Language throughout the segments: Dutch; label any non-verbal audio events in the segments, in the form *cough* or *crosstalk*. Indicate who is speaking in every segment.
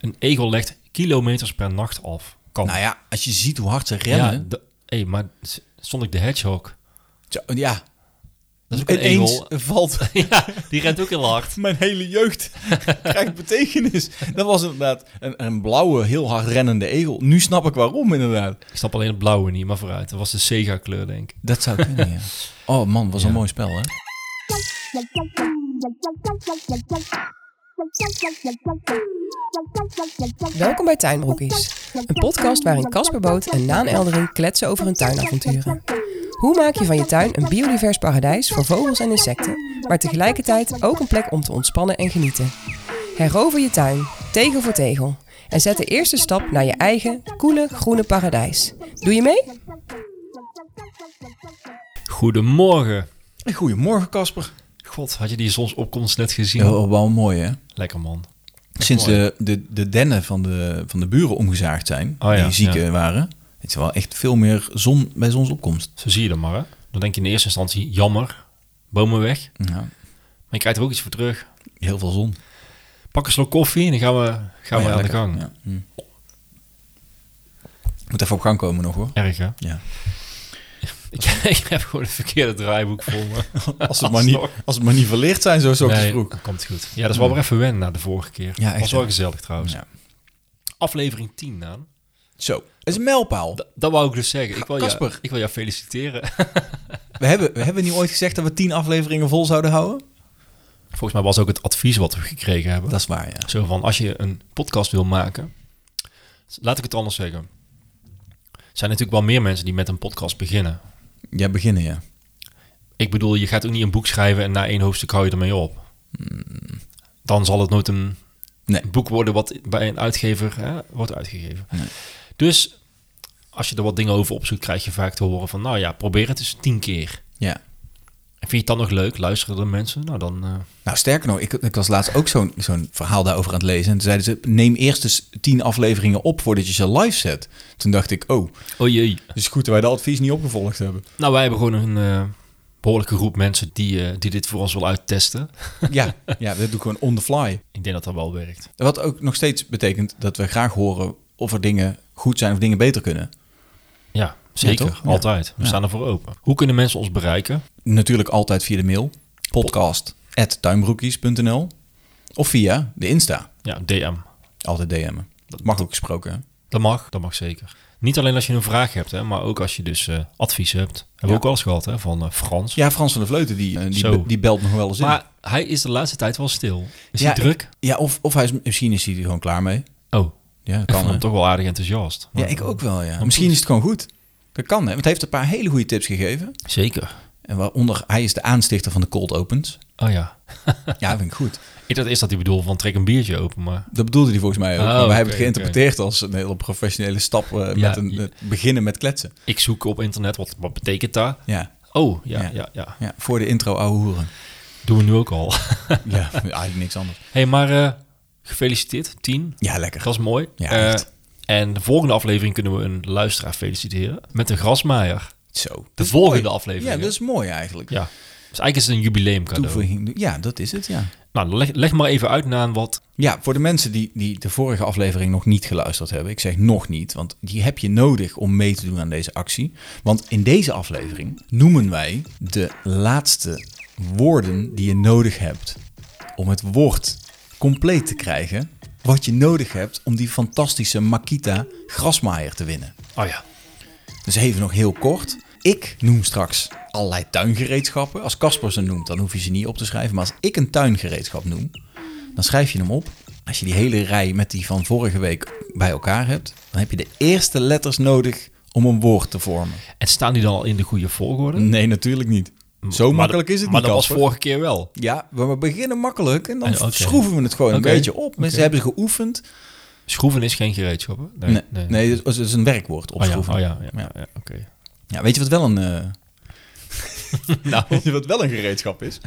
Speaker 1: Een egel legt kilometers per nacht af. Kan.
Speaker 2: Nou ja, als je ziet hoe hard ze
Speaker 1: ja,
Speaker 2: rennen.
Speaker 1: de- hey, maar s- Sonic de Hedgehog.
Speaker 2: Tja, Ja,
Speaker 1: Dat is ook een
Speaker 2: ineens
Speaker 1: egel.
Speaker 2: valt
Speaker 1: *laughs*
Speaker 2: *laughs*
Speaker 1: ja, die rent ook heel hard.
Speaker 2: mijn hele *laughs* jeugd krijgt betekenis. Dat was inderdaad een, een blauwe, heel hard rennende egel. Nu snap ik waarom inderdaad.
Speaker 1: Ik snap alleen het blauwe niet, maar vooruit. Dat was de Sega-kleur, denk ik.
Speaker 2: Dat zou kunnen, ja. *laughs* Oh man, was een mooi spel, hè?
Speaker 3: Welkom bij Tuinbroekies, een podcast waarin Casper Boot en Naan Eldering kletsen over hun tuinavonturen. Hoe maak je van je tuin een *laughs* biodivers paradijs voor vogels en insecten, maar tegelijkertijd ook een plek om te ontspannen en genieten? Herover je tuin, tegel voor tegel, en zet de eerste stap naar je eigen, koele, groene paradijs. Doe je mee?
Speaker 1: Goedemorgen.
Speaker 2: Goedemorgen, Casper.
Speaker 1: God, had je die zonsopkomst net gezien?
Speaker 2: Oh, wel mooi, hè?
Speaker 1: Lekker, man.
Speaker 2: Sinds
Speaker 1: Mooi.
Speaker 2: de, de, de dennen van de, van de buren omgezaagd zijn,
Speaker 1: Oh ja,
Speaker 2: die zieken waren, het is wel echt veel meer zon bij zonsopkomst.
Speaker 1: Zo zie je dat maar, hè? Dan denk je in eerste instantie, jammer, bomen weg.
Speaker 2: Ja,
Speaker 1: Maar je krijgt er ook iets voor terug.
Speaker 2: heel veel zon.
Speaker 1: Pak een slok koffie en dan gaan we, gaan we
Speaker 2: Oh ja,
Speaker 1: aan
Speaker 2: lekker.
Speaker 1: de gang.
Speaker 2: Ja. Hm. Moet even op gang komen nog, *laughs* hoor.
Speaker 1: Erg, hè?
Speaker 2: Ja.
Speaker 1: Ik, *laughs* ik heb gewoon het verkeerde draaiboek voor me.
Speaker 2: Als het maar niet,
Speaker 1: Alsnog.
Speaker 2: als het maar niet verlicht zijn, zo zo
Speaker 1: Nee,
Speaker 2: vroeg. Hmm.
Speaker 1: komt goed. Ja, dat is wel weer even wennen na de vorige keer.
Speaker 2: Ja, echt,
Speaker 1: was wel
Speaker 2: hè?
Speaker 1: gezellig trouwens.
Speaker 2: Ja.
Speaker 1: Aflevering 10, Naan.
Speaker 2: Zo, het is een mijlpaal.
Speaker 1: Dat, dat wou ik dus zeggen. Ik wil, jou,
Speaker 2: Kasper.
Speaker 1: ik wil jou feliciteren. *laughs*
Speaker 2: We hebben, we hebben niet ooit gezegd dat we tien afleveringen vol zouden houden?
Speaker 1: Volgens mij was ook het advies wat we gekregen hebben.
Speaker 2: Dat is waar, ja.
Speaker 1: Zo van, als je een podcast wil maken... Laat ik het anders zeggen. Er zijn natuurlijk wel meer mensen die met een podcast beginnen.
Speaker 2: Ja, beginnen, ja.
Speaker 1: Ik bedoel, je gaat ook niet een boek schrijven en na één hoofdstuk hou je ermee op. Dan zal het nooit een
Speaker 2: Nee.
Speaker 1: boek worden wat bij een uitgever hè, wordt uitgegeven. Dus als je er wat dingen over opzoekt, krijg je vaak te horen van... nou ja, probeer het eens tien keer.
Speaker 2: Ja.
Speaker 1: En vind je het dan nog leuk? Luisteren er mensen? Nou, dan... eh,
Speaker 2: Nou, sterker nog, ik, ik was laatst ook zo'n zo'n verhaal daarover aan het lezen. En toen zeiden ze, neem eerst eens tien afleveringen op voordat je ze live zet. Toen dacht ik, oh,
Speaker 1: oh jee.
Speaker 2: dus goed dat wij dat advies niet opgevolgd *laughs* hebben.
Speaker 1: Nou, wij hebben gewoon een eh, behoorlijke groep mensen die, eh, die dit voor ons wil uittesten.
Speaker 2: Ja, ja, dat doe ik gewoon on the fly.
Speaker 1: Ik denk dat dat wel werkt.
Speaker 2: Wat ook nog steeds betekent dat we graag horen of er dingen goed zijn of dingen beter kunnen.
Speaker 1: Ja, zeker.
Speaker 2: toch? Ja.
Speaker 1: Altijd. We
Speaker 2: Ja.
Speaker 1: staan ervoor open. Hoe kunnen mensen ons bereiken?
Speaker 2: Natuurlijk altijd via de mail, podcast.tuinbroekies.nl of via de Insta.
Speaker 1: Ja, DM.
Speaker 2: Altijd DM'en. Dat mag ook gesproken. hè?
Speaker 1: Dat mag, dat mag zeker. Niet alleen als je een vraag hebt, hè, maar ook als je dus eh, advies hebt. Hebben we
Speaker 2: Ja.
Speaker 1: ook wel eens gehad hè, van eh, Frans.
Speaker 2: Ja, Frans van der Vleuten, die, eh, die,
Speaker 1: Zo.
Speaker 2: be- die belt nog wel eens in.
Speaker 1: maar hij is de laatste tijd wel stil. Is
Speaker 2: Ja,
Speaker 1: hij druk?
Speaker 2: Ja, of, of hij is, misschien is hij er gewoon klaar mee.
Speaker 1: Oh,
Speaker 2: Ja, dat
Speaker 1: ik
Speaker 2: kan.
Speaker 1: vond
Speaker 2: hè.
Speaker 1: hem toch wel aardig enthousiast.
Speaker 2: Ja,
Speaker 1: Maar-
Speaker 2: ik ook wel, ja. Misschien is het gewoon goed. Dat kan, hè. Want hij heeft een paar hele goede tips gegeven.
Speaker 1: Zeker.
Speaker 2: En waaronder, hij is de aanstichter van de cold opens.
Speaker 1: Oh ja. *laughs*
Speaker 2: Ja, vind ik goed.
Speaker 1: Ik dacht eerst dat hij bedoelde van trek een biertje open, maar...
Speaker 2: Dat bedoelde hij volgens mij ook.
Speaker 1: Oh,
Speaker 2: maar wij
Speaker 1: oké,
Speaker 2: hebben het geïnterpreteerd als een hele professionele stap eh,
Speaker 1: Ja,
Speaker 2: met een,
Speaker 1: je-
Speaker 2: het beginnen met kletsen.
Speaker 1: Ik zoek op internet, wat, wat betekent dat?
Speaker 2: Ja,
Speaker 1: Oh, ja,
Speaker 2: Ja.
Speaker 1: ja, ja.
Speaker 2: ja voor de intro ouwe
Speaker 1: *laughs*
Speaker 2: hoeren.
Speaker 1: Doen we nu ook al. *laughs*
Speaker 2: ja, eigenlijk niks anders.
Speaker 1: hey, maar eh, gefeliciteerd, 10.
Speaker 2: Ja, lekker.
Speaker 1: Dat is mooi.
Speaker 2: Ja,
Speaker 1: Eh,
Speaker 2: echt.
Speaker 1: en de volgende aflevering kunnen we een luisteraar feliciteren met een grasmaaier.
Speaker 2: Zo.
Speaker 1: De
Speaker 2: Dat is
Speaker 1: volgende
Speaker 2: mooi.
Speaker 1: aflevering,
Speaker 2: Ja,
Speaker 1: hè?
Speaker 2: dat is mooi eigenlijk.
Speaker 1: Ja. Dus eigenlijk is het een jubileum cadeau.
Speaker 2: Toevoeging. Ja, dat is het, ja.
Speaker 1: Nou, leg, leg maar even uit naar wat.
Speaker 2: Ja, voor de mensen die, die de vorige aflevering nog niet geluisterd hebben. Ik zeg nog niet, want die heb je nodig om mee te doen aan deze actie. Want in deze aflevering noemen wij de laatste woorden die je nodig hebt om het woord compleet te krijgen. Wat je nodig hebt om die fantastische Makita grasmaaier te winnen.
Speaker 1: Oh ja.
Speaker 2: Dus even nog heel kort. Ik noem straks allerlei tuingereedschappen. Als Casper ze noemt, dan hoef je ze niet op te schrijven. Maar als ik een tuingereedschap noem, dan schrijf je hem op. Als je die hele rij met die van vorige week bij elkaar hebt, dan heb je de eerste letters nodig om een woord te vormen.
Speaker 1: En staan die dan al in de goede volgorde?
Speaker 2: Nee, natuurlijk niet. Zo
Speaker 1: Maar
Speaker 2: makkelijk
Speaker 1: dat-
Speaker 2: is het
Speaker 1: Maar
Speaker 2: niet,
Speaker 1: dat was
Speaker 2: Casper.
Speaker 1: vorige keer wel.
Speaker 2: Ja, we we beginnen makkelijk en dan
Speaker 1: Eh, oké.
Speaker 2: schroeven we het gewoon
Speaker 1: Oké.
Speaker 2: een beetje op. Mensen
Speaker 1: Oké.
Speaker 2: hebben ze geoefend.
Speaker 1: Schroeven is geen gereedschap. Hè?
Speaker 2: Nee, nee. dat is- dat is een werkwoord,
Speaker 1: Oh ja,
Speaker 2: opschroeven.
Speaker 1: oh ja, ja,
Speaker 2: Ja.
Speaker 1: ja. ja, oké.
Speaker 2: Ja, weet je wat wel een... eh,
Speaker 1: *laughs* Nou,
Speaker 2: *laughs* Weet je wat wel een gereedschap is? *laughs*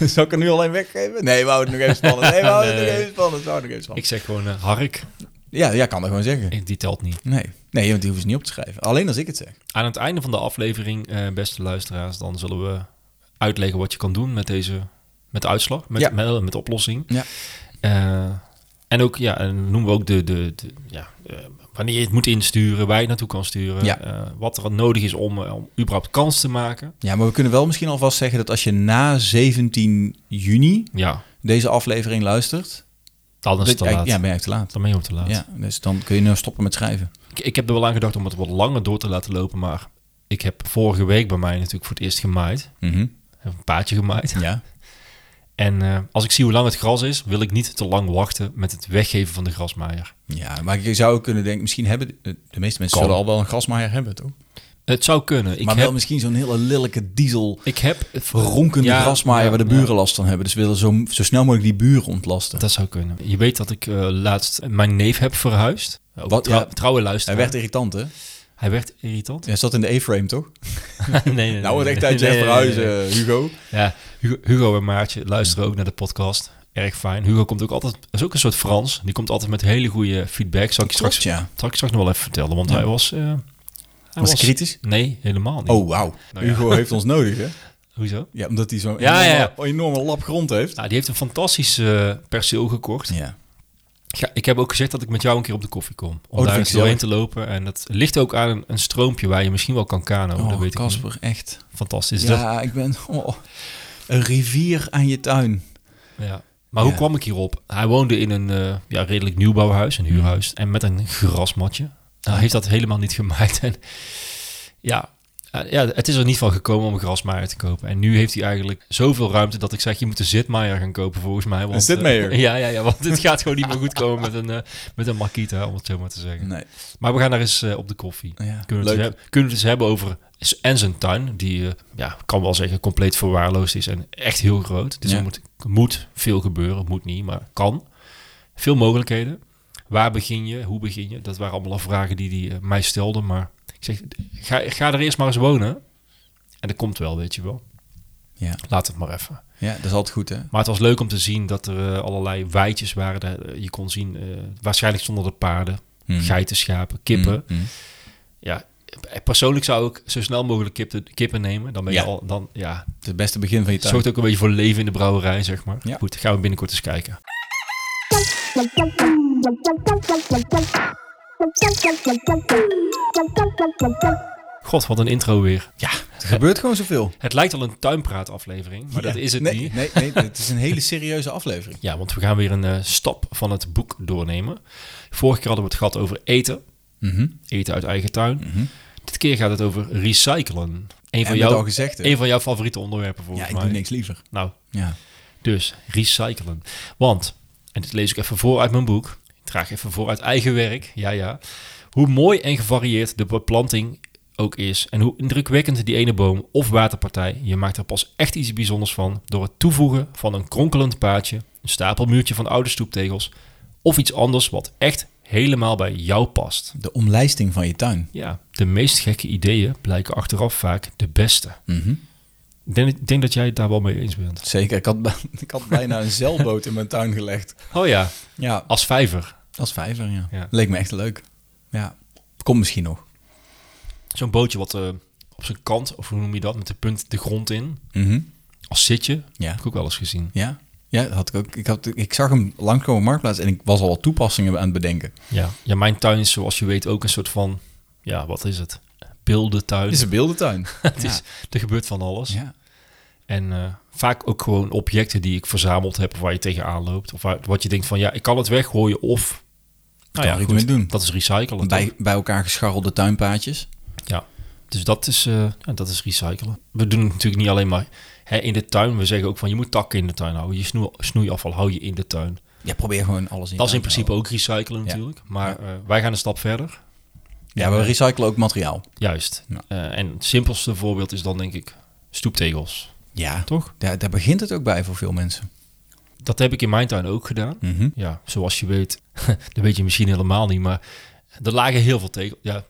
Speaker 2: Zou ik er nu alleen weggeven? Nee, we houden het nog even spannend. Nee, we houden het
Speaker 1: Nee.
Speaker 2: nog even spannend. We houden het nog even
Speaker 1: ik
Speaker 2: spannend.
Speaker 1: zeg gewoon eh, hark.
Speaker 2: Ja, ja, kan dat gewoon zeggen.
Speaker 1: Ik- Die telt niet.
Speaker 2: Nee. nee, want die hoeven ze niet op te schrijven. Alleen als ik het zeg.
Speaker 1: Aan het einde van de aflevering, eh, beste luisteraars, dan zullen we uitleggen wat je kan doen met deze, met de uitslag, met,
Speaker 2: Ja.
Speaker 1: met, met de oplossing.
Speaker 2: Ja.
Speaker 1: Eh, En ook, ja, en noemen we ook de, de, de ja, eh, wanneer je het moet insturen, waar je het naartoe kan sturen,
Speaker 2: Ja.
Speaker 1: eh, wat er nodig is om, eh, om überhaupt kans te maken.
Speaker 2: Ja, maar we kunnen wel misschien alvast zeggen dat als je na 17 juni
Speaker 1: Ja,
Speaker 2: deze aflevering luistert,
Speaker 1: dan is
Speaker 2: dat
Speaker 1: het
Speaker 2: je
Speaker 1: te
Speaker 2: eigenlijk-
Speaker 1: laat.
Speaker 2: ja, ben je eigenlijk te laat.
Speaker 1: Dan ben je ook te laat.
Speaker 2: Ja, dus dan kun je nou stoppen met schrijven.
Speaker 1: Ik, ik heb er wel aan gedacht om het wat langer door te laten lopen, maar ik heb vorige week bij mij natuurlijk voor het eerst gemaaid.
Speaker 2: Mhm.
Speaker 1: Een paadje gemaaid.
Speaker 2: Ja.
Speaker 1: En eh, als ik zie hoe lang het gras is, wil ik niet te lang wachten met het weggeven van de grasmaaier.
Speaker 2: ja, maar je zou ook kunnen denken, misschien hebben de, de meeste mensen
Speaker 1: Kan.
Speaker 2: zullen al wel een grasmaaier hebben, toch?
Speaker 1: Het zou kunnen. Ik
Speaker 2: maar
Speaker 1: heb,
Speaker 2: wel misschien zo'n hele lelijke diesel
Speaker 1: ik heb het
Speaker 2: ronkende
Speaker 1: Ja,
Speaker 2: grasmaaier
Speaker 1: ja,
Speaker 2: waar de
Speaker 1: ja.
Speaker 2: buren last van hebben. Dus we willen zo, zo snel mogelijk die buren ontlasten.
Speaker 1: Dat zou kunnen. Je weet dat ik eh, laatst mijn neef heb verhuisd. Ook
Speaker 2: Wat?
Speaker 1: trouw-
Speaker 2: Ja.
Speaker 1: Trouwe luisteraar.
Speaker 2: Hij werd irritant, hè?
Speaker 1: Hij werd irritant.
Speaker 2: *laughs* Hij zat in de A-frame, toch?
Speaker 1: nee, nee, nee,
Speaker 2: nou, wordt echt
Speaker 1: nee,
Speaker 2: tijd je
Speaker 1: nee, nee,
Speaker 2: verhuizen,
Speaker 1: nee, nee.
Speaker 2: Hugo.
Speaker 1: Ja, Hugo, Hugo en Maartje luisteren ook naar de podcast. Erg fijn. Hugo komt ook altijd... is ook een soort Frans. Die komt altijd met hele goede feedback. Zal ik je
Speaker 2: Klopt,
Speaker 1: straks,
Speaker 2: ja.
Speaker 1: zal ik je straks nog wel even vertellen. Want
Speaker 2: Ja.
Speaker 1: hij was... eh, hij
Speaker 2: Was hij kritisch?
Speaker 1: Nee, helemaal niet.
Speaker 2: Oh, wauw.
Speaker 1: Nou ja.
Speaker 2: Hugo heeft ons nodig, hè?
Speaker 1: Hoezo?
Speaker 2: Ja, omdat hij zo'n
Speaker 1: Ja,
Speaker 2: enorme,
Speaker 1: ja,
Speaker 2: enorme lap grond heeft.
Speaker 1: Nou, die heeft een fantastisch eh, perceel gekocht.
Speaker 2: Ja.
Speaker 1: Ja, ik heb ook gezegd dat ik met jou een keer op de koffie kom. Om
Speaker 2: Oh, dat
Speaker 1: daar
Speaker 2: vind
Speaker 1: eens
Speaker 2: ik
Speaker 1: doorheen te lopen. En dat ligt ook aan een, een stroompje waar je misschien wel kan kano. Oh, dat weet ik
Speaker 2: Oh, Casper, echt.
Speaker 1: niet. Fantastisch. Dat-
Speaker 2: ja, ik ben... oh, een rivier aan je tuin.
Speaker 1: Ja. Maar hoe
Speaker 2: Ja.
Speaker 1: kwam ik hierop? Hij woonde in een eh, ja, redelijk nieuwbouwhuis, een
Speaker 2: Mhm.
Speaker 1: huurhuis. En met een grasmatje. Nou, hij heeft dat helemaal niet *laughs* gemaaid. En ja, eh, ja, het is er niet van gekomen om een grasmaaier te kopen. En nu heeft hij eigenlijk zoveel ruimte dat ik zeg... je moet een zitmaaier gaan kopen volgens mij. Want, eh, *laughs*
Speaker 2: zitmaaier?
Speaker 1: ja, ja, ja, want het gaat gewoon niet meer goed komen met een, eh met een Makita, om het zo maar te zeggen.
Speaker 2: Nee.
Speaker 1: Maar we gaan daar eens eh, op de koffie.
Speaker 2: Ja,
Speaker 1: Kunnen we, het
Speaker 2: leuk.
Speaker 1: eens hebben, kunnen we het eens hebben over s- en zijn tuin, die eh, ja, kan wel zeggen compleet verwaarloosd is en echt heel groot. Dus
Speaker 2: Ja.
Speaker 1: er moet, moet veel gebeuren, moet niet, maar kan. Veel mogelijkheden. Waar begin je? Hoe begin je? Dat waren allemaal al vragen die, die eh, mij stelden. Maar ik zeg, ga, ga er eerst maar eens wonen. En dat komt wel, weet je wel.
Speaker 2: Ja.
Speaker 1: Laat het maar even.
Speaker 2: ja, dat is altijd goed, hè?
Speaker 1: Maar het was leuk om te zien dat er eh, allerlei weidjes waren. Daar, eh, je kon zien, eh, waarschijnlijk stonden er paarden,
Speaker 2: Mm.
Speaker 1: geiten, schapen, kippen.
Speaker 2: Mm, mm.
Speaker 1: Ja, persoonlijk zou ik zo snel mogelijk kippen, kippen nemen. Dan ben je
Speaker 2: Ja.
Speaker 1: al, dan, ja,
Speaker 2: Het is het beste begin van je
Speaker 1: het
Speaker 2: tuin.
Speaker 1: zorgt ook een beetje voor leven in de brouwerij, zeg maar.
Speaker 2: Ja.
Speaker 1: Goed, gaan we binnenkort eens kijken. God, wat een intro weer.
Speaker 2: Ja, er gebeurt gewoon zoveel.
Speaker 1: Het lijkt al een tuinpraataflevering, maar dat is het
Speaker 2: nee,
Speaker 1: niet.
Speaker 2: Nee, nee, het is een hele serieuze
Speaker 1: *laughs*
Speaker 2: aflevering.
Speaker 1: Ja, want we gaan weer een eh, stap van het boek doornemen. Vorige keer hadden we het gehad over eten. Mhm. Eten uit eigen tuin. Dit keer gaat het over recyclen. Een van,
Speaker 2: Mhm. met
Speaker 1: jouw,
Speaker 2: al gezegd, hè?
Speaker 1: een van jouw favoriete onderwerpen volgens
Speaker 2: Ja, ik
Speaker 1: mij.
Speaker 2: doe niks liever.
Speaker 1: Nou,
Speaker 2: Ja.
Speaker 1: Dus recyclen. Want, en dit lees ik even voor uit mijn boek. Ik draag even voor uit eigen werk. Ja, ja. Hoe mooi en gevarieerd de beplanting ook is. En hoe indrukwekkend die ene boom of waterpartij. Je maakt er pas echt iets bijzonders van. Door het toevoegen van een kronkelend paadje. Een stapelmuurtje van oude stoeptegels. Of iets anders wat echt helemaal bij jou past.
Speaker 2: De omlijsting van je tuin.
Speaker 1: Ja, de meest gekke ideeën blijken achteraf vaak de beste.
Speaker 2: Mhm.
Speaker 1: Ik denk, ik denk dat jij het daar wel mee eens bent.
Speaker 2: Zeker, ik had, *laughs* bij- ik had bijna een zeilboot in mijn tuin gelegd.
Speaker 1: Oh ja,
Speaker 2: Ja,
Speaker 1: als vijver.
Speaker 2: als vijver, ja.
Speaker 1: Ja.
Speaker 2: Leek me echt leuk. Ja, komt misschien nog.
Speaker 1: zo'n bootje wat eh, op zijn kant, of hoe noem je dat, met de punt de grond in. Als zitje,
Speaker 2: Ja.
Speaker 1: heb ik ook wel eens gezien.
Speaker 2: Ja, ja dat had ik, ook. Ik, had, ik zag hem langskomen op Marktplaats en ik was al wat toepassingen aan het
Speaker 1: *laughs*
Speaker 2: bedenken.
Speaker 1: Ja. ja, mijn tuin is zoals je weet ook een soort van, ja, wat is het? Beeldentuin.
Speaker 2: Het is een
Speaker 1: *laughs*
Speaker 2: beeldentuin.
Speaker 1: Het is- er gebeurt van alles.
Speaker 2: ja.
Speaker 1: En eh, vaak ook gewoon objecten die ik verzameld heb, of waar je tegenaan loopt. Of waar, wat je denkt van, ja, ik kan het weggooien, of... Nou
Speaker 2: er iets mee doen.
Speaker 1: Dat is recyclen.
Speaker 2: bij,
Speaker 1: toch?
Speaker 2: bij elkaar gescharrelde tuinpaadjes.
Speaker 1: Ja, dus dat is, eh, ja, dat is recyclen. We doen het natuurlijk niet alleen maar hè, in de tuin. We zeggen ook van, je moet takken in de tuin houden. Je snoe- snoeiafval hou je in de tuin.
Speaker 2: Ja, probeer gewoon alles in je
Speaker 1: Dat is in
Speaker 2: tuin te
Speaker 1: principe ook recyclen natuurlijk. Maar eh, wij gaan een stap verder.
Speaker 2: houden. Ja, we recyclen ook materiaal.
Speaker 1: Juist.
Speaker 2: Ja.
Speaker 1: Eh, en het simpelste voorbeeld is dan denk ik stoeptegels.
Speaker 2: Ja,
Speaker 1: Toch?
Speaker 2: daar, daar begint het ook bij voor veel mensen.
Speaker 1: Dat heb ik in mijn tuin ook gedaan.
Speaker 2: Mhm.
Speaker 1: Ja, zoals je weet. *laughs* dat weet je misschien helemaal niet. Maar er lagen heel veel tegels. Ja,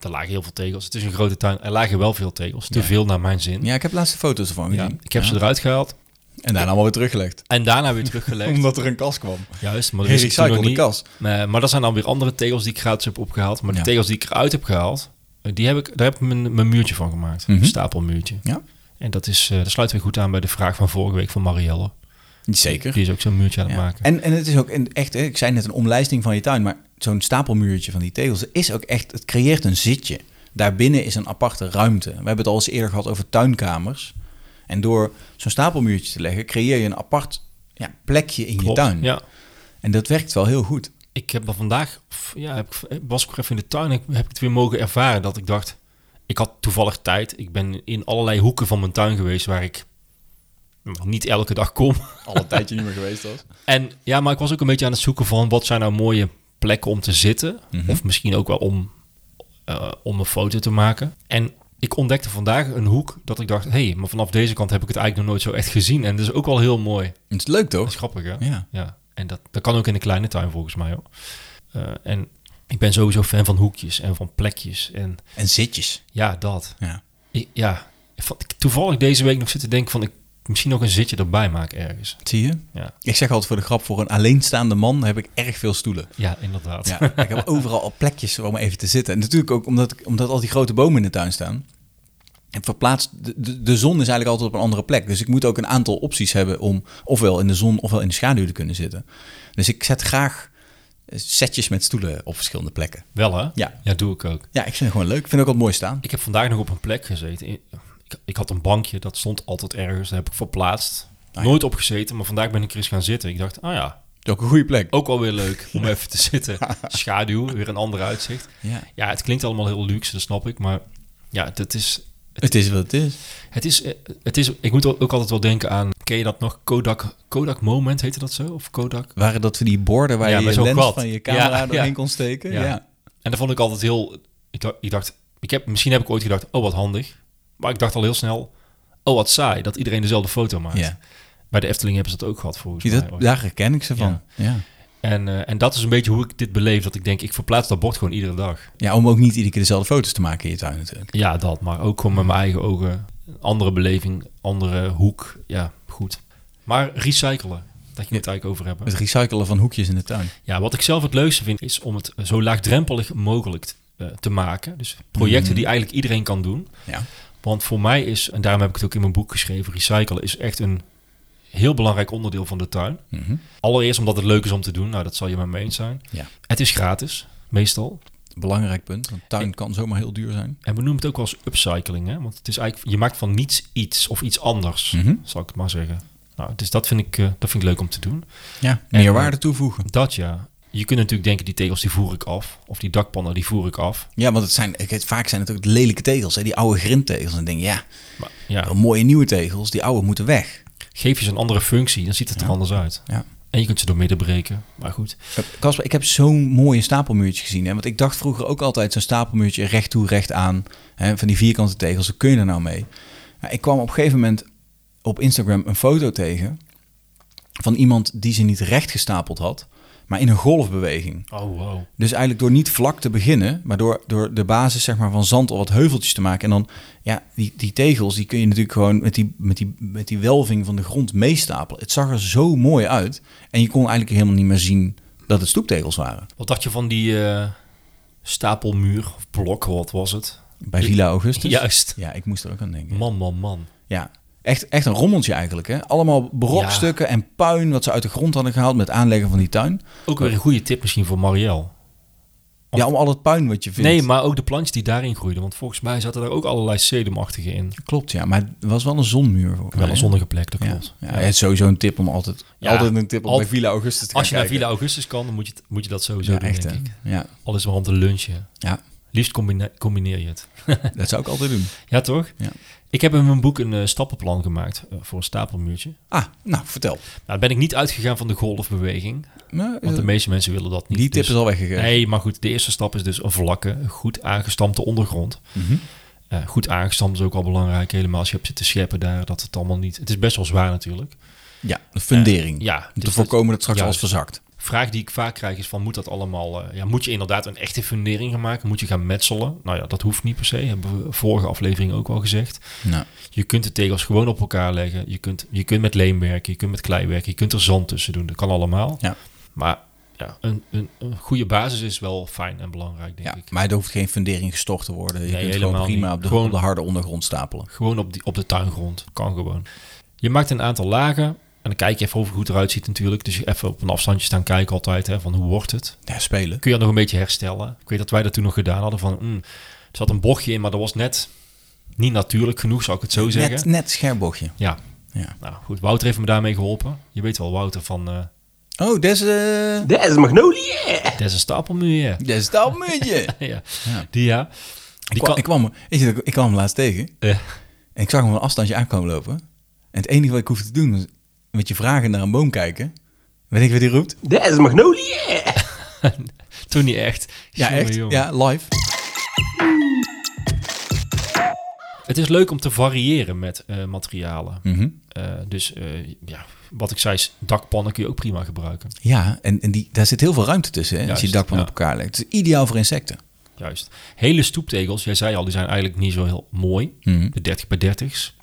Speaker 1: er lagen heel veel tegels. Het is een grote tuin. Er lagen wel veel tegels. Te veel naar mijn zin.
Speaker 2: Ja, ik heb laatste foto's ervan
Speaker 1: Ja,
Speaker 2: gezien.
Speaker 1: ik heb ze eruit gehaald.
Speaker 2: En daarna allemaal weer teruggelegd.
Speaker 1: En daarna weer
Speaker 2: *laughs*
Speaker 1: teruggelegd.
Speaker 2: Omdat er een kas kwam.
Speaker 1: Juist, maar dat wist ik toen nog
Speaker 2: Gerecyclede
Speaker 1: niet.
Speaker 2: kas.
Speaker 1: Nee, maar dat zijn dan weer andere tegels die ik gratis heb opgehaald. Maar de
Speaker 2: Ja.
Speaker 1: tegels die ik eruit heb gehaald, eh, die heb ik, daar heb ik mijn, mijn muurtje van gemaakt.
Speaker 2: Mhm.
Speaker 1: Een stapelmuurtje.
Speaker 2: Ja.
Speaker 1: En dat, is, eh dat sluit weer goed aan bij de vraag van vorige week van Marielle.
Speaker 2: Zeker.
Speaker 1: Die is ook zo'n muurtje aan het
Speaker 2: Ja.
Speaker 1: maken.
Speaker 2: En, en het is ook een- echt, hè, ik zei net een omlijsting van je tuin, maar zo'n stapelmuurtje van die tegels is ook echt, het creëert een zitje. Daarbinnen is een aparte ruimte. We hebben het al eens eerder gehad over tuinkamers. En door zo'n stapelmuurtje te leggen, creëer je een apart ja, plekje in
Speaker 1: Klopt.
Speaker 2: je tuin.
Speaker 1: Ja.
Speaker 2: En dat werkt wel heel goed.
Speaker 1: Ik heb al vandaag, of ja, heb ik, was ik ook even in de tuin, heb, heb ik het weer mogen ervaren dat ik dacht, ik had toevallig tijd. Ik ben in allerlei hoeken van mijn tuin geweest waar ik niet elke dag kom.
Speaker 2: Al een tijdje niet meer geweest was.
Speaker 1: En ja, maar ik was ook een beetje aan het zoeken van wat zijn nou mooie plekken om te zitten.
Speaker 2: Mhm.
Speaker 1: Of misschien ook wel om, eh, om een foto te maken. En ik ontdekte vandaag een hoek dat ik dacht, hé, hey, maar vanaf deze kant heb ik het eigenlijk nog nooit zo echt gezien. En dat is ook wel heel mooi.
Speaker 2: *laughs* Het is leuk
Speaker 1: Dat
Speaker 2: toch?
Speaker 1: is grappig, hè?
Speaker 2: Ja.
Speaker 1: En dat, dat kan ook in een kleine tuin volgens mij, hoor. Eh, en ik ben sowieso fan van hoekjes en van plekjes. En
Speaker 2: En zitjes.
Speaker 1: ja, dat.
Speaker 2: Ja.
Speaker 1: Ik- ja, ik vond- ik toevallig deze week nog zitten denken van, ik misschien nog een zitje erbij maak ergens.
Speaker 2: Zie je?
Speaker 1: Ja,
Speaker 2: Ik zeg altijd voor de grap, voor een alleenstaande man heb ik erg veel stoelen.
Speaker 1: ja inderdaad. *laughs*
Speaker 2: Ja, ik heb overal al plekjes om even te zitten. En natuurlijk ook omdat, ik- omdat al die grote bomen in de tuin staan. En verplaatst, de, de, de zon is eigenlijk altijd op een andere plek. Dus ik moet ook een aantal opties hebben om ofwel in de zon ofwel in de schaduw te kunnen zitten. Dus ik zet graag eh, setjes met stoelen op verschillende plekken.
Speaker 1: Wel, hè?
Speaker 2: Ja.
Speaker 1: Ja, doe ik ook.
Speaker 2: Ja, ik vind het gewoon leuk. Ik vind het ook altijd mooi staan.
Speaker 1: Ik heb vandaag nog op een plek gezeten. Ik, ik had een bankje, dat stond altijd ergens. Dat heb ik verplaatst.
Speaker 2: ja.
Speaker 1: Nooit opgezeten, maar vandaag ben ik er eens gaan zitten. Ik dacht, ah ja,
Speaker 2: Het is ook een goede plek.
Speaker 1: ook wel weer leuk om even te zitten. Schaduw, weer een ander uitzicht.
Speaker 2: Ja.
Speaker 1: Ja, het klinkt allemaal heel luxe, dat snap ik. Maar ja, het is...
Speaker 2: Het is wat het is.
Speaker 1: Het is, eh, het is, ik moet ook altijd wel denken aan, ken je dat nog? Kodak, Kodak Moment heette dat zo? Of Kodak?
Speaker 2: Waren dat die borden waar
Speaker 1: Ja,
Speaker 2: je
Speaker 1: met
Speaker 2: je
Speaker 1: zo'n
Speaker 2: lens
Speaker 1: gat.
Speaker 2: van je camera
Speaker 1: Ja,
Speaker 2: doorheen
Speaker 1: ja.
Speaker 2: kon steken?
Speaker 1: Ja.
Speaker 2: Ja.
Speaker 1: En dat vond ik altijd heel... Ik dacht, ik dacht ik heb, misschien heb ik ooit gedacht, oh wat handig. Maar ik dacht al heel snel, oh wat saai, dat iedereen dezelfde foto maakt.
Speaker 2: Ja.
Speaker 1: Bij de Efteling hebben ze dat ook gehad volgens
Speaker 2: Zie
Speaker 1: mij.
Speaker 2: je dat?
Speaker 1: ooit.
Speaker 2: Daar herken ik ze van. Ja.
Speaker 1: En, eh, en dat is een beetje hoe ik dit beleef. Dat ik denk, ik verplaats dat bord gewoon iedere dag.
Speaker 2: ja, om ook niet iedere keer dezelfde foto's te maken in je tuin natuurlijk.
Speaker 1: Ja, dat. Maar ook gewoon met mijn eigen ogen. Een Andere beleving, andere hoek. Ja, goed. Maar recyclen. Dat je het eigenlijk over hebben.
Speaker 2: Het recyclen van hoekjes in de tuin.
Speaker 1: Ja, wat ik zelf het leukste vind is om het zo laagdrempelig mogelijk t- eh, te maken. Dus
Speaker 2: Mhm.
Speaker 1: projecten die eigenlijk iedereen kan doen.
Speaker 2: Ja.
Speaker 1: Want voor mij is, en daarom heb ik het ook in mijn boek geschreven, recyclen is echt een heel belangrijk onderdeel van de tuin. Allereerst omdat het leuk is om te doen. Nou, dat zal je met me eens zijn.
Speaker 2: Mhm. Ja.
Speaker 1: Het is gratis, meestal.
Speaker 2: Belangrijk punt, want tuin kan zomaar heel duur zijn.
Speaker 1: En we noemen het ook wel eens upcycling, hè? Want het is eigenlijk, je maakt van niets iets of iets anders,
Speaker 2: Mhm.
Speaker 1: zal ik het maar zeggen. Nou, dus dat vind ik, eh, dat vind ik leuk om te doen.
Speaker 2: Ja,
Speaker 1: En-
Speaker 2: meer waarde toevoegen.
Speaker 1: Dat ja. Je kunt natuurlijk denken, die tegels die voer ik af. Of die dakpannen die voer ik af.
Speaker 2: Ja, want het zijn, ik weet, vaak zijn het ook lelijke tegels, hè? die oude grindtegels. En dan denk je, ja,
Speaker 1: Maar ja,
Speaker 2: wel mooie nieuwe tegels, die oude moeten weg.
Speaker 1: geef je ze een andere functie, dan ziet het er anders uit.
Speaker 2: Ja.
Speaker 1: En je kunt ze door midden breken. Maar goed,
Speaker 2: Kasper, ik heb zo'n mooie stapelmuurtje gezien. Hè? Want ik dacht vroeger ook altijd zo'n stapelmuurtje recht toe, recht aan. Hè? Van die vierkante tegels, wat kun je er nou mee? Ja, ik kwam op een gegeven moment op Instagram een foto tegen van iemand die ze niet recht gestapeld had, maar in een golfbeweging.
Speaker 1: oh wow.
Speaker 2: Dus eigenlijk door niet vlak te beginnen, maar door, door de basis zeg maar, van zand al wat heuveltjes te maken. En dan, ja, die, die tegels, die kun je natuurlijk gewoon met die, met, die, met die welving van de grond meestapelen. Het zag er zo mooi uit. En je kon eigenlijk helemaal niet meer zien dat het stoeptegels waren.
Speaker 1: Wat dacht je van die eh, stapelmuur of blok, wat was het?
Speaker 2: Bij Villa Augustus.
Speaker 1: Juist.
Speaker 2: Ja, ik moest er ook aan denken.
Speaker 1: Man, man, man.
Speaker 2: Ja, echt, echt een rommeltje eigenlijk. Hè? Allemaal brokstukken en puin wat ze uit de grond hadden gehaald met het aanleggen van die tuin.
Speaker 1: Ook weer een goede tip misschien voor Marielle.
Speaker 2: Ja, om al het puin wat je vindt.
Speaker 1: Nee, maar ook de plantjes die daarin groeiden. Want volgens mij zaten daar ook allerlei sedumachtige in.
Speaker 2: Klopt, ja. Maar het was wel een zonmuur. Voor,
Speaker 1: Wel een zonnige plek, dat
Speaker 2: Ja,
Speaker 1: klopt.
Speaker 2: ja, het is sowieso een tip om altijd,
Speaker 1: Ja,
Speaker 2: altijd een tip om
Speaker 1: altijd-
Speaker 2: bij Villa Augustus te gaan
Speaker 1: Als je naar
Speaker 2: kijken.
Speaker 1: Villa Augustus kan, dan moet je, het- moet je dat sowieso
Speaker 2: ja,
Speaker 1: doen,
Speaker 2: echt,
Speaker 1: denk
Speaker 2: hè?
Speaker 1: ik.
Speaker 2: Ja,
Speaker 1: Al is het maar om te lunchen. *laughs*
Speaker 2: ja,
Speaker 1: Liefst combine- combineer je het.
Speaker 2: dat zou ik altijd doen.
Speaker 1: Ja, toch?
Speaker 2: Ja.
Speaker 1: Ik heb in mijn boek een eh, stappenplan gemaakt eh, voor een stapelmuurtje.
Speaker 2: Ah, nou, vertel.
Speaker 1: Nou, daar ben ik niet uitgegaan van de golfbeweging.
Speaker 2: Nou,
Speaker 1: Want de meeste mensen willen dat niet.
Speaker 2: die tip
Speaker 1: dus-
Speaker 2: is al weggegeven.
Speaker 1: Nee, maar goed, de eerste stap is dus een vlakke, goed aangestampte ondergrond.
Speaker 2: Mhm.
Speaker 1: Eh, goed aangestampt is ook al belangrijk, helemaal als je hebt zitten scheppen daar, dat het allemaal niet... Het is best wel zwaar natuurlijk.
Speaker 2: Ja, de fundering.
Speaker 1: Ja,
Speaker 2: Om te
Speaker 1: dus
Speaker 2: voorkomen dat het straks
Speaker 1: Juist.
Speaker 2: alles verzakt.
Speaker 1: vraag die ik vaak krijg is van moet dat allemaal... eh, ja, moet je inderdaad een echte fundering gaan maken? Moet je gaan metselen? Nou ja, dat hoeft niet per se. Hebben we vorige aflevering ook al gezegd.
Speaker 2: Nou,
Speaker 1: Je kunt de tegels gewoon op elkaar leggen. Je kunt, je kunt met leem werken, je kunt met klei werken. Je kunt er zand tussen doen, dat kan allemaal.
Speaker 2: Ja.
Speaker 1: Maar ja, een, een, een goede basis is wel fijn en belangrijk, denk
Speaker 2: ja.
Speaker 1: ik.
Speaker 2: Maar er hoeft geen fundering gestort te worden. Je
Speaker 1: Nee,
Speaker 2: kunt
Speaker 1: helemaal
Speaker 2: gewoon prima
Speaker 1: niet.
Speaker 2: op de,
Speaker 1: Gewoon-
Speaker 2: op de harde ondergrond stapelen.
Speaker 1: Gewoon op, die, op de tuingrond, kan gewoon. Je maakt een aantal lagen En dan kijk je even of het goed eruit ziet natuurlijk. Dus even op een afstandje staan kijken altijd, hè, van hoe wordt het?
Speaker 2: Ja, spelen.
Speaker 1: kun je dat nog een beetje herstellen. Ik weet dat wij dat toen nog gedaan hadden van, mm, er zat een bochtje in, maar dat was net niet natuurlijk genoeg, zou ik het zo zeggen.
Speaker 2: Net, net scherbochtje.
Speaker 1: Ja,
Speaker 2: Ja.
Speaker 1: nou goed, Wouter heeft me daarmee geholpen. Je weet wel, Wouter van eh
Speaker 2: Oh, dat is... eh,
Speaker 4: Dat is Magnolia.
Speaker 1: Des een stapelmuur.
Speaker 2: dat is
Speaker 1: *laughs*
Speaker 2: dat muntje.
Speaker 1: ja.
Speaker 2: Ja.
Speaker 1: Die ja. Die
Speaker 2: ik, kwam,
Speaker 1: kan,
Speaker 2: ik, kwam, weet je, ik kwam hem laatst tegen.
Speaker 1: eh,
Speaker 2: En ik zag hem van een afstandje aankomen lopen. En het enige wat ik hoefde te doen was met je vragen naar een boom kijken. Weet ik wat hij roept?
Speaker 4: Dat is Magnolia.
Speaker 1: *laughs* toen niet echt.
Speaker 2: Ja,
Speaker 1: Jongen,
Speaker 2: echt.
Speaker 1: jongen.
Speaker 2: Ja, live.
Speaker 1: Het is leuk om te variëren met eh, materialen.
Speaker 2: Mhm.
Speaker 1: Eh, dus eh, ja, wat ik zei, is, dakpannen kun je ook prima gebruiken.
Speaker 2: Ja, en, en die, daar zit heel veel ruimte tussen hè, als je
Speaker 1: Juist,
Speaker 2: dakpan
Speaker 1: ja.
Speaker 2: op elkaar legt. Het is ideaal voor insecten.
Speaker 1: Juist. Hele stoeptegels, jij zei al, die zijn eigenlijk niet zo heel mooi.
Speaker 2: Mhm.
Speaker 1: De 30 bij 30's.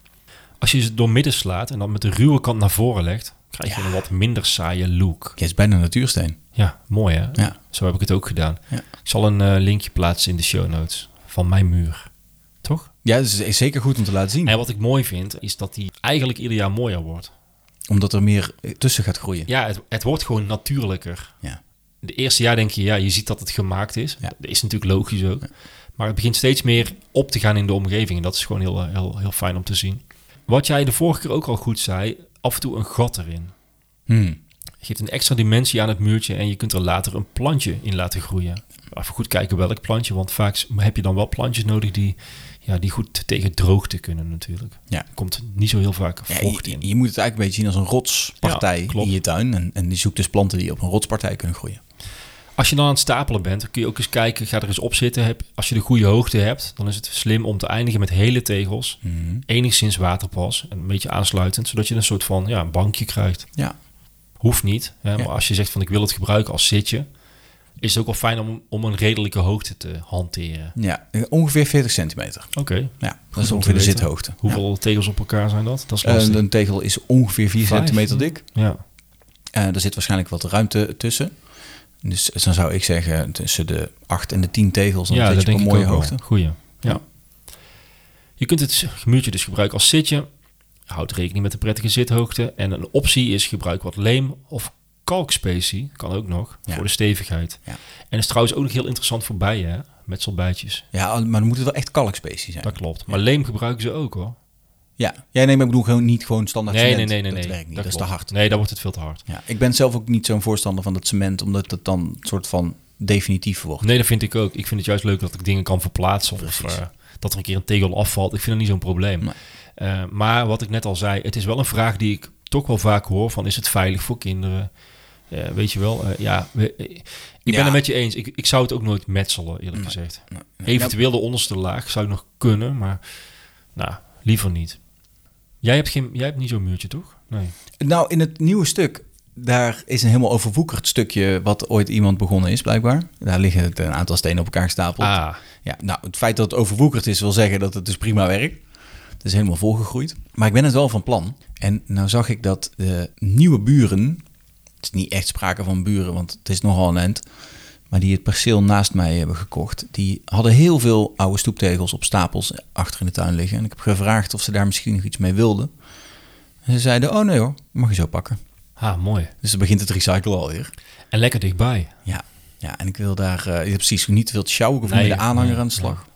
Speaker 1: Als je ze door midden slaat en dan met de ruwe kant naar voren legt, krijg je een wat minder saaie look.
Speaker 2: Ja, het is bijna een natuursteen.
Speaker 1: Ja, mooi hè?
Speaker 2: Ja.
Speaker 1: Zo heb ik het ook gedaan.
Speaker 2: Ja.
Speaker 1: Ik zal een eh, linkje plaatsen in de show notes van mijn muur. Toch?
Speaker 2: Ja, dat is zeker goed om te laten zien.
Speaker 1: En wat ik mooi vind, is dat die eigenlijk ieder jaar mooier wordt.
Speaker 2: Omdat er meer eh, tussen gaat groeien.
Speaker 1: Ja, het, het wordt gewoon natuurlijker.
Speaker 2: Ja.
Speaker 1: De eerste jaar denk je, ja, je ziet dat het gemaakt is.
Speaker 2: Ja.
Speaker 1: Dat is natuurlijk logisch ook. Maar het begint steeds meer op te gaan in de omgeving. En dat is gewoon heel, eh, heel, heel fijn om te zien. Wat jij de vorige keer ook al goed zei, af en toe een gat erin.
Speaker 2: Mhm.
Speaker 1: geeft een extra dimensie aan het muurtje en je kunt er later een plantje in laten groeien. Even goed kijken welk plantje, want vaak heb je dan wel plantjes nodig die, ja, die goed tegen droogte kunnen natuurlijk.
Speaker 2: Ja.
Speaker 1: Er komt niet zo heel vaak
Speaker 2: Ja,
Speaker 1: vocht
Speaker 2: je,
Speaker 1: in.
Speaker 2: je moet het eigenlijk een beetje zien als een rotspartij
Speaker 1: Ja, klopt.
Speaker 2: in je tuin. En, en die zoekt dus planten die op een rotspartij kunnen groeien.
Speaker 1: Als je dan aan het stapelen bent, dan kun je ook eens kijken, ga er eens op zitten. Heb, als je de goede hoogte hebt, dan is het slim om te eindigen met hele tegels.
Speaker 2: Mhm.
Speaker 1: Enigszins waterpas, en een beetje aansluitend, zodat je een soort van ja, een bankje krijgt.
Speaker 2: Ja,
Speaker 1: Hoeft niet, hè,
Speaker 2: Ja.
Speaker 1: maar als je zegt van ik wil het gebruiken als zitje, is het ook wel fijn om, om een redelijke hoogte te hanteren.
Speaker 2: ja eh, ongeveer 40 centimeter.
Speaker 1: Oké.
Speaker 2: Ja,
Speaker 1: Goed
Speaker 2: dat is
Speaker 1: om
Speaker 2: ongeveer
Speaker 1: te
Speaker 2: de
Speaker 1: weten.
Speaker 2: zithoogte.
Speaker 1: Hoeveel tegels op elkaar zijn dat? Dat is
Speaker 2: Eh,
Speaker 1: lastig.
Speaker 2: een tegel is ongeveer 4
Speaker 1: Vijf.
Speaker 2: centimeter dik.
Speaker 1: ja.
Speaker 2: Eh er zit waarschijnlijk wat ruimte tussen. Dus dan zou ik zeggen tussen de 8 en de 10 tegels. Dan
Speaker 1: ja,
Speaker 2: zit
Speaker 1: dat
Speaker 2: je op
Speaker 1: denk
Speaker 2: een
Speaker 1: ik
Speaker 2: mooie
Speaker 1: ook
Speaker 2: hoogte.
Speaker 1: wel. Goeie. Ja. Je kunt het muurtje dus gebruiken als zitje. Houd rekening met de prettige zithoogte. En een optie is gebruik wat leem of kalkspecie. Kan ook nog.
Speaker 2: Ja.
Speaker 1: Voor de stevigheid.
Speaker 2: Ja.
Speaker 1: En is trouwens ook nog heel interessant voor bijen. Hè? Met zalbijtjes.
Speaker 2: Ja, maar dan moet het wel echt kalkspecie zijn.
Speaker 1: Dat klopt. Maar leem gebruiken ze ook hoor.
Speaker 2: Ja, jij neemt ik bedoel gewoon niet gewoon standaard
Speaker 1: Nee, nee,
Speaker 2: cement.
Speaker 1: nee, nee.
Speaker 2: dat
Speaker 1: nee.
Speaker 2: werkt niet, dat, is te
Speaker 1: klopt.
Speaker 2: hard.
Speaker 1: Nee, dan wordt het veel te hard.
Speaker 2: Ja, ik ben zelf ook niet zo'n voorstander van dat cement, omdat dat dan een soort van definitief wordt.
Speaker 1: Nee, dat vind ik ook. Ik vind het juist leuk dat ik dingen kan verplaatsen. Of
Speaker 2: Precies.
Speaker 1: eh, dat er een keer een tegel afvalt. Ik vind dat niet zo'n probleem.
Speaker 2: Nee.
Speaker 1: Eh, maar wat ik net al zei, het is wel een vraag die ik toch wel vaak hoor. Van is het veilig voor kinderen? Eh, weet je wel, eh, ja. we- eh, ik ben
Speaker 2: Ja.
Speaker 1: het met je eens. Ik, ik zou het ook nooit metselen, eerlijk gezegd. Eventueel de onderste laag zou ik nog kunnen. Maar nou, liever niet. Jij hebt, geen, jij hebt niet zo'n muurtje, toch? Nee.
Speaker 2: Nou, in het nieuwe stuk, daar is een helemaal overwoekerd stukje wat ooit iemand begonnen is, blijkbaar. Daar liggen het een aantal stenen op elkaar gestapeld.
Speaker 1: Ah,
Speaker 2: Ja, nou, het feit dat het overwoekerd is, wil zeggen dat het dus prima werkt. Het is helemaal volgegroeid. Maar ik ben het wel van plan. En nou zag ik dat de nieuwe buren... Het is niet echt sprake van buren, want het is nogal een end. Maar die het perceel naast mij hebben gekocht. Die hadden heel veel oude stoeptegels op stapels achter in de tuin liggen. En ik heb gevraagd of ze daar misschien nog iets mee wilden. En ze zeiden, oh nee hoor, mag je zo pakken.
Speaker 1: ah, mooi.
Speaker 2: Dus dan begint het recyclen alweer.
Speaker 1: En lekker dichtbij.
Speaker 2: Ja, ja en ik wil daar, eh, ik heb precies niet veel te sjouwen, ik hoef niet
Speaker 1: Nee,
Speaker 2: met de aanhanger
Speaker 1: nee,
Speaker 2: aan de slag.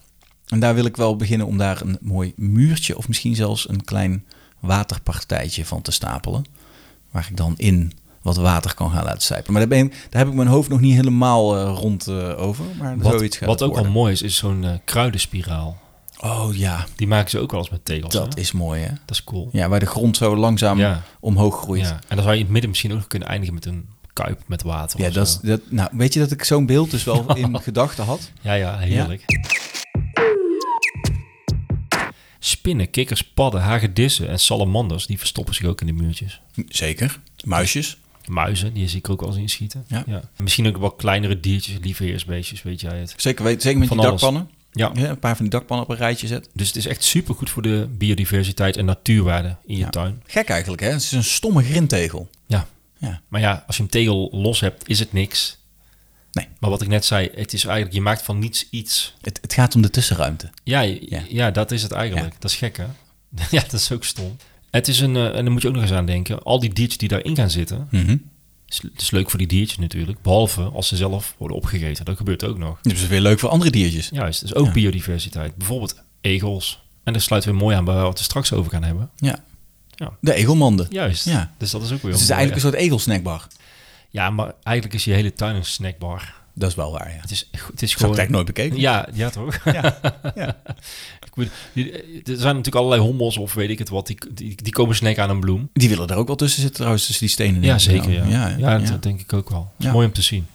Speaker 2: En daar wil ik wel beginnen om daar een mooi muurtje of misschien zelfs een klein waterpartijtje van te stapelen. Waar ik dan in wat water kan gaan laten sijpen. Maar daar, ben ik- daar heb ik mijn hoofd nog niet helemaal eh, rond eh, over. Maar zoiets
Speaker 1: Wat,
Speaker 2: gaat
Speaker 1: wat
Speaker 2: het
Speaker 1: ook al
Speaker 2: worden.
Speaker 1: mooi is, is zo'n eh, kruidenspiraal.
Speaker 2: Oh ja,
Speaker 1: Die maken ze ook wel eens met tegels. hè?
Speaker 2: dat is mooi hè.
Speaker 1: Dat is cool.
Speaker 2: Ja, waar de grond zo langzaam
Speaker 1: Ja.
Speaker 2: omhoog groeit.
Speaker 1: Ja.
Speaker 2: Ja.
Speaker 1: En dan zou je in het midden misschien ook nog kunnen eindigen met een kuip met water. of
Speaker 2: dat, is-
Speaker 1: zo.
Speaker 2: dat, nou, weet je dat ik zo'n beeld dus
Speaker 1: *laughs*
Speaker 2: wel in gedachten had?
Speaker 1: ja, ja, heerlijk. Spinnen, kikkers, padden, hagedissen en salamanders, die verstoppen zich ook in de muurtjes.
Speaker 2: Zeker. Muisjes.
Speaker 1: Muizen, die zie ik ook wel eens inschieten.
Speaker 2: Ja.
Speaker 1: En Misschien ook wel kleinere diertjes, lieveheersbeestjes, weet jij het.
Speaker 2: Zeker, weet- zeker met
Speaker 1: Van
Speaker 2: die
Speaker 1: alles.
Speaker 2: dakpannen.
Speaker 1: Ja.
Speaker 2: Ja, een paar van die dakpannen op een rijtje zet.
Speaker 1: Dus het is echt supergoed voor de biodiversiteit en natuurwaarde in je
Speaker 2: Ja.
Speaker 1: tuin.
Speaker 2: Gek eigenlijk, hè? Het is een stomme grindtegel.
Speaker 1: Ja.
Speaker 2: Ja.
Speaker 1: Maar ja, als je een tegel los hebt, is het niks.
Speaker 2: Nee.
Speaker 1: Maar wat ik net zei, het is eigenlijk, je maakt van niets iets.
Speaker 2: Het, het gaat om de tussenruimte.
Speaker 1: Ja, ja. *laughs*
Speaker 2: Ja.
Speaker 1: dat is het eigenlijk. Dat is gek, hè? ja, dat is ook stom. Het is een, eh, en dan moet je ook nog eens aan denken, al die diertjes die daarin gaan zitten,
Speaker 2: Mhm.
Speaker 1: is- het is leuk voor die diertjes natuurlijk, behalve als ze zelf worden opgegeten. Dat gebeurt ook nog.
Speaker 2: Dus dat is weer leuk voor andere diertjes.
Speaker 1: Juist, dus ook
Speaker 2: Ja.
Speaker 1: biodiversiteit. Bijvoorbeeld egels. En dat sluit weer mooi aan bij wat we straks over gaan hebben.
Speaker 2: Ja.
Speaker 1: Ja.
Speaker 2: De egelmanden.
Speaker 1: Juist,
Speaker 2: Ja.
Speaker 1: dus dat is ook weer
Speaker 2: Het is
Speaker 1: mooi,
Speaker 2: eigenlijk
Speaker 1: hè?
Speaker 2: een soort egelsnackbar.
Speaker 1: Ja, maar eigenlijk is je hele tuin een snackbar.
Speaker 2: Dat is wel waar, ja.
Speaker 1: Het is, het is
Speaker 2: Dat heb
Speaker 1: gewoon...
Speaker 2: ik eigenlijk nooit bekeken.
Speaker 1: Ja, ja toch?
Speaker 2: *laughs* Ja. Ja.
Speaker 1: Ik bedoel, die- eh, er zijn natuurlijk allerlei hommels of weet ik het wat, die, die, die komen snack aan een bloem.
Speaker 2: Die willen er ook wel tussen zitten trouwens, tussen die stenen.
Speaker 1: Ja,
Speaker 2: denk ik.
Speaker 1: zeker. Ja, ja,
Speaker 2: ja,
Speaker 1: dat
Speaker 2: ja.
Speaker 1: denk ik ook wel. Het is
Speaker 2: Ja.
Speaker 1: mooi om te zien.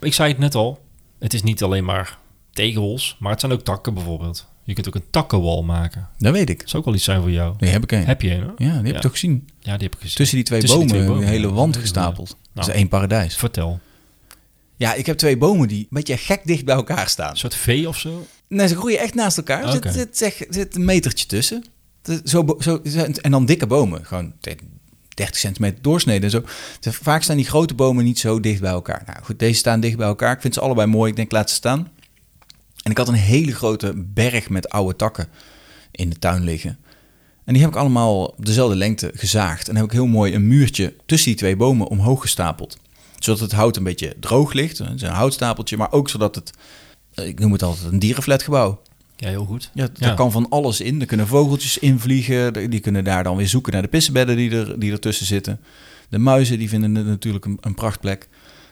Speaker 1: Ik zei het net al, het is niet alleen maar tegels, maar het zijn ook takken bijvoorbeeld. Je kunt ook een takkenwal maken.
Speaker 2: Dat weet ik.
Speaker 1: Dat zou ook wel iets zijn voor jou.
Speaker 2: Die heb ik een.
Speaker 1: Heb je een? hoor?
Speaker 2: Ja, die heb
Speaker 1: Ja.
Speaker 2: ik toch gezien.
Speaker 1: Ja, die heb ik gezien.
Speaker 2: Tussen die twee,
Speaker 1: Tussen die
Speaker 2: bomen,
Speaker 1: twee bomen,
Speaker 2: een hele
Speaker 1: ja.
Speaker 2: wand gestapeld. Dat is
Speaker 1: Nou.
Speaker 2: één paradijs.
Speaker 1: Vertel.
Speaker 2: Ja, ik heb twee bomen die een beetje gek dicht bij elkaar staan.
Speaker 1: Een soort vee of zo?
Speaker 2: Nee, ze groeien echt naast elkaar. Er
Speaker 1: Oké.
Speaker 2: Zit, zit, zeg- zit een metertje tussen. Het is Zo, bo- zo, en dan dikke bomen. Gewoon te- 30 centimeter doorsnede en zo. Te- Vaak staan die grote bomen niet zo dicht bij elkaar. Nou goed, deze staan dicht bij elkaar. Ik vind ze allebei mooi. Ik denk, laat ze staan. En ik had een hele grote berg met oude takken in de tuin liggen. En die heb ik allemaal op dezelfde lengte gezaagd. En heb ik heel mooi een muurtje tussen die twee bomen omhoog gestapeld. Zodat het hout een beetje droog ligt. Het is een houtstapeltje, maar ook zodat het... eh, Ik noem het altijd een dierenflatgebouw.
Speaker 1: Ja, heel goed.
Speaker 2: Ja, daar kan van alles in. Er kunnen vogeltjes invliegen. Die die kunnen daar dan weer zoeken naar de pissebedden die, er, die ertussen zitten. De muizen die vinden het natuurlijk een, een prachtplek.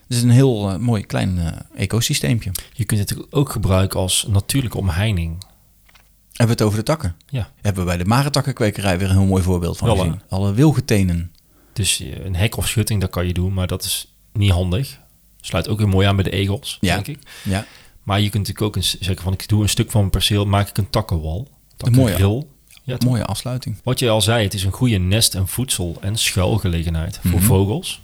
Speaker 2: Het is een heel eh, mooi klein eh, ecosysteempje.
Speaker 1: Je kunt het natuurlijk ook gebruiken als natuurlijke omheining.
Speaker 2: Hebben we het over de takken?
Speaker 1: Ja.
Speaker 2: Hebben we bij de marentakkenkwekerij weer een heel mooi voorbeeld van
Speaker 1: Wel,
Speaker 2: gezien. Alle wilgetenen.
Speaker 1: Dus eh, een hek of schutting, dat kan je doen, maar dat is niet handig. Sluit ook weer mooi aan bij de egels,
Speaker 2: Ja.
Speaker 1: denk ik.
Speaker 2: Ja.
Speaker 1: Maar je kunt natuurlijk ook eens zeggen van, ik doe een stuk van mijn perceel, maak ik een takkenwal. Takkengril. Ja, toch?
Speaker 2: Mooie afsluiting.
Speaker 1: Wat je al zei, het is een goede nest- en voedsel- en schuilgelegenheid
Speaker 2: Mhm.
Speaker 1: voor vogels.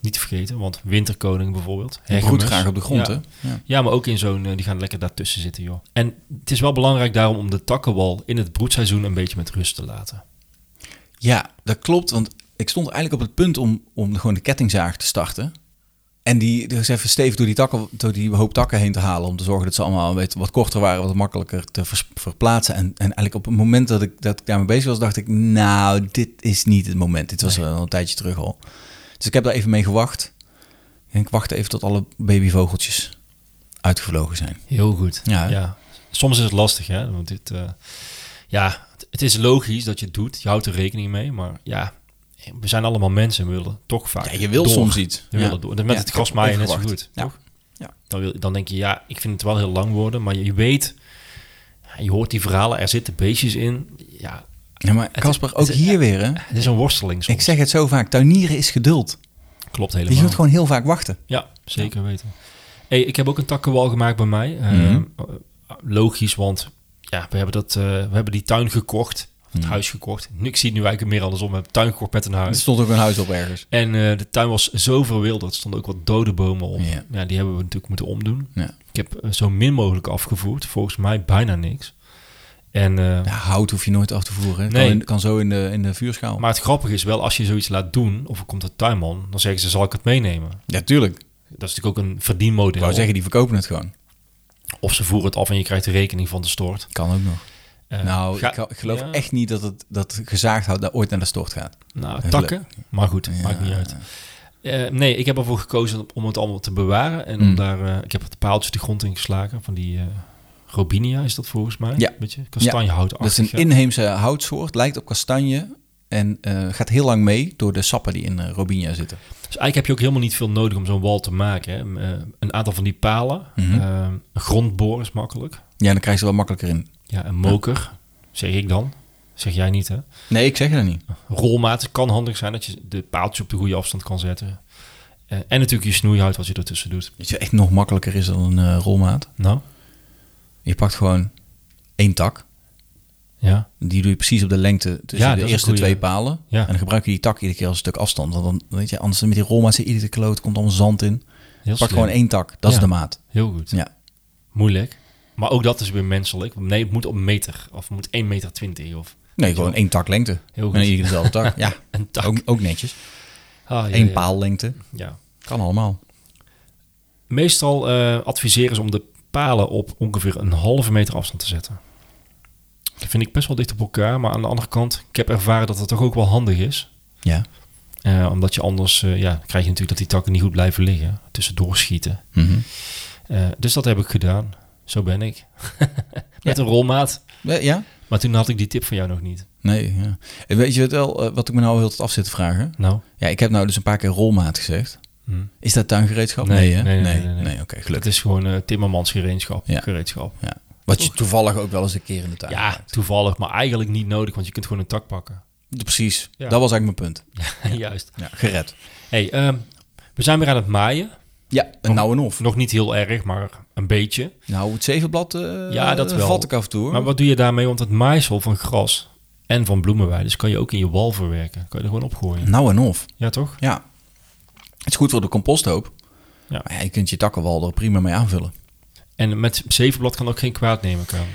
Speaker 1: Niet te vergeten, want winterkoning bijvoorbeeld.
Speaker 2: Die
Speaker 1: hergemus.
Speaker 2: broedt graag op de grond,
Speaker 1: Ja.
Speaker 2: hè? Ja.
Speaker 1: Ja, maar ook in zo'n, eh, die gaan lekker daartussen zitten, joh. En het is wel belangrijk daarom om de takkenwal in het broedseizoen een beetje met rust te laten.
Speaker 2: Ja, dat klopt. Want ik stond eigenlijk op het punt om, om gewoon de kettingzaag te starten. En die dus even stevig door die, takken, door die hoop takken heen te halen. Om te zorgen dat ze allemaal een beetje wat korter waren, wat makkelijker te vers- verplaatsen. En, en eigenlijk op het moment dat ik, dat ik daarmee bezig was, dacht ik, nou, dit is niet het moment. Dit was al een tijdje terug al. Dus ik heb daar even mee gewacht. En ik wachtte even tot alle babyvogeltjes uitgevlogen zijn.
Speaker 1: Heel goed.
Speaker 2: Ja,
Speaker 1: Ja.
Speaker 2: hè?
Speaker 1: Soms is het lastig, hè. Want dit, eh, ja, het- het is logisch dat je het doet. Je houdt er rekening mee. Maar ja, we zijn allemaal mensen. We willen toch vaak
Speaker 2: Ja, je wil
Speaker 1: door.
Speaker 2: soms iets.
Speaker 1: Je
Speaker 2: Ja.
Speaker 1: wil het door. Met
Speaker 2: Ja,
Speaker 1: het
Speaker 2: ik heb
Speaker 1: grasmaaien
Speaker 2: even
Speaker 1: net zo
Speaker 2: gewacht.
Speaker 1: goed.
Speaker 2: Ja.
Speaker 1: toch?
Speaker 2: Ja.
Speaker 1: Dan, wil, dan denk je, ja, ik vind het wel heel lang worden. Maar je weet, je hoort die verhalen. Er zitten beestjes in. Ja,
Speaker 2: Ja, maar
Speaker 1: Het-
Speaker 2: Casper, ook
Speaker 1: het-
Speaker 2: hier weer, hè?
Speaker 1: het is een worsteling soms.
Speaker 2: Ik zeg het zo vaak, tuinieren is geduld.
Speaker 1: Klopt
Speaker 2: Je
Speaker 1: helemaal.
Speaker 2: moet gewoon heel vaak wachten.
Speaker 1: Ja, zeker weten. Hey, ik heb ook een takkenwal gemaakt bij mij. Eh,
Speaker 2: Mhm.
Speaker 1: eh, Logisch, want ja, we, hebben dat, eh, we hebben die tuin gekocht. of Het
Speaker 2: Mhm.
Speaker 1: huis gekocht. Nu, ik zie het nu eigenlijk meer andersom. We hebben tuin gekocht met een
Speaker 2: Er
Speaker 1: huis.
Speaker 2: stond ook een huis op ergens.
Speaker 1: En eh, de tuin was zo verwilderd. Er stonden ook wat dode bomen op.
Speaker 2: Ja.
Speaker 1: Ja. die hebben we natuurlijk moeten omdoen.
Speaker 2: Ja.
Speaker 1: Ik heb eh, zo min mogelijk afgevoerd. Volgens mij bijna niks. En, eh,
Speaker 2: Ja, hout hoef je nooit af te voeren. hè.
Speaker 1: Nee.
Speaker 2: Kan, in- kan zo in de, in de vuurschaal.
Speaker 1: Maar het grappige is wel, als je zoiets laat doen... of er komt een tuinman, dan zeggen ze, zal ik het meenemen?
Speaker 2: ja, tuurlijk. Ik
Speaker 1: Dat is natuurlijk ook een verdienmodel.
Speaker 2: wou zeggen, die verkopen het gewoon.
Speaker 1: Of ze voeren het af en je krijgt de rekening van de stort.
Speaker 2: Kan ook nog.
Speaker 1: Eh,
Speaker 2: nou,
Speaker 1: ga-
Speaker 2: ik, ga- ik geloof
Speaker 1: ja.
Speaker 2: echt niet dat het dat gezaagd hout daar ooit naar de stort gaat.
Speaker 1: Nou,
Speaker 2: Even
Speaker 1: takken. Maar goed,
Speaker 2: Ja.
Speaker 1: maakt niet uit. Eh, nee, ik heb ervoor gekozen om het allemaal te bewaren. En om
Speaker 2: Hmm.
Speaker 1: daar, eh, ik heb het paaltje de grond in geslagen van die eh, Robinia, is dat volgens mij?
Speaker 2: Ja.
Speaker 1: Beetje
Speaker 2: Dat is
Speaker 1: kastanjehoutachtig.
Speaker 2: een
Speaker 1: ja.
Speaker 2: inheemse houtsoort, lijkt op kastanje en eh, gaat heel lang mee door de sappen die in eh, Robinia zitten.
Speaker 1: Dus eigenlijk heb je ook helemaal niet veel nodig om zo'n wal te maken. Hè. Ehm, eh, een aantal van die palen.
Speaker 2: Mhm.
Speaker 1: eh, een grondboor is makkelijk.
Speaker 2: Ja, dan krijg je ze wel makkelijker in.
Speaker 1: Ja, een moker, zeg ik dan. Zeg jij niet, hè?
Speaker 2: Nee, ik zeg dat niet.
Speaker 1: Rolmaat kan handig zijn, dat je de paaltjes op de goede afstand kan zetten. Eh, en natuurlijk je snoeihout wat je ertussen doet.
Speaker 2: Weet je, wat echt nog makkelijker is dan een eh, rolmaat.
Speaker 1: Nou,
Speaker 2: Je pakt gewoon één tak.
Speaker 1: ja.
Speaker 2: Die doe je precies op de lengte tussen
Speaker 1: Ja, dat
Speaker 2: de
Speaker 1: is een
Speaker 2: eerste
Speaker 1: goeie.
Speaker 2: twee palen.
Speaker 1: Ja.
Speaker 2: En dan gebruik je die tak iedere keer als een stuk afstand. Want dan weet je, anders met die rolmaat zit iedere kloot, komt allemaal zand in.
Speaker 1: Heel slim.
Speaker 2: Pak gewoon één tak, dat
Speaker 1: Ja.
Speaker 2: is de maat.
Speaker 1: Heel goed.
Speaker 2: Ja.
Speaker 1: Moeilijk. Maar ook dat is weer menselijk. Nee, het moet op meter. Of het moet 1,20 meter of
Speaker 2: Nee, gewoon één tak lengte.
Speaker 1: Heel goed.
Speaker 2: En iedere dezelfde
Speaker 1: *laughs*
Speaker 2: tak. Ja,
Speaker 1: een tak.
Speaker 2: Ook, ook netjes.
Speaker 1: Ah, ja,
Speaker 2: Eén
Speaker 1: ja,
Speaker 2: paal lengte.
Speaker 1: ja.
Speaker 2: Kan allemaal.
Speaker 1: Meestal eh, adviseren ze om de palen op ongeveer een halve meter afstand te zetten. vind ik best wel dicht op elkaar. Maar aan de andere kant, ik heb ervaren dat het toch ook wel handig is.
Speaker 2: Ja.
Speaker 1: Eh, omdat je anders, eh, ja, krijg je natuurlijk dat die takken niet goed blijven liggen. Tussendoor schieten.
Speaker 2: Mhm.
Speaker 1: Eh, dus dat heb ik gedaan. Zo ben ik. *laughs* Met een rolmaat.
Speaker 2: Eh, Ja?
Speaker 1: Maar toen had ik die tip van jou nog niet.
Speaker 2: Nee. Ja. En Weet je wat wel, eh, wat ik me nou heel tot af zit te vragen?
Speaker 1: Nou,
Speaker 2: Ja, ik heb nou dus een paar keer rolmaat gezegd.
Speaker 1: Hm.
Speaker 2: Is dat tuingereedschap?
Speaker 1: Nee,
Speaker 2: hè?
Speaker 1: nee, nee, nee,
Speaker 2: nee.
Speaker 1: nee.
Speaker 2: oké,
Speaker 1: het
Speaker 2: gelukkig.
Speaker 1: is gewoon eh Timmermans gereedschap.
Speaker 2: Ja.
Speaker 1: gereedschap.
Speaker 2: Ja. Wat je toevallig ook wel eens een keer in de tuin
Speaker 1: Ja,
Speaker 2: gebruikt.
Speaker 1: toevallig, maar eigenlijk niet nodig, want je kunt gewoon een tak *laughs* pakken.
Speaker 2: Precies.
Speaker 1: Ja.
Speaker 2: Dat was eigenlijk mijn punt.
Speaker 1: Juist.
Speaker 2: Ja, gered.
Speaker 1: Hey, ehm, we zijn weer aan het maaien.
Speaker 2: Ja, en nou en of.
Speaker 1: Nog niet heel erg, maar een beetje.
Speaker 2: Nou, het zevenblad eh
Speaker 1: Ja, dat wel.
Speaker 2: vat ik af en toe. hoor.
Speaker 1: Maar wat doe je daarmee? Want het maaisel van gras en van bloemenweiders kan je ook in je wal verwerken. Kan je er gewoon opgooien.
Speaker 2: Nou en of.
Speaker 1: Ja, toch?
Speaker 2: Ja. Het is goed voor de composthoop.
Speaker 1: Ja.
Speaker 2: Maar ja, je kunt je takkenwal er prima mee aanvullen.
Speaker 1: En met zevenblad kan ook geen kwaad nemen komen.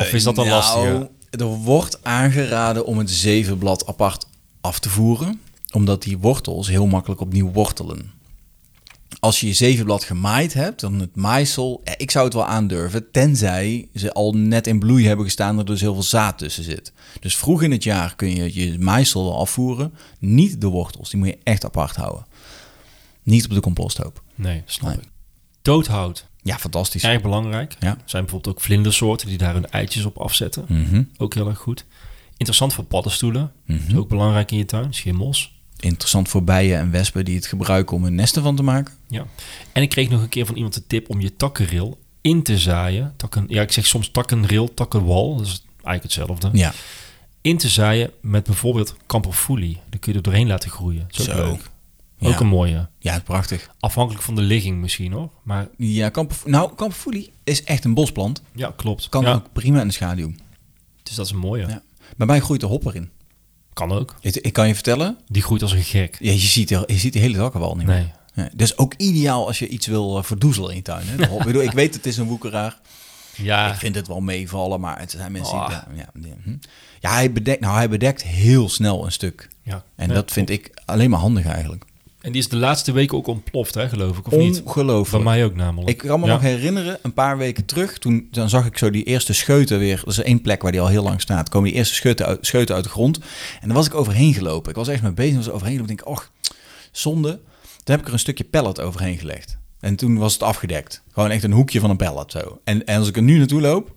Speaker 1: Of is dat dan
Speaker 2: nou,
Speaker 1: lastiger?
Speaker 2: Er wordt aangeraden om het zevenblad apart af te voeren, omdat die wortels heel makkelijk opnieuw wortelen. Als je je zevenblad gemaaid hebt, dan het maaisel, ja, ik zou het wel aandurven, tenzij ze al net in bloei hebben gestaan, er dus heel veel zaad tussen zit. Dus vroeg in het jaar kun je je maaisel wel afvoeren, niet de wortels, die moet je echt apart houden. Niet op de composthoop.
Speaker 1: Nee, snap
Speaker 2: Nee.
Speaker 1: ik. Doodhout.
Speaker 2: Ja, fantastisch.
Speaker 1: Erg belangrijk.
Speaker 2: Ja.
Speaker 1: Er zijn bijvoorbeeld ook vlindersoorten die daar hun eitjes op afzetten.
Speaker 2: Mhm.
Speaker 1: Ook heel erg goed. Interessant voor paddenstoelen. Is ook belangrijk in je tuin. Schimmels.
Speaker 2: Interessant voor bijen en wespen die het gebruiken om hun nesten van te maken.
Speaker 1: Ja. En ik kreeg nog een keer van iemand de tip om je takkenril in te zaaien. Takken, ja, ik zeg soms takkenril, takkenwal. Dat is eigenlijk hetzelfde.
Speaker 2: Ja.
Speaker 1: In te zaaien met bijvoorbeeld kamperfoelie. Dan kun je er doorheen laten groeien. Zo.
Speaker 2: Zo.
Speaker 1: Leuk.
Speaker 2: Ja.
Speaker 1: Ook een mooie.
Speaker 2: Ja, prachtig.
Speaker 1: Afhankelijk van de ligging misschien hoor. Maar
Speaker 2: Ja, kamperf- nou, kamperfoelie is echt een bosplant.
Speaker 1: ja, klopt.
Speaker 2: Kan
Speaker 1: ja,
Speaker 2: ook prima in de schaduw.
Speaker 1: Dus dat is een mooie.
Speaker 2: Ja. Bij mij groeit de hopper in.
Speaker 1: Kan ook.
Speaker 2: Het- Ik kan je vertellen,
Speaker 1: Die groeit als een gek.
Speaker 2: ja, je, ziet de, je ziet de hele takkenwal niet meer.
Speaker 1: Nee.
Speaker 2: Ja, dat is ook ideaal als je iets wil eh, verdoezelen in je tuin. Hè? De hop- Ik bedoel, ik weet het is een woekeraar.
Speaker 1: Ja,
Speaker 2: Ik vind het wel meevallen, maar het zijn mensen
Speaker 1: Ah.
Speaker 2: die... daar- Ja, ja, hm. ja hij, bedekt, nou, hij bedekt heel snel een stuk.
Speaker 1: ja.
Speaker 2: En
Speaker 1: Ja.
Speaker 2: dat vind ik alleen maar handig eigenlijk.
Speaker 1: en die is de laatste weken ook ontploft, hè, geloof ik, of niet? Van
Speaker 2: Ongelooflijk.
Speaker 1: mij ook namelijk.
Speaker 2: Ik kan me
Speaker 1: Ja.
Speaker 2: nog herinneren, een paar weken terug, toen dan zag ik zo die eerste scheuten weer. Dat is één plek waar die al heel lang staat. Komen die eerste scheuten uit, scheuten uit de grond. En daar was ik overheen gelopen. Ik was echt mee bezig, was overheen gelopen. Ik denk, och, zonde. Toen heb ik er een stukje pallet overheen gelegd. En toen was het afgedekt. Gewoon echt een hoekje van een pallet zo. En, en als ik er nu naartoe loop,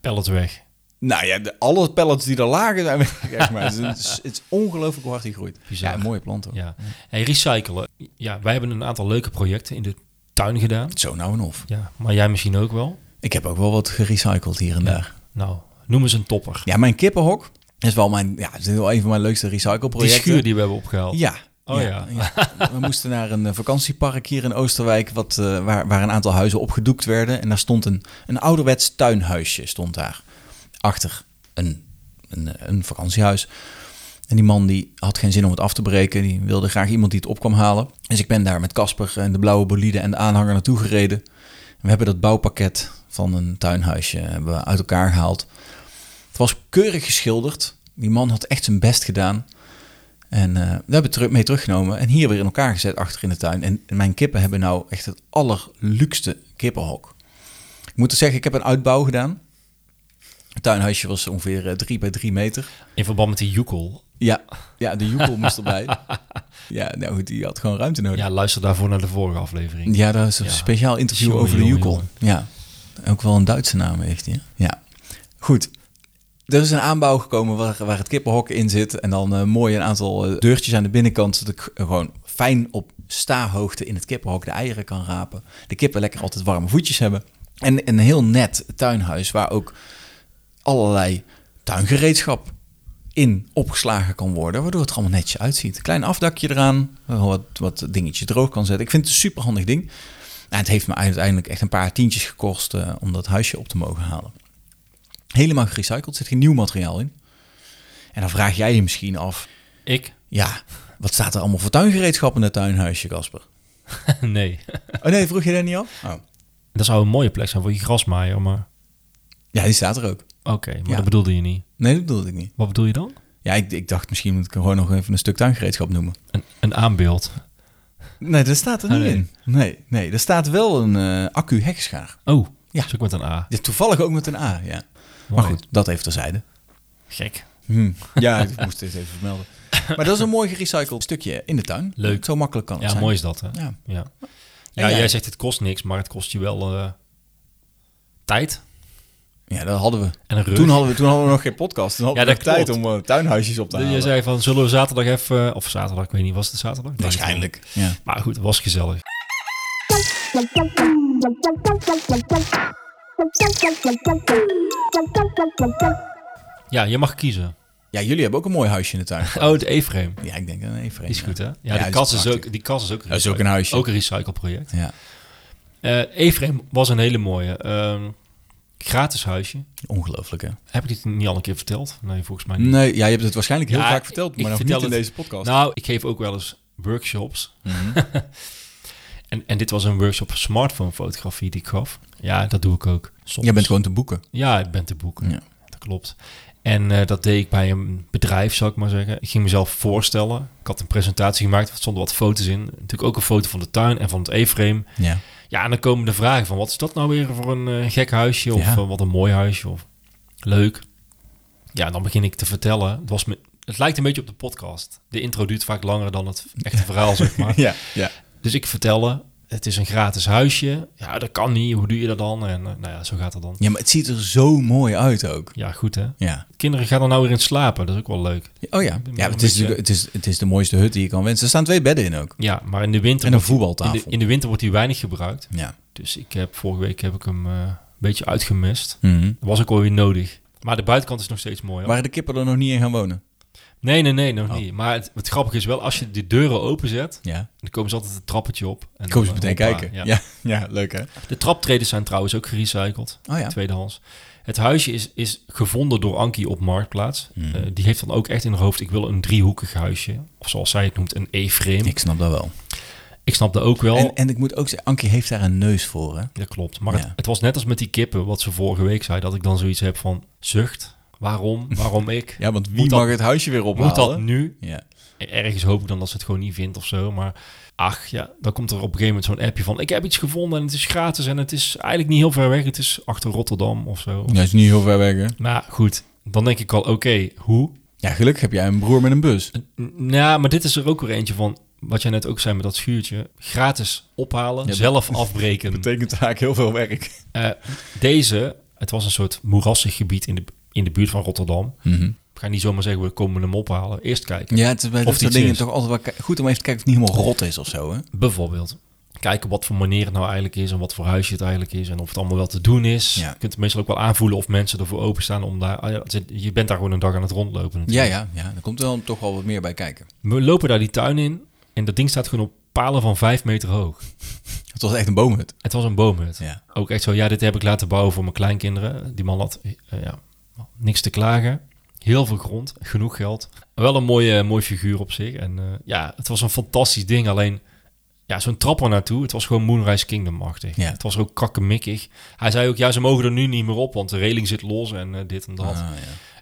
Speaker 1: Pellet weg.
Speaker 2: nou ja, de, alle pallets die er lagen zijn weg. *laughs* Echt maar. Het is- Het is, het is ongelooflijk hoe hard die groeit.
Speaker 1: Bizar.
Speaker 2: Ja, een mooie plant ook.
Speaker 1: Ja. En recyclen. Ja, wij hebben een aantal leuke projecten in de tuin gedaan.
Speaker 2: Zo nou en of.
Speaker 1: Ja, maar jij misschien ook wel.
Speaker 2: Ik heb ook wel wat gerecycled hier en daar.
Speaker 1: Nou, noem eens een topper.
Speaker 2: Ja, mijn kippenhok is wel mijn, ja, het is wel een van mijn leukste
Speaker 1: Die
Speaker 2: recycleprojecten.
Speaker 1: schuur die we hebben opgehaald.
Speaker 2: Ja.
Speaker 1: Oh ja.
Speaker 2: ja. We moesten naar een eh, vakantiepark hier in Oosterwijk, wat, eh, waar, waar een aantal huizen opgedoekt werden. En daar stond een, een ouderwets tuinhuisje, stond daar. Achter een, een, eh, een vakantiehuis. En die man die had geen zin om het af te breken. Die wilde graag iemand die het op kwam halen. Dus ik ben daar met Casper en de blauwe bolide en de aanhanger naartoe gereden. En we hebben dat bouwpakket van een tuinhuisje eh, hebben we uit elkaar gehaald. Het was keurig geschilderd. Die man had echt zijn best gedaan. En eh, we hebben het terug, mee teruggenomen en hier weer in elkaar gezet achter in de tuin. En mijn kippen hebben nou echt het allerluxte kippenhok. Ik moet er zeggen, ik heb een uitbouw gedaan. Het tuinhuisje was ongeveer eh, 3 bij 3 meter.
Speaker 1: In verband met die joekel.
Speaker 2: Ja, ja de joekel moest erbij. Ja, nou goed, die had gewoon ruimte nodig.
Speaker 1: Ja, luister daarvoor naar de vorige aflevering.
Speaker 2: Ja, daar is een
Speaker 1: Ja.
Speaker 2: speciaal interview
Speaker 1: Jongen,
Speaker 2: over de
Speaker 1: jongen,
Speaker 2: Joekel. Ja, ook wel een Duitse naam heeft hij. hè? Ja, goed. Er is een aanbouw gekomen waar, waar het kippenhok in zit. En dan eh, mooi een aantal eh, deurtjes aan de binnenkant. Zodat ik eh, gewoon fijn op staarhoogte in het kippenhok de eieren kan rapen. De kippen lekker altijd warme voetjes hebben. En een heel net tuinhuis waar ook allerlei tuingereedschap in opgeslagen kan worden, waardoor het er allemaal netjes uitziet. Een klein afdakje eraan, wat, wat dingetjes droog kan zetten. Ik vind het een superhandig ding. En het heeft me uiteindelijk echt een paar tientjes gekost eh, om dat huisje op te mogen halen. Helemaal gerecycled, zit geen nieuw materiaal in. En dan vraag jij je misschien af,
Speaker 1: Ik? *laughs*
Speaker 2: ja, wat staat er allemaal voor tuingereedschap in dat tuinhuisje, Casper?
Speaker 1: nee.
Speaker 2: Oh nee, vroeg je daar niet af? Oh.
Speaker 1: Dat zou een mooie plek zijn voor je grasmaaier, maar...
Speaker 2: Ja, die staat er ook.
Speaker 1: Oké, maar
Speaker 2: Ja.
Speaker 1: dat bedoelde je niet.
Speaker 2: Nee, dat bedoelde ik niet.
Speaker 1: Wat bedoel je dan?
Speaker 2: Ja, ik, ik dacht misschien moet ik er gewoon nog even een stuk tuingereedschap noemen.
Speaker 1: Een, een aanbeeld.
Speaker 2: Nee, dat staat er
Speaker 1: Oh,
Speaker 2: niet
Speaker 1: nee.
Speaker 2: in. Nee, nee, er staat wel een eh accu-hekschaar.
Speaker 1: Oh,
Speaker 2: Ja.
Speaker 1: ja. is ook met een A.
Speaker 2: Ja, toevallig ook met een A, ja. Maar goed, dat even terzijde.
Speaker 1: Gek.
Speaker 2: Hm. Ja, ik *laughs* moest dit even vermelden. Maar dat is een mooi gerecycled stukje in de tuin.
Speaker 1: Leuk.
Speaker 2: Zo makkelijk kan het
Speaker 1: Ja,
Speaker 2: zijn.
Speaker 1: mooi is dat, hè?
Speaker 2: Ja.
Speaker 1: Ja,
Speaker 2: En
Speaker 1: ja
Speaker 2: jij?
Speaker 1: jij zegt het kost niks, maar het kost je wel eh, tijd
Speaker 2: Ja, dat hadden we.
Speaker 1: en een rug.
Speaker 2: Toen hadden we, toen hadden we nog geen podcast. Toen hadden
Speaker 1: Ja,
Speaker 2: we nog
Speaker 1: dat
Speaker 2: tijd om
Speaker 1: klopt.
Speaker 2: eh, tuinhuisjes op te halen.
Speaker 1: je zei van, zullen we zaterdag even... Of zaterdag, ik weet niet, was het zaterdag? Ik denk het
Speaker 2: Waarschijnlijk. Ja.
Speaker 1: wel. Maar goed, het was gezellig. Ja, je mag kiezen.
Speaker 2: ja, jullie hebben ook een mooi huisje in de tuin.
Speaker 1: Oh, de E-frame. Die
Speaker 2: Ja, ik denk aan een vreemde.
Speaker 1: is goed, hè? Ja,
Speaker 2: die
Speaker 1: die,
Speaker 2: is
Speaker 1: kast is
Speaker 2: prachtig.
Speaker 1: ook, die kast is ook een
Speaker 2: Dat is ook een
Speaker 1: recycle-
Speaker 2: huisje.
Speaker 1: Ook een recycleproject.
Speaker 2: Ja,
Speaker 1: Eh E-frame was een hele mooie. ehm, gratis huisje.
Speaker 2: ongelooflijk hè?
Speaker 1: Heb ik dit niet al een keer verteld? Nee, volgens mij niet.
Speaker 2: Nee, ja, je hebt het waarschijnlijk heel
Speaker 1: Ja,
Speaker 2: vaak verteld,
Speaker 1: ik
Speaker 2: maar nog niet
Speaker 1: vertel
Speaker 2: in
Speaker 1: het-
Speaker 2: deze podcast.
Speaker 1: Nou, ik geef ook wel eens workshops.
Speaker 2: Mhm.
Speaker 1: *laughs* en, en dit was een workshop smartphone fotografie die ik gaf. Ja, dat doe ik ook. Soms.
Speaker 2: Jij bent gewoon te boeken.
Speaker 1: Ja, ik ben te boeken.
Speaker 2: Ja.
Speaker 1: Dat klopt. En eh, dat deed ik bij een bedrijf, zou ik maar zeggen. Ik ging mezelf voorstellen. Ik had een presentatie gemaakt, er stonden wat foto's in. Natuurlijk ook een foto van de tuin en van het E-frame.
Speaker 2: Ja.
Speaker 1: Ja, en dan komen de vragen van... wat is dat nou weer voor een eh, gek huisje? Of
Speaker 2: Ja.
Speaker 1: eh, wat een mooi huisje? Of leuk. Ja, en dan begin ik te vertellen. Het, was me, het lijkt een beetje op de podcast. De intro duurt vaak langer dan het echte verhaal, zeg maar.
Speaker 2: *laughs* Ja, ja.
Speaker 1: Dus ik vertelde, het is een gratis huisje. Ja, dat kan niet. Hoe doe je dat dan? En eh, nou ja, zo gaat het dan.
Speaker 2: ja, maar het ziet er zo mooi uit ook.
Speaker 1: Ja, goed hè.
Speaker 2: Ja.
Speaker 1: Kinderen gaan er nou weer in slapen. Dat is ook wel leuk.
Speaker 2: Oh ja.
Speaker 1: ben
Speaker 2: Ja,
Speaker 1: wel een
Speaker 2: het is,
Speaker 1: beetje-
Speaker 2: natuurlijk- het, is, het is de mooiste hut die je kan wensen. Er staan twee bedden in ook.
Speaker 1: Ja, maar in de winter...
Speaker 2: En een
Speaker 1: wordt-
Speaker 2: voetbaltafel.
Speaker 1: In de, in de winter wordt hij weinig gebruikt.
Speaker 2: Ja.
Speaker 1: Dus ik heb, vorige week heb ik hem eh, een beetje uitgemest.
Speaker 2: Mhm.
Speaker 1: Dat was ook alweer nodig. Maar de buitenkant is nog steeds mooi. hoor.
Speaker 2: Waren de kippen er nog niet in gaan wonen?
Speaker 1: Nee, nee, nee,
Speaker 2: Oh.
Speaker 1: nog niet. Maar het, het grappige is wel, als je de deuren openzet,
Speaker 2: Ja.
Speaker 1: dan komen ze altijd een trappetje op. En
Speaker 2: Ik hoop ze
Speaker 1: dan, eh,
Speaker 2: meteen
Speaker 1: hoppa,
Speaker 2: kijken. Ja. Ja. *laughs* leuk hè?
Speaker 1: De traptreders zijn trouwens ook gerecycled,
Speaker 2: Oh ja.
Speaker 1: tweedehands. Het huisje is, is gevonden door Ankie op Marktplaats.
Speaker 2: Hmm.
Speaker 1: Eh, die heeft dan ook echt in haar hoofd, ik wil een driehoekig huisje. Of zoals zij het noemt, een E-frame. Ik,
Speaker 2: Ik snap dat wel.
Speaker 1: snap dat ook wel.
Speaker 2: En, en ik moet ook zeggen, Ankie heeft daar een neus voor hè?
Speaker 1: dat klopt. Maar
Speaker 2: Ja.
Speaker 1: het, het was net als met die kippen, wat ze vorige week zei, dat ik dan zoiets heb van, zucht,
Speaker 2: *laughs*
Speaker 1: waarom, waarom ik?
Speaker 2: Ja, want wie
Speaker 1: Moet dat-
Speaker 2: mag het huisje weer ophalen?
Speaker 1: Moet dat nu?
Speaker 2: Ja.
Speaker 1: Ergens hoop ik dan dat ze het gewoon niet vindt of zo. Maar ach, ja, dan komt er op een gegeven moment zo'n appje van... ik heb iets gevonden en het is gratis en het is eigenlijk niet heel ver weg. Het is achter Rotterdam of zo.
Speaker 2: Dat is niet heel ver weg hè?
Speaker 1: Maar goed, dan denk ik al, oké, hoe?
Speaker 2: Ja, gelukkig heb jij een broer met een bus.
Speaker 1: N- Nou, maar dit is er ook weer eentje van... wat jij net ook zei met dat schuurtje. Gratis ophalen,
Speaker 2: Ja,
Speaker 1: zelf afbreken.
Speaker 2: *laughs* betekent eigenlijk heel veel werk.
Speaker 1: Eh, deze, het was een soort moerassig gebied in de, in de buurt van Rotterdam. Ik ga niet zomaar zeggen, we komen hem ophalen. Eerst kijken.
Speaker 2: Mhm. Ja, het is bij
Speaker 1: Of
Speaker 2: dat soort
Speaker 1: iets
Speaker 2: dingen
Speaker 1: is.
Speaker 2: toch altijd wel ki- goed om even te kijken of het niet helemaal rot is of zo. Hè?
Speaker 1: Bijvoorbeeld. Kijken wat voor manier het nou eigenlijk is en wat voor huisje het eigenlijk is en of het allemaal wel te doen is.
Speaker 2: Ja.
Speaker 1: Je kunt meestal ook wel aanvoelen of mensen ervoor openstaan om daar. ah ja, het zit- Je bent daar gewoon een dag aan het rondlopen.
Speaker 2: Ja,
Speaker 1: natuurlijk.
Speaker 2: ja, ja. Daar komt wel toch wel wat meer bij kijken.
Speaker 1: We lopen daar die tuin in en dat ding staat gewoon op palen van vijf meter hoog.
Speaker 2: Het was echt een boomhut.
Speaker 1: Het was een boomhut.
Speaker 2: Ja.
Speaker 1: Ook echt zo, ja, dit heb ik laten bouwen voor mijn kleinkinderen. Die man had eh, ja, niks te klagen. Heel veel grond, genoeg geld. Wel een mooie, mooi figuur op zich. En eh, ja, het was een fantastisch ding. Alleen, ja, zo'n trap er naartoe. Het was gewoon Moonrise Kingdom-achtig.
Speaker 2: Ja.
Speaker 1: Het was er ook kakkemikkig. Hij zei ook, ja, ze mogen er nu niet meer op, want de reling zit los en eh, dit en dat.
Speaker 2: Ah,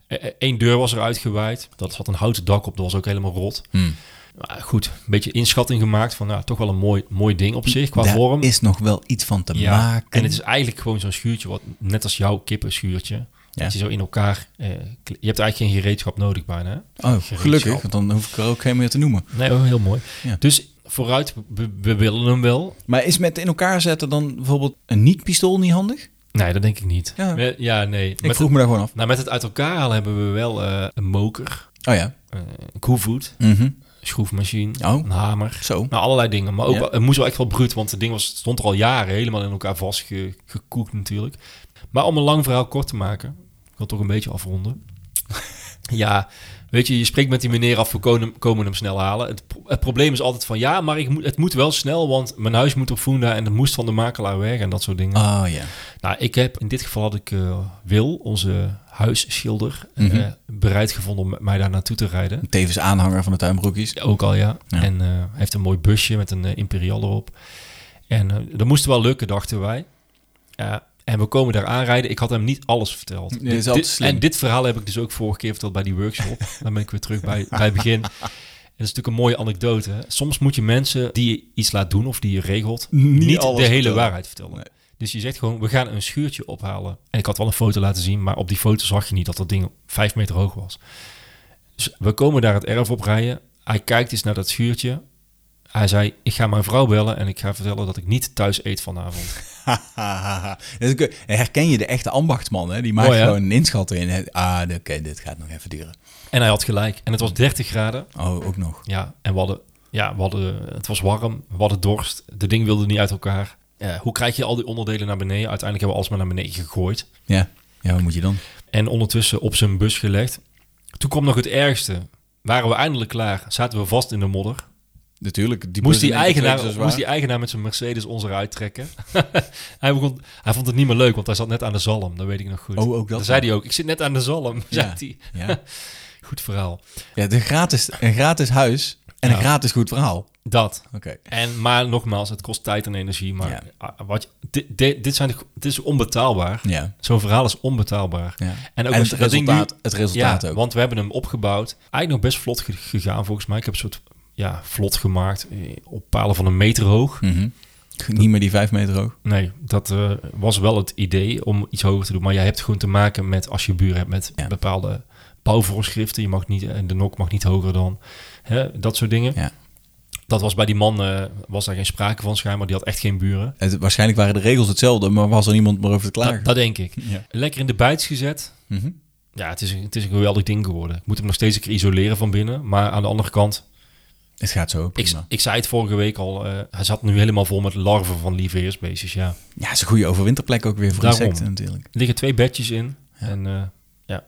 Speaker 2: ja.
Speaker 1: Eén deur was er uitgewaaid. Dat zat een houten dak op. Dat was ook helemaal rot.
Speaker 2: Hmm.
Speaker 1: Maar goed, een beetje inschatting gemaakt van nou, toch wel een mooi, mooi ding op zich qua
Speaker 2: Daar
Speaker 1: vorm.
Speaker 2: is nog wel iets van te
Speaker 1: ja.
Speaker 2: maken.
Speaker 1: En het is eigenlijk gewoon zo'n schuurtje, wat, net als jouw kippenschuurtje.
Speaker 2: Ja.
Speaker 1: Dat je zo in elkaar. eh, kle- je hebt eigenlijk geen gereedschap nodig bijna. hè?
Speaker 2: oh, gelukkig,
Speaker 1: gereedschap.
Speaker 2: want dan hoef ik er ook geen meer te noemen.
Speaker 1: Nee, oh, heel mooi.
Speaker 2: Ja.
Speaker 1: Dus vooruit, we, we willen hem wel.
Speaker 2: Maar is met in elkaar zetten dan bijvoorbeeld een niet-pistool niet handig?
Speaker 1: Nee, dat denk ik niet.
Speaker 2: Ja.
Speaker 1: Me- ja nee.
Speaker 2: Ik
Speaker 1: met
Speaker 2: vroeg
Speaker 1: het,
Speaker 2: me daar gewoon af.
Speaker 1: nou, met het uit elkaar halen hebben we wel eh, een moker,
Speaker 2: Oh ja.
Speaker 1: eh, een koevoet,
Speaker 2: Mhm.
Speaker 1: een schroefmachine,
Speaker 2: Oh.
Speaker 1: een hamer.
Speaker 2: Zo.
Speaker 1: Nou, allerlei dingen. Maar ook,
Speaker 2: Ja.
Speaker 1: wel- het moest wel echt wel bruut, want het ding was, het stond er al jaren helemaal in elkaar vastgekoekt natuurlijk. Maar om een lang verhaal kort te maken, ik wil toch een beetje afronden. *laughs* ja, weet je, je spreekt met die meneer af, we komen, komen hem snel halen. Het, pro- het probleem is altijd van, ja, maar ik moet, het moet wel snel, want mijn huis moet op Funda en het moest van de makelaar weg en dat soort dingen.
Speaker 2: Oh ja.
Speaker 1: Nou, ik heb in dit geval had ik eh, Wil, onze huisschilder, eh,
Speaker 2: Mhm.
Speaker 1: bereid gevonden om met mij daar naartoe te rijden.
Speaker 2: Tevens aanhanger van de *laughs* tuinbroekjes.
Speaker 1: Ook al, ja.
Speaker 2: Ja.
Speaker 1: En eh, hij heeft een mooi busje met een eh, imperial erop. En eh, dat moest wel lukken, dachten wij. Ja, en we komen daar aanrijden. Ik had hem niet alles verteld.
Speaker 2: Nee, dat is
Speaker 1: Dit-
Speaker 2: altijd
Speaker 1: dit-
Speaker 2: slim.
Speaker 1: en dit verhaal heb ik dus ook vorige keer verteld bij die
Speaker 2: *laughs*
Speaker 1: workshop. Dan ben ik weer terug bij, bij het begin. En dat is natuurlijk een mooie anekdote. hè. Soms moet je mensen die je iets laat doen of die je regelt...
Speaker 2: Niet
Speaker 1: niet,
Speaker 2: alles
Speaker 1: de hele
Speaker 2: vertellen.
Speaker 1: waarheid vertellen. Dus je zegt gewoon, we gaan een schuurtje ophalen. En ik had wel een foto laten zien, maar op die foto zag je niet dat dat ding vijf meter hoog was. Dus we komen daar het erf op rijden. Hij kijkt eens naar dat schuurtje. Hij zei, ik ga mijn vrouw bellen en ik ga vertellen dat ik niet thuis eet vanavond.
Speaker 2: Hahaha. Dat is ook- Herken je de echte ambachtsman, hè? Die maakt
Speaker 1: Mooi, hè?
Speaker 2: gewoon een inschatting. in. hè? Ah, oké, dit gaat nog even duren.
Speaker 1: En hij had gelijk. En het was 30 graden.
Speaker 2: Oh, ook nog.
Speaker 1: Ja, en we hadden, ja, we hadden, het was warm, we hadden dorst, de ding wilde niet uit elkaar. Eh, hoe krijg je al die onderdelen naar beneden? Uiteindelijk hebben we alles maar naar beneden gegooid.
Speaker 2: Ja. Ja, wat moet je dan?
Speaker 1: En ondertussen op zijn bus gelegd. Toen kwam nog het ergste. Waren we eindelijk klaar, zaten we vast in de modder. Dus
Speaker 2: Natuurlijk. Die
Speaker 1: Moest die, eigenaar, moest die eigenaar met zijn Mercedes ons eruit trekken. *laughs* hij, begon, hij vond het niet meer leuk, want hij zat net aan de zalm. Dat weet ik nog goed.
Speaker 2: Oh, ook dat
Speaker 1: Dan zei hij ook, ik zit net aan de zalm, *laughs* zei hij.
Speaker 2: Ja.
Speaker 1: Goed verhaal.
Speaker 2: ja, de gratis, een gratis huis en een
Speaker 1: Ja.
Speaker 2: gratis goed verhaal. Oké.
Speaker 1: Dat. En, maar nogmaals, het kost tijd en energie. Maar
Speaker 2: Ja.
Speaker 1: ah, wat, je- dit, dit, dit, zijn, de- dit is onbetaalbaar.
Speaker 2: Ja.
Speaker 1: Zo'n verhaal is onbetaalbaar.
Speaker 2: Ja.
Speaker 1: En ook
Speaker 2: En
Speaker 1: als
Speaker 2: het
Speaker 1: dat ding nu-
Speaker 2: resultaat- het resultaat
Speaker 1: ja,
Speaker 2: ook.
Speaker 1: Want we hebben hem opgebouwd. Eigenlijk nog best vlot ge- gegaan volgens mij. Ik heb een soort ja, vlot gemaakt eh, op palen van een meter hoog.
Speaker 2: Mhm. Niet meer die vijf meter hoog.
Speaker 1: Nee, dat eh, was wel het idee om iets hoger te doen. Maar jij hebt gewoon te maken met, als je buren hebt, met
Speaker 2: Ja.
Speaker 1: bepaalde bouwvoorschriften. Je mag niet, eh, de nok mag niet hoger dan, hè, dat soort dingen.
Speaker 2: Ja.
Speaker 1: Dat was bij die man, eh, was daar geen sprake van schijnbaar. Die had echt geen buren.
Speaker 2: Het, waarschijnlijk waren de regels hetzelfde, maar was er niemand meer over te klagen.
Speaker 1: Dat, dat denk ik.
Speaker 2: Ja.
Speaker 1: Lekker in de bijts gezet.
Speaker 2: Mhm.
Speaker 1: Ja, het is, een- het is een geweldig ding geworden. Ik moet hem nog steeds een keer isoleren van binnen. Maar aan de andere kant,
Speaker 2: Het gaat zo,
Speaker 1: ik,
Speaker 2: prima.
Speaker 1: ik zei het vorige week al, eh, hij zat nu helemaal vol met larven van lieveheersbeestjes. Ja.
Speaker 2: Ja, het is een goede overwinterplek ook weer voor
Speaker 1: Daarom.
Speaker 2: insecten natuurlijk.
Speaker 1: Er liggen twee bedjes in. En eh, ja,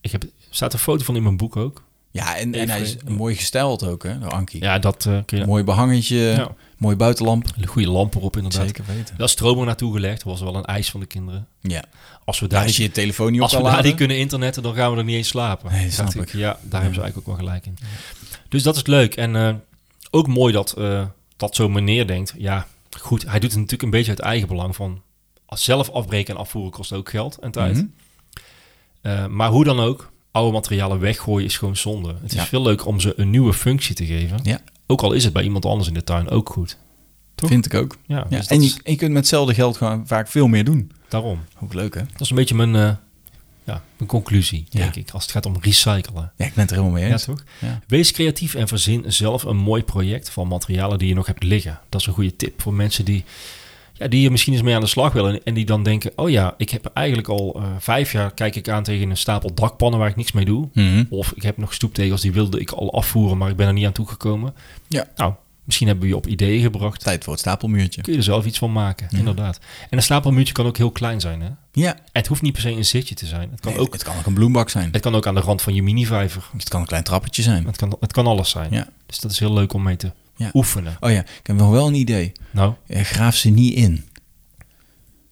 Speaker 1: ik heb, er staat een foto van in mijn boek ook.
Speaker 2: Ja, en, en hij is
Speaker 1: Even-
Speaker 2: mooi gestyled ook, hè, door Ankie.
Speaker 1: Ja, dat eh kun je...
Speaker 2: Mooi behangetje,
Speaker 1: Ja.
Speaker 2: mooi buitenlamp.
Speaker 1: Een goede lamp erop inderdaad.
Speaker 2: weten.
Speaker 1: Daar is stroom er naartoe gelegd. Dat was wel een eis van de kinderen.
Speaker 2: Ja.
Speaker 1: Als we daar,
Speaker 2: Als je je telefoon niet op
Speaker 1: als we
Speaker 2: kan
Speaker 1: daar
Speaker 2: laden.
Speaker 1: niet kunnen internetten, dan gaan we er niet eens slapen.
Speaker 2: Nee, snap
Speaker 1: Dacht
Speaker 2: ik.
Speaker 1: Ja, daar hebben ze eigenlijk ook wel gelijk in. Dus dat is leuk. En eh, ook mooi dat, eh, dat zo'n meneer denkt... Ja, goed, hij doet het natuurlijk een beetje uit eigen belang van... als Zelf afbreken en afvoeren kost ook geld en tijd.
Speaker 2: Mhm.
Speaker 1: Eh, maar hoe dan ook, oude materialen weggooien is gewoon zonde. Het is
Speaker 2: Ja.
Speaker 1: veel leuker om ze een nieuwe functie te geven.
Speaker 2: Ja,
Speaker 1: Ook al is het bij iemand anders in de tuin ook goed. Toch?
Speaker 2: vind ik ook.
Speaker 1: Ja,
Speaker 2: Ja,
Speaker 1: dus dat
Speaker 2: en je,
Speaker 1: is
Speaker 2: en je kunt met hetzelfde geld gewoon vaak veel meer doen.
Speaker 1: daarom.
Speaker 2: Ook leuk, hè?
Speaker 1: Dat is een beetje mijn, eh, ja, mijn conclusie,
Speaker 2: Ja.
Speaker 1: denk ik, als het gaat om recyclen.
Speaker 2: Ja, ik ben het er helemaal mee
Speaker 1: Ja,
Speaker 2: eens.
Speaker 1: toch?
Speaker 2: Ja.
Speaker 1: Wees creatief en verzin zelf een mooi project van materialen die je nog hebt liggen. Dat is een goede tip voor mensen die, ja, die hier misschien eens mee aan de slag willen. En die dan denken, oh ja, ik heb eigenlijk al eh, vijf jaar kijk ik aan tegen een stapel dakpannen waar ik niks mee doe.
Speaker 2: Mhm.
Speaker 1: Of ik heb nog stoeptegels, die wilde ik al afvoeren, maar ik ben er niet aan toegekomen.
Speaker 2: Ja.
Speaker 1: Nou, misschien hebben we je op ideeën gebracht.
Speaker 2: Tijd voor het stapelmuurtje.
Speaker 1: Kun je er zelf iets van maken, inderdaad. En een stapelmuurtje kan ook heel klein zijn, hè?
Speaker 2: Ja,
Speaker 1: En Het hoeft niet per se een zitje te zijn. Het kan,
Speaker 2: Nee,
Speaker 1: ook,
Speaker 2: het kan ook een bloembak zijn.
Speaker 1: het kan ook aan de rand van je minivijver.
Speaker 2: Het kan een klein trappetje zijn.
Speaker 1: Het kan, het kan alles zijn.
Speaker 2: Ja.
Speaker 1: Dus dat is heel leuk om mee te
Speaker 2: Ja.
Speaker 1: oefenen.
Speaker 2: Oh ja, ik heb nog wel een idee.
Speaker 1: Nou,
Speaker 2: Eh, Graaf ze niet in.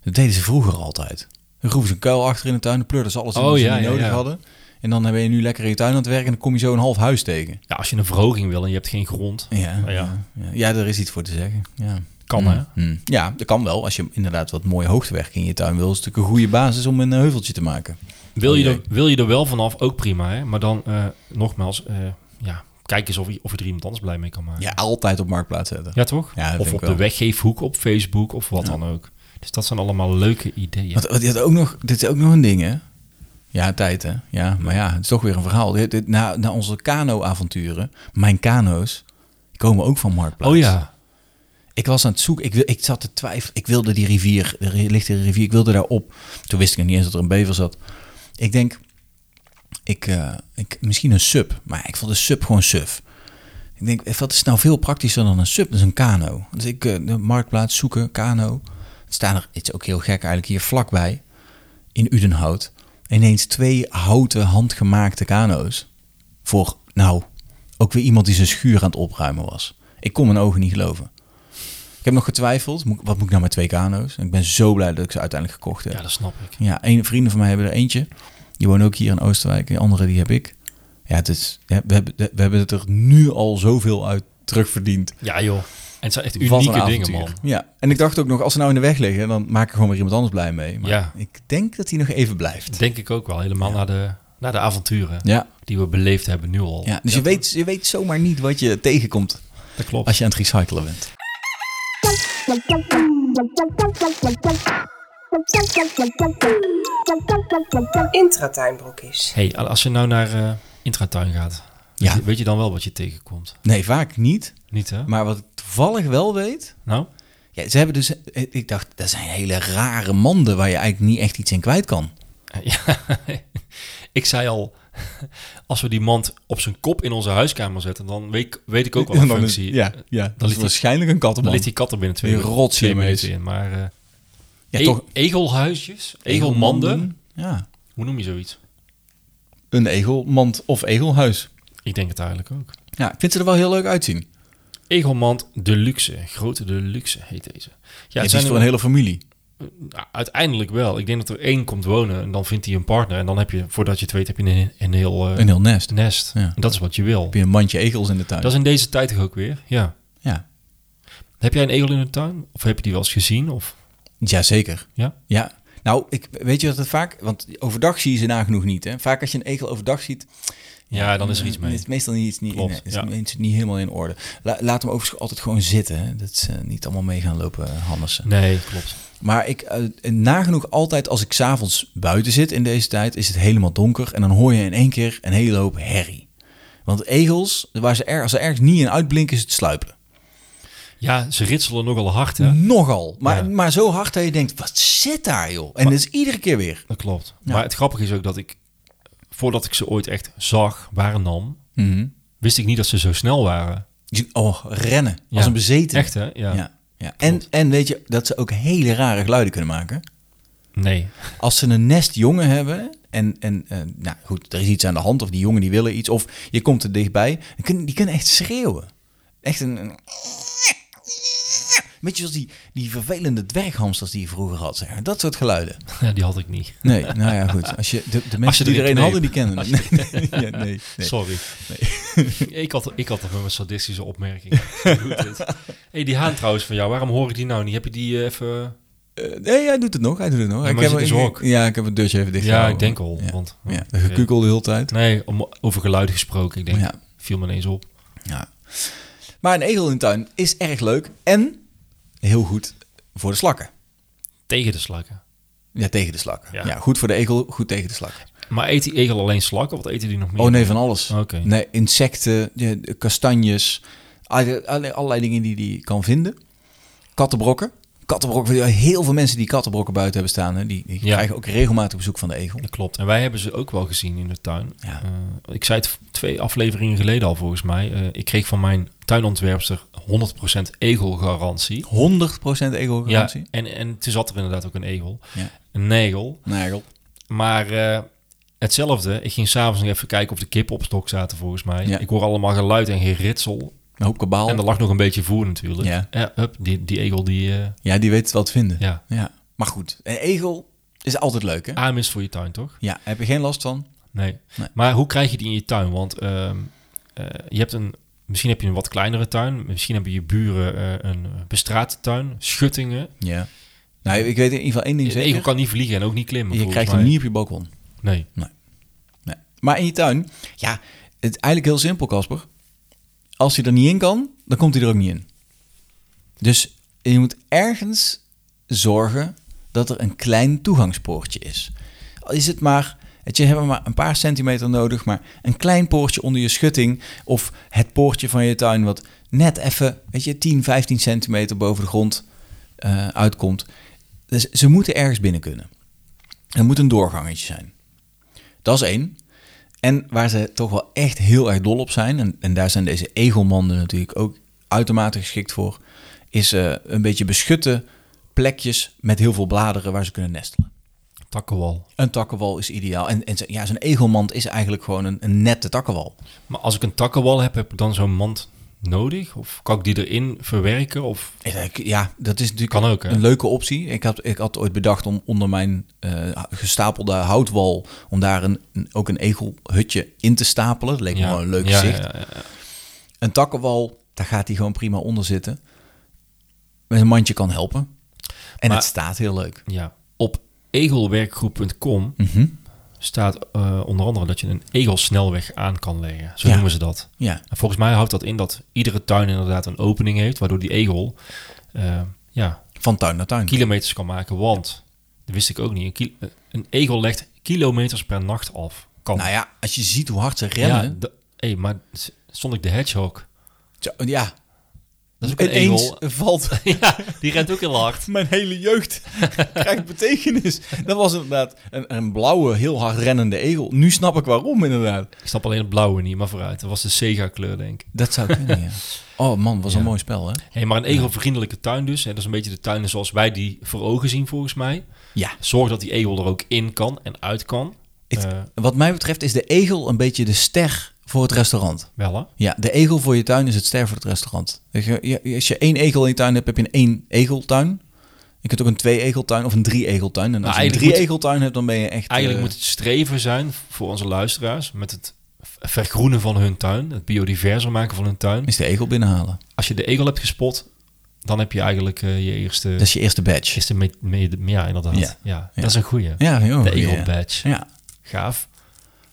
Speaker 2: Dat deden ze vroeger altijd. Dan groeven ze een kuil achter in de tuin, dan pleurden ze alles in
Speaker 1: Oh,
Speaker 2: wat ze
Speaker 1: ja,
Speaker 2: niet
Speaker 1: ja,
Speaker 2: nodig
Speaker 1: ja.
Speaker 2: hadden. En dan ben je nu lekker in je tuin aan het werken en dan kom je zo een half huis tegen.
Speaker 1: ja, als je een verhoging wil en je hebt geen grond,
Speaker 2: Ja,
Speaker 1: Oh ja.
Speaker 2: ja. ja. ja daar is iets voor te zeggen. Ja.
Speaker 1: kan
Speaker 2: Mm,
Speaker 1: hè?
Speaker 2: mm. Ja, dat kan wel. Als je inderdaad wat mooie hoogtewerk in je tuin wil, is het natuurlijk een goede basis om een eh, heuveltje te maken.
Speaker 1: Wil je,
Speaker 2: Oh,
Speaker 1: er, wil je er wel vanaf, ook prima hè? Maar dan, eh, nogmaals, eh, ja, kijk eens of je, of je er iemand anders blij mee kan maken.
Speaker 2: Ja, altijd op marktplaats zetten.
Speaker 1: Ja, toch?
Speaker 2: Ja, dat
Speaker 1: of
Speaker 2: vind
Speaker 1: op
Speaker 2: ik
Speaker 1: de
Speaker 2: wel.
Speaker 1: weggeefhoek op Facebook of wat dan ook. Dus dat zijn allemaal leuke ideeën.
Speaker 2: Want, want je had ook nog, dit is ook nog een ding, hè? Ja, tijd, hè? Ja, maar ja, het is toch weer een verhaal. Dit, dit- na, na onze kano-avonturen, mijn kano's, komen ook van Marktplaats.
Speaker 1: oh ja,
Speaker 2: Ik was aan het zoeken, ik, wil- ik zat te twijfelen. Ik wilde die rivier, er ligt een rivier, ik wilde daar op. Toen wist ik nog niet eens dat er een bever zat. Ik denk, ik, eh, ik, misschien een sub, maar ik vond de sub gewoon suf. Ik denk, eh, wat is nou veel praktischer dan een sub? Dat is een kano. Dus ik, eh, de marktplaats zoeken, kano. Het staan er, het is ook heel gek eigenlijk, hier vlakbij, in Udenhout. Ineens twee houten handgemaakte kano's. Voor, nou, ook weer iemand die zijn schuur aan het opruimen was. Ik kon mijn ogen niet geloven. Ik heb nog getwijfeld, moet ik- wat moet ik nou met twee kano's? En ik ben zo blij dat ik ze uiteindelijk gekocht heb.
Speaker 1: ja, dat snap ik.
Speaker 2: Ja, een, vrienden van mij hebben er eentje. Die wonen ook hier in Oostenrijk. De andere die heb ik. Ja, het is, ja, we, hebben, we hebben het er nu al zoveel uit terugverdiend.
Speaker 1: Ja joh, en het zijn echt
Speaker 2: Wat een
Speaker 1: unieke dingen
Speaker 2: avontuur.
Speaker 1: man.
Speaker 2: Ja, en ik dacht ook nog, als ze nou in de weg liggen, dan maak ik gewoon weer iemand anders blij mee. Maar
Speaker 1: Ja.
Speaker 2: ik denk dat hij nog even blijft.
Speaker 1: Denk ik ook wel, helemaal naar, de, naar de avonturen
Speaker 2: Ja,
Speaker 1: die we beleefd hebben nu al.
Speaker 2: ja dus je, weet, je weet zomaar niet wat je tegenkomt
Speaker 1: dat klopt.
Speaker 2: als je aan het recyclen bent.
Speaker 4: Boom.
Speaker 3: Intratuinbroekjes.
Speaker 1: hey, als je nou naar eh, Intratuin gaat,
Speaker 2: Ja.
Speaker 1: weet je dan wel wat je tegenkomt?
Speaker 2: Nee, vaak niet.
Speaker 1: Niet hè?
Speaker 2: Maar wat ik toevallig wel weet...
Speaker 1: Nou, *laughs*
Speaker 2: Ja, ze hebben dus... Ik dacht, dat zijn hele rare manden waar je eigenlijk niet echt iets in kwijt kan.
Speaker 1: ja, ik zei al, *laughs* als we die mand op zijn kop in onze huiskamer zetten, dan weet, ik- weet ik ook
Speaker 2: *laughs*
Speaker 1: wel een
Speaker 2: Dan is-
Speaker 1: functie.
Speaker 2: ja, ja. Dat, is
Speaker 1: eh, ligt die-
Speaker 2: waarschijnlijk een
Speaker 1: Dan
Speaker 2: kattenman.
Speaker 1: ligt die kat er binnen twee,
Speaker 2: Die rot
Speaker 1: twee
Speaker 2: zie je
Speaker 1: minuten
Speaker 2: eens.
Speaker 1: in. Maar eh,
Speaker 2: ja,
Speaker 1: e-
Speaker 2: toch,
Speaker 1: egelhuisjes, egelmanden,
Speaker 2: Ja,
Speaker 1: hoe noem je zoiets?
Speaker 2: een egelmand of egelhuis.
Speaker 1: Ik denk het eigenlijk ook.
Speaker 2: Ja, ik vind ze er wel heel leuk uitzien.
Speaker 1: Egelmand Deluxe, grote Deluxe heet deze. Ja,
Speaker 2: Ja,
Speaker 1: het
Speaker 2: het is
Speaker 1: zijn
Speaker 2: voor
Speaker 1: er-
Speaker 2: een hele familie.
Speaker 1: Nou, uiteindelijk wel. Ik denk dat er één komt wonen en dan vindt hij een partner. En dan heb je, voordat je het weet, heb je een, een heel eh,
Speaker 2: Een heel nest. Heb
Speaker 1: nest.
Speaker 2: Ja.
Speaker 1: En dat is wat je wil.
Speaker 2: je een mandje egels in de tuin.
Speaker 1: Dat is in deze tijd toch ook weer? Ja.
Speaker 2: Ja.
Speaker 1: Heb jij een egel in de tuin? Of heb je die wel eens gezien? Of...
Speaker 2: Jazeker.
Speaker 1: Ja?
Speaker 2: Ja. Nou, ik, weet je wat het vaak... Want overdag zie je ze nagenoeg niet. Hè? Vaak als je een egel overdag ziet...
Speaker 1: Ja, dan is er iets mee.
Speaker 2: Is het meestal niet, iets niet,
Speaker 1: Klopt,
Speaker 2: nee, is
Speaker 1: ja.
Speaker 2: het niet- niet helemaal in orde. La- laat hem overigens altijd gewoon zitten. Hè? Dat ze niet allemaal mee gaan lopen eh, hannessen.
Speaker 1: Nee, klopt.
Speaker 2: Maar ik, eh, nagenoeg altijd als ik s'avonds buiten zit in deze tijd... is het helemaal donker en dan hoor je in één keer een hele hoop herrie. Want egels, waar ze er, als ze ergens niet in uitblinken, is het sluipen.
Speaker 1: Ja, ze ritselen nogal hard, hè?
Speaker 2: Nogal. Maar,
Speaker 1: Ja.
Speaker 2: maar zo hard dat je denkt, wat zit daar joh? En dat is iedere keer weer.
Speaker 1: Dat klopt. Maar het grappige is ook dat ik, voordat ik ze ooit echt zag, waarnam,
Speaker 2: Mhm.
Speaker 1: wist ik niet dat ze zo snel waren.
Speaker 2: Je- Oh, rennen. Als
Speaker 1: Ja.
Speaker 2: een bezeten.
Speaker 1: Echt, hè? Ja.
Speaker 2: Ja. Ja. En, en weet je dat ze ook hele rare geluiden kunnen maken?
Speaker 1: Nee.
Speaker 2: Als ze een nest jongen hebben en, en eh, nou goed, er is iets aan de hand of die jongen die willen iets of je komt er dichtbij, dan kunnen, die kunnen echt schreeuwen. Echt een... een beetje zoals die, die vervelende dwerghamsters die je vroeger had. Zeg maar. Dat soort geluiden.
Speaker 1: *laughs* Ja, die had ik niet.
Speaker 2: Nee, nou ja, goed. Als je, de, de mensen
Speaker 1: je
Speaker 2: die
Speaker 1: erin
Speaker 2: iedereen hadden, die
Speaker 1: kneep. Als
Speaker 2: kenden het. Nee, *laughs* ja, nee, nee.
Speaker 1: Sorry. *laughs* ik had ik had toch wel een sadistische
Speaker 2: *laughs*
Speaker 1: opmerking. Doe dit. hey, die haan trouwens van jou, waarom hoor ik die nou niet? Heb je die eh, even...
Speaker 2: Eh, nee, hij doet het nog. Hij doet het nog.
Speaker 1: maar
Speaker 2: ik
Speaker 1: hij
Speaker 2: heb
Speaker 1: zit in
Speaker 2: hem-
Speaker 1: zijn hok.
Speaker 2: Ja, ik heb het deurtje even dicht
Speaker 1: Ja, ik denk al.
Speaker 2: Ja,
Speaker 1: Want,
Speaker 2: ja de gekukkel de hele tijd.
Speaker 1: Nee, om, over geluid gesproken. Ik denk,
Speaker 2: Ja.
Speaker 1: viel me ineens op.
Speaker 2: Ja. Maar een egel in de tuin is erg leuk en heel goed voor de slakken.
Speaker 1: Tegen de slakken.
Speaker 2: Ja, tegen de slakken. Ja.
Speaker 1: Ja.
Speaker 2: goed voor de egel, goed tegen de slakken.
Speaker 1: Maar eet die egel alleen slakken? Wat eten die nog meer?
Speaker 2: Oh nee, van alles.
Speaker 1: Oké.
Speaker 2: Nee, insecten, ja, de kastanjes, alle- alle- allerlei dingen die die kan vinden. Kattenbrokken. Kattenbrokken, heel veel mensen die kattenbrokken buiten hebben staan, hè, die, die
Speaker 1: Ja.
Speaker 2: krijgen ook regelmatig bezoek van de egel.
Speaker 1: Dat klopt. En wij hebben ze ook wel gezien in de tuin.
Speaker 2: Ja.
Speaker 1: Eh, ik zei het twee afleveringen geleden al volgens mij. Eh, ik kreeg van mijn tuinontwerpster 100% egelgarantie.
Speaker 2: 100%
Speaker 1: Ja,
Speaker 2: egelgarantie.
Speaker 1: en, en toen zat er inderdaad ook een egel.
Speaker 2: Ja.
Speaker 1: Een negel.
Speaker 2: Een egel.
Speaker 1: Maar eh, hetzelfde. Ik ging s'avonds nog even kijken of de kippen op stok zaten volgens mij.
Speaker 2: Ja.
Speaker 1: Ik hoor allemaal geluid en geritsel.
Speaker 2: Een hoop kabaal.
Speaker 1: En er lag nog een beetje voer natuurlijk.
Speaker 2: Ja.
Speaker 1: Eh, hup, die, die egel die... eh,
Speaker 2: Ja, die weet het wel te vinden.
Speaker 1: ja.
Speaker 2: Ja. Maar goed, een egel is altijd leuk, hè?
Speaker 1: Aam is voor je tuin, toch?
Speaker 2: Ja, heb je geen last van?
Speaker 1: Nee.
Speaker 2: Nee.
Speaker 1: Maar hoe krijg je die in je tuin? Want ehm, eh, je hebt een... Misschien heb je een wat kleinere tuin. Misschien hebben je buren eh, een bestraatte tuin. Schuttingen.
Speaker 2: Ja. Nou, ik weet in ieder geval één ding
Speaker 1: Een
Speaker 2: zeker.
Speaker 1: egel kan niet vliegen en ook niet klimmen.
Speaker 2: je
Speaker 1: volgens
Speaker 2: krijgt hem
Speaker 1: mij.
Speaker 2: niet op je balkon.
Speaker 1: Nee.
Speaker 2: Nee. Maar in je tuin, ja, het is eigenlijk heel simpel, Casper. Als hij er niet in kan, dan komt hij er ook niet in. Dus je moet ergens zorgen dat er een klein toegangspoortje is. Al is het maar, het, je hebt maar een paar centimeter nodig, maar een klein poortje onder je schutting of het poortje van je tuin wat net even, weet je, 10, 15 centimeter boven de grond eh, uitkomt. Dus ze moeten ergens binnen kunnen. Er moet een doorgangetje zijn. Dat is één. En waar ze toch wel echt heel erg dol op zijn, en, en daar zijn deze egelmanden natuurlijk ook uitermate geschikt voor, is eh, een beetje beschutte plekjes met heel veel bladeren waar ze kunnen nestelen.
Speaker 1: Takkenwal.
Speaker 2: Een takkenwal is ideaal. En, en ze- ja, zo'n egelmand is eigenlijk gewoon een, een nette takkenwal.
Speaker 1: Maar als ik een takkenwal heb, heb ik dan zo'n mand nodig? Of kan ik die erin verwerken? Of...
Speaker 2: En, eh, Ja, dat is natuurlijk
Speaker 1: Kan ook, hè?
Speaker 2: een leuke optie. Ik had, ik had ooit bedacht om onder mijn eh, gestapelde houtwal, om daar een, een- ook een egelhutje in te stapelen. Dat leek me wel een leuk
Speaker 1: ja,
Speaker 2: zicht.
Speaker 1: ja, ja, ja.
Speaker 2: Een takkenwal, daar gaat hij gewoon prima onder zitten. Met een mandje kan helpen. En
Speaker 1: Maar-
Speaker 2: het staat heel leuk. Mhm,
Speaker 1: Ja. Op egelwerkgroep.com staat eh, onder andere dat je een egelsnelweg aan kan leggen. Zo
Speaker 2: Ja.
Speaker 1: noemen ze dat.
Speaker 2: Ja.
Speaker 1: En volgens mij houdt dat in dat iedere tuin inderdaad een opening heeft, waardoor die egel eh, ja,
Speaker 2: van tuin naar tuin.
Speaker 1: kilometers kan maken. Want, dat wist ik ook niet, een, kil- eh, een egel legt kilometers per nacht af. Kan.
Speaker 2: Nou ja, als je ziet hoe hard ze
Speaker 1: ja,
Speaker 2: rennen.
Speaker 1: de- hey, maar s- Sonic de Hedgehog,
Speaker 2: Zo, Ja,
Speaker 1: dat is ook een
Speaker 2: ineens
Speaker 1: egel.
Speaker 2: valt
Speaker 1: *laughs*
Speaker 2: *laughs*
Speaker 1: ja, die rent ook heel hard.
Speaker 2: mijn hele jeugd *laughs* krijgt betekenis. Dat was inderdaad een, een blauwe, heel hard rennende egel. Nu snap ik waarom inderdaad.
Speaker 1: Ik snap alleen het blauwe niet, maar vooruit. Dat was de Sega-kleur, denk ik.
Speaker 2: Dat zou kunnen,
Speaker 1: *laughs*
Speaker 2: ja. Oh man, was een mooi spel, hè?
Speaker 1: Hey, maar een egelvriendelijke tuin dus. Hè, dat is een beetje de tuin zoals wij die voor ogen zien, volgens mij.
Speaker 2: Ja.
Speaker 1: Zorg dat die egel er ook in kan en uit kan.
Speaker 2: Het-
Speaker 1: Eh,
Speaker 2: Wat mij betreft is de egel een beetje de ster voor het restaurant.
Speaker 1: wel, hè?
Speaker 2: Ja, de egel voor je tuin is het ster voor het restaurant. Weet je, je- Als je één egel in je tuin hebt, heb je een één egeltuin. Je kunt ook een twee egeltuin of een drie egeltuin. En als
Speaker 1: Nou,
Speaker 2: je een
Speaker 1: eigenlijk
Speaker 2: drie
Speaker 1: moet-
Speaker 2: egeltuin hebt, dan ben je echt...
Speaker 1: Eigenlijk
Speaker 2: eh,
Speaker 1: moet het streven zijn voor onze luisteraars met het vergroenen van hun tuin, het biodiverser maken van hun tuin.
Speaker 2: is de egel binnenhalen.
Speaker 1: Als je de egel hebt gespot, dan heb je eigenlijk eh, je eerste,
Speaker 2: Dat is je eerste badge.
Speaker 1: eerste me- me- ja inderdaad,
Speaker 2: Dus- Ja.
Speaker 1: ja.
Speaker 2: Ja.
Speaker 1: dat is een goeie.
Speaker 2: Ja, heel
Speaker 1: de
Speaker 2: goed,
Speaker 1: egel
Speaker 2: ja.
Speaker 1: badge,
Speaker 2: Ja,
Speaker 1: gaaf,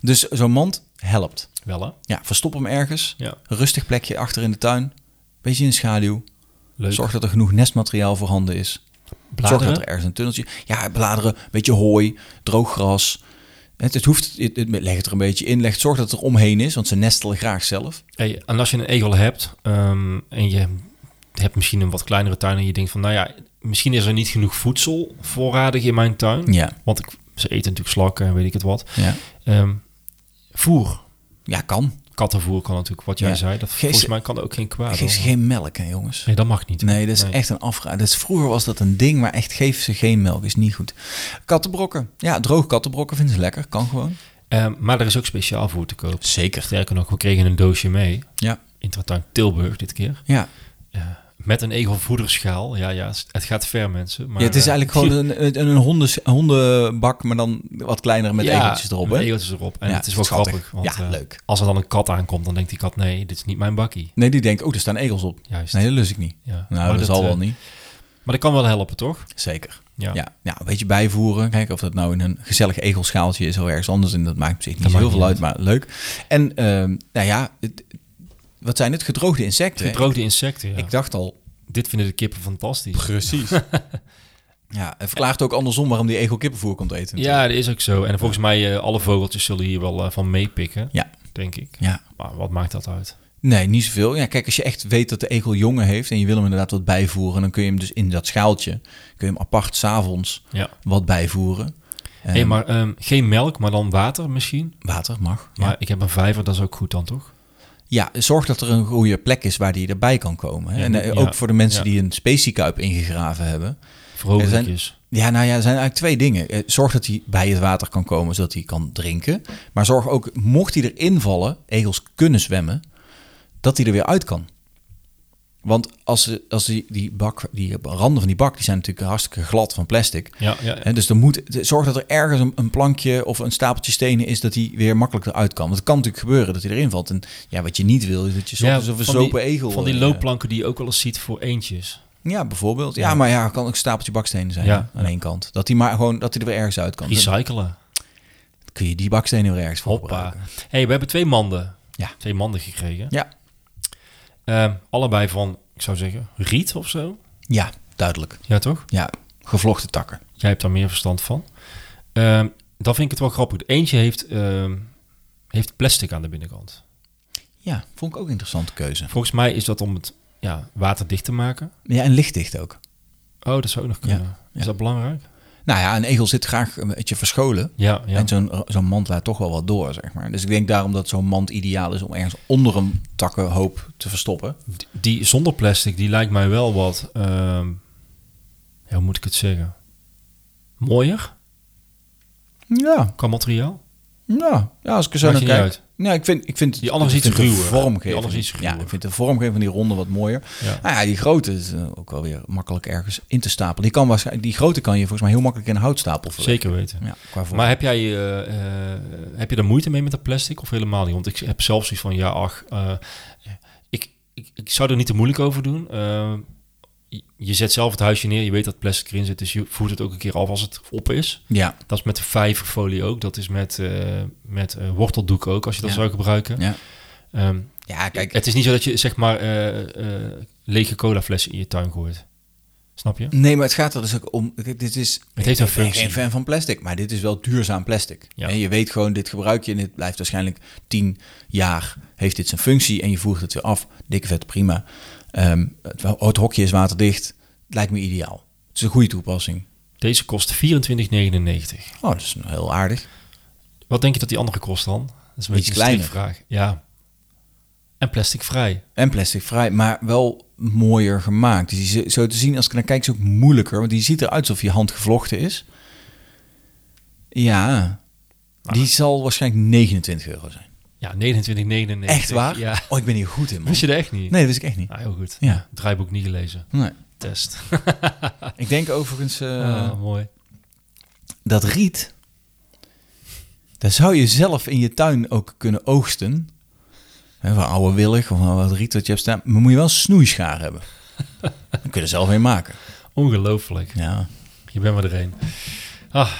Speaker 2: dus zo'n mand helpt.
Speaker 1: wel hè?
Speaker 2: Ja, verstop hem ergens.
Speaker 1: Ja,
Speaker 2: Een rustig plekje achter in de tuin. Beetje in de schaduw.
Speaker 1: leuk.
Speaker 2: Zorg dat er genoeg nestmateriaal voorhanden is.
Speaker 1: Bladeren?
Speaker 2: Zorg dat er ergens een tunneltje... Ja, bladeren, beetje hooi, droog gras. Het, het hoeft, het, het- leg het er een beetje in. Leg, zorg dat het er omheen is, want ze nestelen graag zelf.
Speaker 1: Hey, en als je een egel hebt ehm, en je hebt misschien een wat kleinere tuin en je denkt van, nou ja, misschien is er niet genoeg voedsel voorradig in mijn tuin,
Speaker 2: Ja,
Speaker 1: want ik, ze eten natuurlijk slakken en weet ik het wat.
Speaker 2: ja.
Speaker 1: Ehm, voer,
Speaker 2: ja kan.
Speaker 1: kattenvoer kan natuurlijk, wat jij
Speaker 2: Ja.
Speaker 1: zei. Dat,
Speaker 2: Geef
Speaker 1: volgens
Speaker 2: ze-
Speaker 1: mij kan ook geen kwaad.
Speaker 2: Geef
Speaker 1: hoor.
Speaker 2: ze geen melk, hè, jongens.
Speaker 1: Nee, dat mag niet.
Speaker 2: Nee, dat is
Speaker 1: Nee.
Speaker 2: echt een afraad. Dat is, vroeger was dat een ding, maar echt geef ze geen melk. Is niet goed. Kattenbrokken. Ja, droog kattenbrokken vinden ze lekker. Kan gewoon.
Speaker 1: Ehm, maar er is ook speciaal voer te koop.
Speaker 2: Zeker.
Speaker 1: Sterker nog, we kregen een doosje mee.
Speaker 2: Ja.
Speaker 1: Intratuin Tilburg dit keer. eh,
Speaker 2: Ja,
Speaker 1: Met een egelvoederschaal. Ja, ja, het gaat ver mensen. Maar,
Speaker 2: ja, het is
Speaker 1: eh,
Speaker 2: eigenlijk gewoon een, een, een honden, een hondenbak, maar dan wat kleiner met
Speaker 1: ja,
Speaker 2: egeltjes erop.
Speaker 1: met
Speaker 2: Hè?
Speaker 1: egeltjes erop. En
Speaker 2: Ja,
Speaker 1: het is wel
Speaker 2: schattig.
Speaker 1: grappig. Want,
Speaker 2: Ja,
Speaker 1: eh,
Speaker 2: leuk.
Speaker 1: Als er dan een kat aankomt, dan denkt die kat, nee, dit is niet mijn bakkie.
Speaker 2: Nee, die denkt, oh, er staan egels op.
Speaker 1: Juist.
Speaker 2: Nee, dat lust ik niet.
Speaker 1: Ja.
Speaker 2: Nou, dat, zal
Speaker 1: eh,
Speaker 2: wel niet.
Speaker 1: Maar dat kan wel helpen, toch?
Speaker 2: Zeker. Ja.
Speaker 1: Ja.
Speaker 2: Ja. een beetje bijvoeren. Kijken of dat nou in een gezellig egelschaaltje is of ergens anders. En dat maakt op zich niet
Speaker 1: Dat
Speaker 2: zo heel
Speaker 1: maakt
Speaker 2: veel uit,
Speaker 1: niet
Speaker 2: maar leuk. En ehm, nou ja, het- wat zijn het? Gedroogde insecten. hè?
Speaker 1: Gedroogde insecten, ja.
Speaker 2: Ik dacht al.
Speaker 1: Dit vinden de kippen fantastisch.
Speaker 2: Precies. ja, het verklaart ook andersom waarom die egel kippenvoer komt eten.
Speaker 1: Ja, dat is ook zo. En volgens mij, eh, alle vogeltjes zullen hier wel eh, van meepikken,
Speaker 2: Ja.
Speaker 1: denk ik.
Speaker 2: Ja.
Speaker 1: Maar wat maakt dat uit?
Speaker 2: Nee, niet zoveel. Ja, kijk, als je echt weet dat de egel jongen heeft en je wil hem inderdaad wat bijvoeren, dan kun je hem dus in dat schaaltje, kun je hem apart s'avonds
Speaker 1: Ja.
Speaker 2: wat bijvoeren.
Speaker 1: Hé,
Speaker 2: Ehm,
Speaker 1: maar ehm, geen melk, maar dan water misschien.
Speaker 2: Water mag. Ja.
Speaker 1: Maar ik heb een vijver, dat is ook goed dan, toch?
Speaker 2: ja, zorg dat er een goede plek is waar die erbij kan komen. Hè?
Speaker 1: Ja,
Speaker 2: en eh,
Speaker 1: ja.
Speaker 2: ook voor de mensen
Speaker 1: Ja.
Speaker 2: die een speciekuip ingegraven hebben.
Speaker 1: Vrolijkjes.
Speaker 2: Ja, nou ja, er zijn eigenlijk twee dingen. Eh, Zorg dat hij bij het water kan komen, zodat hij kan drinken. Maar zorg ook, mocht hij erin vallen, egels kunnen zwemmen, dat hij er weer uit kan. Want als, ze- als die, die bak, die randen van die bak, die zijn natuurlijk hartstikke glad van plastic.
Speaker 1: Ja, ja, ja.
Speaker 2: Hè, dus er moet, zorg dat er ergens een, een plankje of een stapeltje stenen is dat hij weer makkelijk eruit kan. Want het kan natuurlijk gebeuren dat hij erin valt. En ja, wat je niet wil, is dat je soms een
Speaker 1: van die-
Speaker 2: verzopen egel...
Speaker 1: Van die
Speaker 2: eh,
Speaker 1: loopplanken die je ook wel eens ziet voor eentjes.
Speaker 2: Ja, bijvoorbeeld. Ja,
Speaker 1: Ja.
Speaker 2: maar ja, kan ook een stapeltje bakstenen zijn
Speaker 1: Ja.
Speaker 2: hè, aan één kant. Dat hij maar gewoon, dat hij er weer ergens uit kan.
Speaker 1: Recyclen.
Speaker 2: Dan kun je die bakstenen weer ergens voor
Speaker 1: Hoppa.
Speaker 2: gebruiken.
Speaker 1: hey, we hebben twee manden.
Speaker 2: Ja.
Speaker 1: Twee manden gekregen.
Speaker 2: Ja.
Speaker 1: Ehm, allebei van, ik zou zeggen, riet of zo.
Speaker 2: Ja, duidelijk.
Speaker 1: Ja, toch?
Speaker 2: Ja, gevlochten takken.
Speaker 1: Jij hebt daar meer verstand van. Ehm, dan vind ik het wel grappig. De Eentje heeft, ehm, heeft plastic aan de binnenkant.
Speaker 2: Ja, vond ik ook een interessante keuze.
Speaker 1: Volgens mij is dat om het ja, waterdicht te maken.
Speaker 2: Ja, en lichtdicht ook.
Speaker 1: Oh, dat zou ook nog kunnen.
Speaker 2: ja.
Speaker 1: Is dat belangrijk?
Speaker 2: Nou ja, een egel zit graag een beetje verscholen.
Speaker 1: Ja, ja.
Speaker 2: En zo'n zo'n mand laat toch wel wat door, zeg maar. Dus ik denk daarom dat zo'n mand ideaal is om ergens onder een takkenhoop te verstoppen.
Speaker 1: die zonder plastic, die lijkt mij wel wat. ehm, ja, hoe moet ik het zeggen? Mooier
Speaker 2: Ja,
Speaker 1: qua materiaal.
Speaker 2: ja, Nou, ja als ik er zo
Speaker 1: Maakt
Speaker 2: naar
Speaker 1: je niet
Speaker 2: kijk.
Speaker 1: uit.
Speaker 2: Nee, ik vind, ik vind
Speaker 1: Die andere is
Speaker 2: ik
Speaker 1: iets
Speaker 2: vind de
Speaker 1: ruwer, hè? Die
Speaker 2: vormgeving-
Speaker 1: andere is iets
Speaker 2: Ja,
Speaker 1: ruwer.
Speaker 2: ik vind de vormgeving van die ronde wat mooier.
Speaker 1: Ja.
Speaker 2: Nou ja, die grote is eh, ook wel weer makkelijk ergens in te stapelen. Die, kan waarschijnlijk, die grote kan je volgens mij heel makkelijk in een houtstapel verleggen.
Speaker 1: Zeker weten.
Speaker 2: Ja, qua vorm.
Speaker 1: Maar heb jij eh, eh, heb je daar moeite mee met dat plastic of helemaal niet? Want ik heb zelfs zoiets van, ja, ach, eh, ik, ik, ik zou er niet te moeilijk over doen. Eh, je- je zet zelf het huisje neer, je weet dat plastic erin zit, dus je voert het ook een keer af als het op is.
Speaker 2: ja,
Speaker 1: Dat is met de vijverfolie ook, dat is met, eh, met eh, worteldoek ook, als je dat
Speaker 2: Ja.
Speaker 1: zou gebruiken.
Speaker 2: ja.
Speaker 1: Ehm,
Speaker 2: ja, kijk,
Speaker 1: het is niet zo dat je zeg maar eh eh lege colaflessen in je tuin gooit. Snap je?
Speaker 2: Nee, maar het gaat er dus ook om. kijk, Dit is.
Speaker 1: Het heeft een
Speaker 2: ik ben
Speaker 1: functie.
Speaker 2: geen fan van plastic, maar dit is wel duurzaam plastic.
Speaker 1: Ja.
Speaker 2: En je weet gewoon, dit gebruik je en dit blijft waarschijnlijk tien jaar. Heeft dit zijn functie en je voegt het weer af. Dikke vet, prima. Ehm, het, wel- het hokje is waterdicht. Lijkt me ideaal. Het is een goede toepassing.
Speaker 1: Deze kost 24,99.
Speaker 2: Oh, dat is heel aardig.
Speaker 1: Wat denk je dat die andere kost dan? Dat is een
Speaker 2: Iets
Speaker 1: beetje een
Speaker 2: kleiner.
Speaker 1: strikvraag. Ja. En plasticvrij.
Speaker 2: En plasticvrij, maar wel mooier gemaakt. Dus die, is zo te zien, als ik naar kijk, is ook moeilijker. Want die ziet eruit alsof je hand gevlochten is. Ja, die zal waarschijnlijk 29 euro zijn.
Speaker 1: Ja, 29,99.
Speaker 2: Echt waar?
Speaker 1: Ja. *laughs*
Speaker 2: Oh, ik ben hier goed in, man.
Speaker 1: Wist je dat echt niet?
Speaker 2: Nee, dat wist ik echt niet.
Speaker 1: Ah, heel goed.
Speaker 2: Ja.
Speaker 1: Draaiboek niet gelezen.
Speaker 2: Nee.
Speaker 1: Test.
Speaker 2: *laughs* Ik denk overigens eh,
Speaker 1: Ah, mooi.
Speaker 2: dat riet... Dat zou je zelf in je tuin ook kunnen oogsten. Hè, van oude willig of van wat riet dat je hebt staan. Maar moet je wel een snoeischaar *laughs* hebben. Dan kun je er zelf mee maken.
Speaker 1: Ongelooflijk.
Speaker 2: Ja,
Speaker 1: Je bent maar er één. Ah,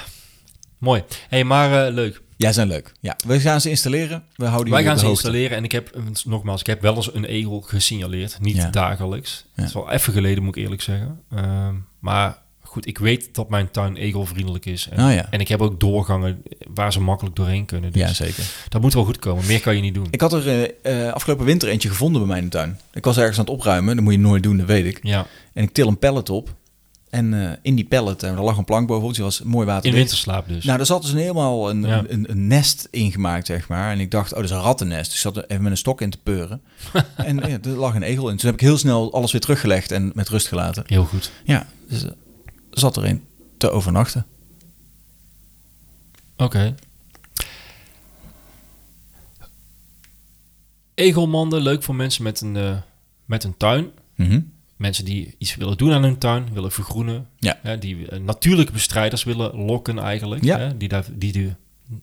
Speaker 1: mooi. hey, maar eh, leuk.
Speaker 2: ja zijn leuk. Ja, we gaan ze installeren. We houden
Speaker 1: Wij
Speaker 2: jullie
Speaker 1: gaan
Speaker 2: op
Speaker 1: ze
Speaker 2: de hoogte.
Speaker 1: installeren en ik heb, eh, nogmaals, ik heb wel eens een egel gesignaleerd. Niet
Speaker 2: Ja.
Speaker 1: dagelijks.
Speaker 2: Ja.
Speaker 1: Het is wel even geleden, moet ik eerlijk zeggen. Ehm, maar goed, ik weet dat mijn tuin egelvriendelijk is. En,
Speaker 2: Ah, ja.
Speaker 1: en ik heb ook doorgangen waar ze makkelijk doorheen kunnen. Dus
Speaker 2: Ja, zeker.
Speaker 1: dat moet wel goed komen. Meer kan je niet doen.
Speaker 2: Ik had er eh, eh, afgelopen winter eentje gevonden bij mij in de tuin. Ik was ergens aan het opruimen. Dat moet je nooit doen, dat weet ik.
Speaker 1: ja,
Speaker 2: En ik til een pallet op. En eh, in die pallet, en er lag een plank bovenop, dus die was mooi water.
Speaker 1: in winterslaap dus.
Speaker 2: Nou, daar zat dus een helemaal een,
Speaker 1: Ja.
Speaker 2: een, een nest ingemaakt, zeg maar. En ik dacht, oh, dat is een rattennest. Dus ik zat er even met een stok in te
Speaker 1: *laughs*
Speaker 2: peuren. en ja, er lag een egel in. Toen heb ik heel snel alles weer teruggelegd en met rust gelaten.
Speaker 1: Heel goed.
Speaker 2: Ja, dus er zat er een te overnachten.
Speaker 1: Oké. Egelmanden, leuk voor mensen met een, eh, met een tuin.
Speaker 2: Mhm.
Speaker 1: Mensen die iets willen doen aan hun tuin, willen vergroenen.
Speaker 2: Ja.
Speaker 1: Hè, die eh, natuurlijke bestrijders willen lokken eigenlijk.
Speaker 2: Ja.
Speaker 1: Hè, die, daar, die de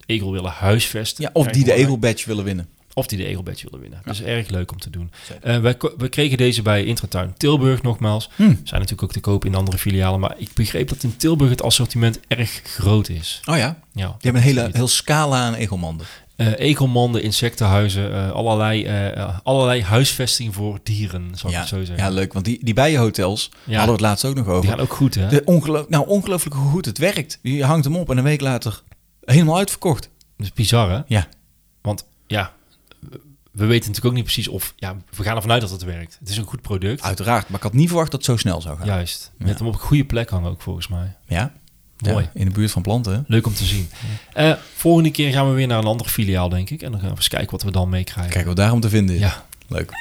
Speaker 1: egel willen huisvesten.
Speaker 2: Ja, of
Speaker 1: Kijk
Speaker 2: die de
Speaker 1: maar.
Speaker 2: egelbadge willen winnen.
Speaker 1: Of die de egelbadge willen winnen.
Speaker 2: Ja.
Speaker 1: Dat is erg leuk om te doen.
Speaker 2: Zeker.
Speaker 1: Eh, wij, ko- we kregen deze bij Intratuin Tilburg nogmaals.
Speaker 2: Hm.
Speaker 1: Zijn natuurlijk ook te koop in andere filialen. Maar ik begreep dat in Tilburg het assortiment erg groot is.
Speaker 2: Oh ja,
Speaker 1: Ja,
Speaker 2: die hebben een hele heel scala aan egelmanden.
Speaker 1: Eh, egelmanden, insectenhuizen, eh, allerlei, eh, eh, allerlei huisvesting voor dieren, zou ik
Speaker 2: Ja,
Speaker 1: het zo zeggen.
Speaker 2: ja, leuk. Want die, die bijenhotels
Speaker 1: Ja.
Speaker 2: hadden we het laatst ook nog over.
Speaker 1: Die gaan ook goed, hè?
Speaker 2: De ongeloo- nou, ongelooflijk hoe goed het werkt. Je hangt hem op en een week later helemaal uitverkocht.
Speaker 1: Dat is bizar, hè?
Speaker 2: Ja.
Speaker 1: Want ja, we weten natuurlijk ook niet precies of... Ja, we gaan ervan uit dat het werkt. Het is een goed product.
Speaker 2: Uiteraard, maar ik had niet verwacht dat het zo snel zou gaan. Ja.
Speaker 1: Juist. Met hem op een goede plek hangen ook, volgens mij.
Speaker 2: Ja,
Speaker 1: Mooi.
Speaker 2: in de buurt van planten. hè?
Speaker 1: Leuk om te zien. Eh, volgende keer gaan we weer naar een ander filiaal, denk ik. En dan gaan we eens kijken wat we dan meekrijgen.
Speaker 2: Kijken wat daarom te vinden is.
Speaker 1: Ja.
Speaker 2: Leuk.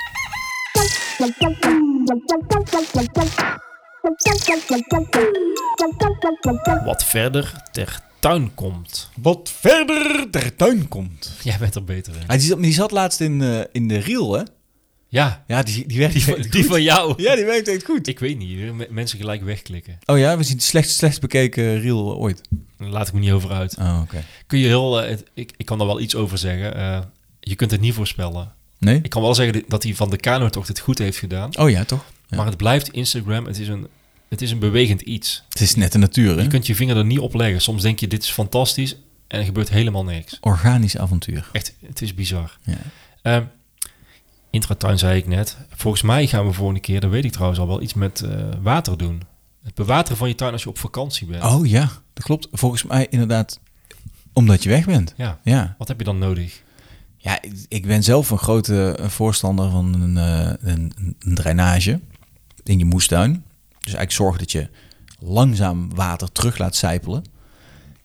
Speaker 1: Wat verder ter tuin komt.
Speaker 2: Wat verder ter tuin komt.
Speaker 1: Jij bent er beter in.
Speaker 2: Hij die, zat, die zat laatst in, eh, in de reel, hè?
Speaker 1: Ja,
Speaker 2: Ja, die, die werkt
Speaker 1: die van,
Speaker 2: echt
Speaker 1: die
Speaker 2: goed.
Speaker 1: van jou.
Speaker 2: Ja, die werkt echt goed.
Speaker 1: Ik weet niet, m- mensen gelijk wegklikken.
Speaker 2: Oh ja, we zien de slechtst, slechtst bekeken reel ooit.
Speaker 1: Daar laat ik me niet over uit.
Speaker 2: Oh, oké.
Speaker 1: Kun je heel, eh, het- ik, ik kan daar wel iets over zeggen. Eh, je kunt het niet voorspellen.
Speaker 2: Nee?
Speaker 1: Ik kan wel zeggen dat hij van de Kanotocht het goed heeft gedaan.
Speaker 2: Oh ja, toch? Ja.
Speaker 1: Maar het blijft Instagram. Het is een, het is een bewegend iets.
Speaker 2: Het is net de natuur, hè?
Speaker 1: Je kunt je vinger er niet op leggen. Soms denk je, dit is fantastisch. En er gebeurt helemaal niks.
Speaker 2: Organisch avontuur.
Speaker 1: Echt, het is bizar.
Speaker 2: Ja.
Speaker 1: Ehm, intratuin zei ik net. Volgens mij gaan we volgende keer, dat weet ik trouwens al wel, iets met eh, water doen. Het bewateren van je tuin als je op vakantie bent.
Speaker 2: Oh ja, dat klopt. Volgens mij inderdaad omdat je weg bent.
Speaker 1: Ja.
Speaker 2: Ja,
Speaker 1: Wat heb je dan nodig?
Speaker 2: ja ik- ik ben zelf een grote eh, voorstander van een, eh, een, een drainage in je moestuin. Dus eigenlijk zorg dat je langzaam water terug laat sijpelen.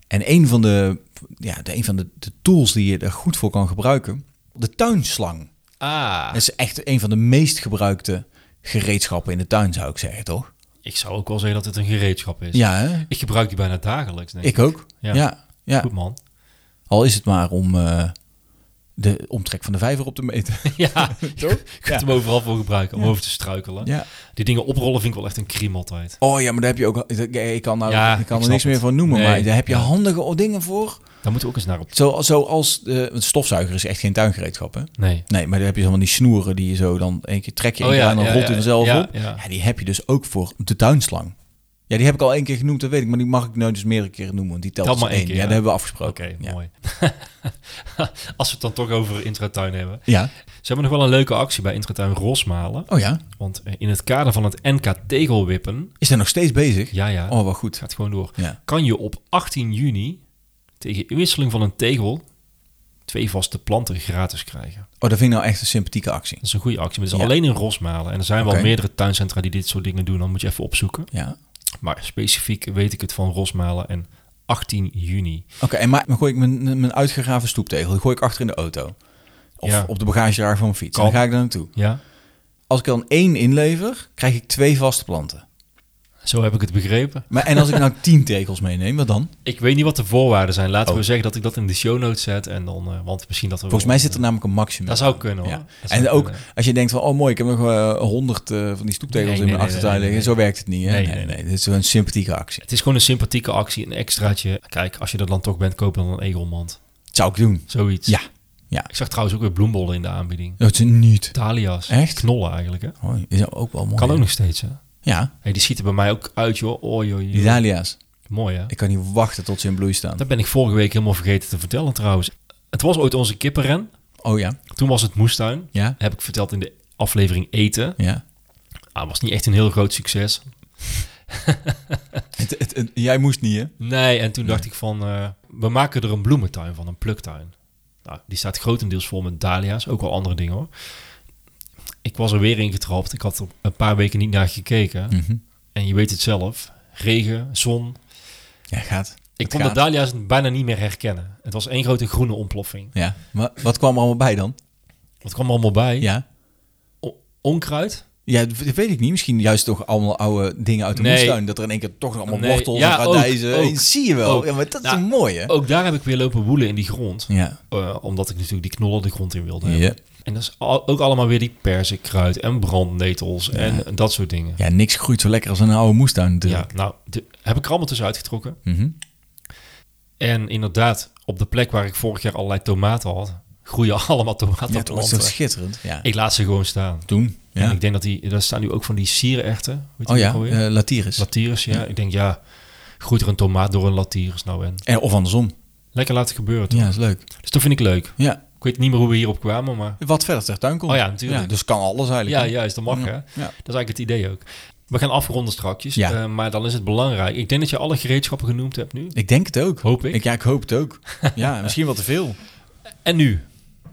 Speaker 2: En een van de, ja, de, een van de, de tools die je er goed voor kan gebruiken, de tuinslang.
Speaker 1: Ah,
Speaker 2: Dat is echt een van de meest gebruikte gereedschappen in de tuin, zou ik zeggen, toch?
Speaker 1: ik zou ook wel zeggen dat het een gereedschap is.
Speaker 2: Ja, hè?
Speaker 1: Ik gebruik die bijna dagelijks. Denk ik.
Speaker 2: ik ook.
Speaker 1: Dus- Ja.
Speaker 2: ja, ja.
Speaker 1: Goed
Speaker 2: *laughs*
Speaker 1: man.
Speaker 2: Al is het maar om eh, de omtrek van de vijver op te meten.
Speaker 1: ja, *laughs* je
Speaker 2: Toch?
Speaker 1: kunt hem overal voor gebruiken, om over te struikelen.
Speaker 2: Ja.
Speaker 1: Die dingen oprollen vind ik wel echt een kriem altijd.
Speaker 2: Oh ja, maar daar heb je ook. Ik kan, nou,
Speaker 1: Ja,
Speaker 2: ik kan
Speaker 1: ik
Speaker 2: er
Speaker 1: snap
Speaker 2: niks meer
Speaker 1: het.
Speaker 2: van noemen.
Speaker 1: Nee.
Speaker 2: Maar daar heb je
Speaker 1: Ja.
Speaker 2: handige dingen voor.
Speaker 1: Daar moeten we ook eens naar op.
Speaker 2: Zo, zoals. eh een stofzuiger is echt geen tuingereedschap. Hè?
Speaker 1: Nee.
Speaker 2: Nee, maar daar heb je allemaal die snoeren die je zo dan. één keer trek je
Speaker 1: Oh
Speaker 2: één keer
Speaker 1: ja,
Speaker 2: aan, dan
Speaker 1: ja,
Speaker 2: rolt
Speaker 1: ja,
Speaker 2: hij vanzelf
Speaker 1: ja,
Speaker 2: op.
Speaker 1: ja.
Speaker 2: Ja, die heb je dus ook voor de tuinslang. Ja, die heb ik al één keer genoemd, dat weet ik. Maar die mag ik nou dus meerdere keren noemen. Want die telt
Speaker 1: Tel
Speaker 2: als
Speaker 1: maar één
Speaker 2: één.
Speaker 1: keer, ja.
Speaker 2: ja, dat hebben we
Speaker 1: Oké,
Speaker 2: afgesproken. Ja.
Speaker 1: mooi. *laughs* Als we het dan toch over Intratuin hebben.
Speaker 2: Ja.
Speaker 1: Ze hebben nog wel een leuke actie bij Intratuin Rosmalen.
Speaker 2: Oh ja.
Speaker 1: Want eh, in het kader van het NK Tegelwippen...
Speaker 2: Is hij nog steeds bezig?
Speaker 1: Ja, ja.
Speaker 2: Oh, wel goed.
Speaker 1: gaat gewoon door.
Speaker 2: Ja.
Speaker 1: Kan je op 18 juni tegen inwisseling van een tegel twee vaste planten gratis krijgen.
Speaker 2: Oh, dat vind ik nou echt een sympathieke actie.
Speaker 1: Dat is een goede actie, maar dat is
Speaker 2: Ja.
Speaker 1: alleen in Rosmalen. En er zijn
Speaker 2: Oké.
Speaker 1: wel meerdere tuincentra die dit soort dingen doen. Dan moet je even opzoeken.
Speaker 2: Ja.
Speaker 1: Maar specifiek weet ik het van Rosmalen en 18 juni.
Speaker 2: Oké, en maar dan gooi ik mijn, mijn uitgegraven stoeptegel, die gooi ik achter in de auto. Of
Speaker 1: Ja.
Speaker 2: op de bagagedrager van mijn fiets. En
Speaker 1: Kan.
Speaker 2: Dan ga ik daar naartoe.
Speaker 1: Ja,
Speaker 2: Als ik dan één inlever, krijg ik twee vaste planten.
Speaker 1: zo heb ik het begrepen.
Speaker 2: Maar, en als ik
Speaker 1: *laughs*
Speaker 2: nou tien tegels meeneem, wat dan?
Speaker 1: Ik weet niet wat de voorwaarden zijn. Laten
Speaker 2: Oh.
Speaker 1: we zeggen dat ik dat in de show notes zet. En dan, eh, want misschien dat er
Speaker 2: Volgens mij zit er namelijk een maximum.
Speaker 1: Dat zou kunnen, hoor.
Speaker 2: Ja.
Speaker 1: Dat zou
Speaker 2: En ook
Speaker 1: kunnen.
Speaker 2: als je denkt van, oh mooi, ik heb nog eh, 100 eh, van die stoeptegels
Speaker 1: Nee,
Speaker 2: in
Speaker 1: nee, nee,
Speaker 2: mijn achtertuin
Speaker 1: nee,
Speaker 2: liggen. Zo werkt het niet. Hè?
Speaker 1: Nee,
Speaker 2: Nee,
Speaker 1: nee,
Speaker 2: nee, nee. Dit is wel een sympathieke actie.
Speaker 1: Het is gewoon een sympathieke actie, een extraatje. Kijk, als je er dan toch bent, koop dan een egelmand.
Speaker 2: Dat zou ik doen.
Speaker 1: Zoiets.
Speaker 2: Ja. Ja.
Speaker 1: Ik zag trouwens ook weer bloembollen in de aanbieding.
Speaker 2: Dat is niet.
Speaker 1: Dahlia's.
Speaker 2: Echt?
Speaker 1: Knollen eigenlijk, hè?
Speaker 2: Oh, is ook wel mooi.
Speaker 1: Kan ook
Speaker 2: hè?
Speaker 1: nog steeds, hè?
Speaker 2: Ja,
Speaker 1: Hey, die schieten bij mij ook uit, joh. Oh, joh, joh.
Speaker 2: die dahlia's.
Speaker 1: Mooi, hè?
Speaker 2: Ik kan niet wachten tot ze in bloei staan.
Speaker 1: Dat ben ik vorige week helemaal vergeten te vertellen, trouwens. Het was ooit onze kippenren.
Speaker 2: Oh ja,
Speaker 1: Toen was het moestuin.
Speaker 2: ja,
Speaker 1: Heb ik verteld in de aflevering eten.
Speaker 2: ja.
Speaker 1: Ah, was niet echt een heel groot succes.
Speaker 2: Het, het, het- jij moest niet, hè?
Speaker 1: Nee, en toen dacht ik van... eh, we maken er een bloementuin van, een pluktuin. Nou, die staat grotendeels vol met dahlia's. Ook wel andere dingen, hoor. Ik was er weer in getrapt. Ik had er een paar weken niet naar gekeken.
Speaker 2: Hm.
Speaker 1: En je weet het zelf. Regen, zon,
Speaker 2: Ja, gaat.
Speaker 1: Ik
Speaker 2: Het
Speaker 1: kon
Speaker 2: gaat.
Speaker 1: de dahlia's bijna niet meer herkennen. Het was één grote groene ontploffing.
Speaker 2: Ja, maar wat kwam er allemaal bij dan?
Speaker 1: Wat kwam er allemaal bij?
Speaker 2: Ja.
Speaker 1: O- onkruid?
Speaker 2: Ja, dat weet ik niet. Misschien juist toch allemaal oude dingen uit de
Speaker 1: Nee.
Speaker 2: moestuin. Dat er in één keer toch allemaal
Speaker 1: Nee,
Speaker 2: wortels
Speaker 1: ja,
Speaker 2: en
Speaker 1: ook,
Speaker 2: radijzen.
Speaker 1: ook,
Speaker 2: zie je wel.
Speaker 1: ook.
Speaker 2: Ja, maar dat
Speaker 1: Nou,
Speaker 2: is een mooie.
Speaker 1: Ook daar heb ik weer lopen woelen in die grond.
Speaker 2: Ja.
Speaker 1: Eh, omdat ik natuurlijk die knollen de grond in wilde
Speaker 2: Ja.
Speaker 1: hebben. En dat is al- ook allemaal weer die perzikkruid en brandnetels en dat soort dingen.
Speaker 2: ja, niks groeit zo lekker als een oude moestuin
Speaker 1: Ja,
Speaker 2: natuurlijk.
Speaker 1: nou, de- heb ik er allemaal tussen uitgetrokken.
Speaker 2: Mhm.
Speaker 1: En inderdaad, op de plek waar ik vorig jaar allerlei tomaten had, groeien *laughs* allemaal
Speaker 2: Ja, dat was
Speaker 1: tomatenplanten.
Speaker 2: toch schitterend. Ja.
Speaker 1: ik laat ze gewoon staan.
Speaker 2: Toen,
Speaker 1: En
Speaker 2: ja.
Speaker 1: ik denk dat die, daar staan nu ook van die sierechten. Weet je
Speaker 2: Oh
Speaker 1: die
Speaker 2: ja,
Speaker 1: ook alweer?
Speaker 2: eh, Latiris.
Speaker 1: Latiris, ja. Ik denk, ja, groeit er een tomaat door een Latiris nou en.
Speaker 2: En, of andersom.
Speaker 1: Lekker laten gebeuren. toch?
Speaker 2: Ja, is leuk.
Speaker 1: Dus dat vind ik leuk.
Speaker 2: Ja.
Speaker 1: Ik weet niet meer hoe we hierop kwamen, maar...
Speaker 2: Wat verder ter tuin komt.
Speaker 1: Oh ja, natuurlijk.
Speaker 2: dus kan alles eigenlijk.
Speaker 1: Ja,
Speaker 2: hè?
Speaker 1: juist, dat mag, hè.
Speaker 2: Ja.
Speaker 1: Dat is eigenlijk het idee ook. We gaan afronden strakjes,
Speaker 2: Ja.
Speaker 1: eh, maar dan is het belangrijk. Ik denk dat je alle gereedschappen genoemd hebt nu.
Speaker 2: Ik denk het ook.
Speaker 1: Hoop ik.
Speaker 2: Ja, ik hoop het
Speaker 1: *laughs*
Speaker 2: ook. ja, misschien wel te veel.
Speaker 1: En nu?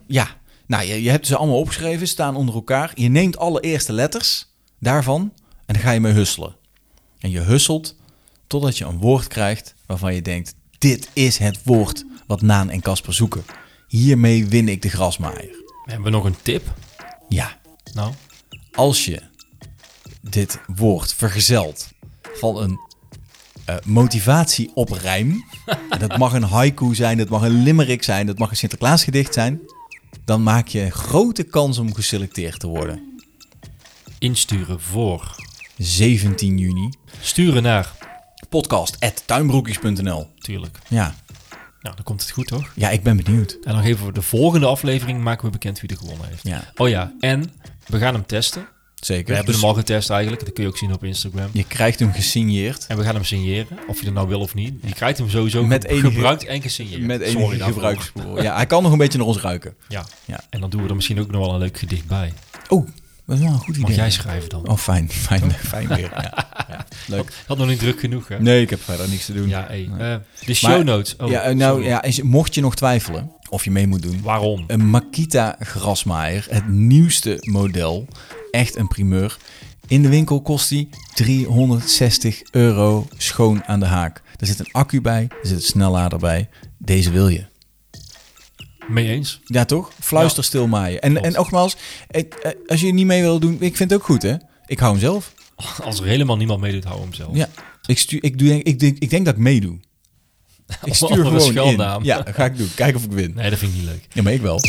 Speaker 2: Ja, nou, je, je hebt ze allemaal opgeschreven, ze staan onder elkaar. Je neemt alle eerste letters daarvan en dan ga je mee husselen. En je husselt totdat je een woord krijgt waarvan je denkt... dit is het woord wat Naan en Casper zoeken. Hiermee win ik de grasmaaier.
Speaker 1: Hebben we nog een tip?
Speaker 2: Ja,
Speaker 1: Nou,
Speaker 2: als je dit woord vergezelt van een eh, motivatie op rijm... en dat mag een haiku zijn, dat mag een limerick zijn... dat mag een Sinterklaasgedicht zijn... dan maak je grote kans om geselecteerd te worden...
Speaker 1: insturen voor.
Speaker 2: 17 juni.
Speaker 1: Sturen naar,
Speaker 2: Podcast.tuinbroekjes.nl
Speaker 1: natuurlijk.
Speaker 2: Ja.
Speaker 1: Nou, dan komt het goed, toch?
Speaker 2: ja, ik ben benieuwd.
Speaker 1: En dan geven we de volgende aflevering, maken we bekend wie er gewonnen heeft.
Speaker 2: Ja.
Speaker 1: Oh ja, en we gaan hem testen.
Speaker 2: Zeker.
Speaker 1: We hebben
Speaker 2: Dus
Speaker 1: hem al getest eigenlijk, dat kun je ook zien op Instagram.
Speaker 2: Je krijgt hem gesigneerd.
Speaker 1: En we gaan hem signeren, of je dat nou wil of niet. Je krijgt hem sowieso
Speaker 2: Met
Speaker 1: ge-
Speaker 2: enige-
Speaker 1: gebruikt en gesigneerd.
Speaker 2: Met
Speaker 1: Sorry
Speaker 2: enige
Speaker 1: daarvoor.
Speaker 2: gebruiksvoer. Ja, hij kan nog een beetje naar ons ruiken.
Speaker 1: Ja.
Speaker 2: Ja.
Speaker 1: en dan doen we er misschien ook nog wel een leuk gedicht bij.
Speaker 2: Oh, dat is wel een goed idee.
Speaker 1: Mag jij schrijven dan?
Speaker 2: Oh, fijn. *laughs* Fijn, fijn weer. Ja. Ja. Leuk.
Speaker 1: Had nog niet druk genoeg, hè?
Speaker 2: Nee, ik heb verder niks te doen.
Speaker 1: Ja, hey. eh, de
Speaker 2: Maar-
Speaker 1: show notes. Oh,
Speaker 2: ja, eh, nou,
Speaker 1: sorry.
Speaker 2: ja, is- mocht je nog twijfelen of je mee moet doen...
Speaker 1: Waarom?
Speaker 2: Een Makita grasmaaier, het nieuwste model. Echt een primeur. In de winkel kost die 360 euro schoon aan de haak. Er zit een accu bij, er zit een snellader bij. Deze wil je.
Speaker 1: Mee eens?
Speaker 2: Ja, toch? Fluister stil maaien. En,
Speaker 1: Klopt.
Speaker 2: en nogmaals, ik- eh, als je niet mee wil doen, ik vind het ook goed, hè? Ik hou hem zelf.
Speaker 1: Als er helemaal niemand meedoet, hou hem zelf.
Speaker 2: Ja. Ik, stuur, ik, doe, denk- ik, denk, ik denk dat ik
Speaker 1: *laughs*
Speaker 2: meedoe. Ik stuur
Speaker 1: Onder een
Speaker 2: gewoon
Speaker 1: schuilnaam.
Speaker 2: in. Ja, dat ga ik doen. Kijk of ik win.
Speaker 1: Nee, dat vind ik niet leuk.
Speaker 2: Ja, maar ik wel.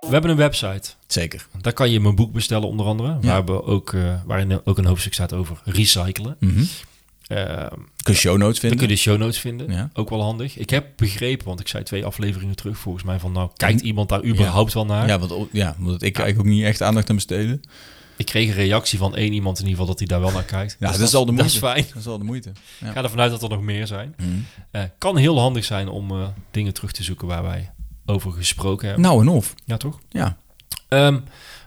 Speaker 1: We hebben een website.
Speaker 2: Zeker.
Speaker 1: Daar kan je mijn boek bestellen onder andere. Waar we ook, eh, waarin ook een hoofdstuk staat over recyclen.
Speaker 2: Mhm.
Speaker 1: Ehm,
Speaker 2: Kun je show notes
Speaker 1: Dan
Speaker 2: vinden.
Speaker 1: kun je de show notes vinden.
Speaker 2: Ja.
Speaker 1: Ook wel handig. Ik heb begrepen, want ik zei twee afleveringen terug volgens mij van nou, kijkt iemand daar überhaupt wel naar?
Speaker 2: Ja, want, o- ja, omdat ik eigenlijk ook niet echt aandacht aan besteden.
Speaker 1: Ik kreeg een reactie van één iemand in ieder geval dat hij daar wel naar kijkt.
Speaker 2: *laughs* Ja, dat is al de
Speaker 1: Dus Dat
Speaker 2: moeite.
Speaker 1: is fijn.
Speaker 2: Dat is al de moeite.
Speaker 1: Ik
Speaker 2: Ja. Mhm.
Speaker 1: ga ervan uit dat er nog meer zijn. Eh, kan heel handig zijn om eh, dingen terug te zoeken waar wij over gesproken hebben.
Speaker 2: Nou en of.
Speaker 1: Ja, toch?
Speaker 2: Ja.
Speaker 1: Ehm,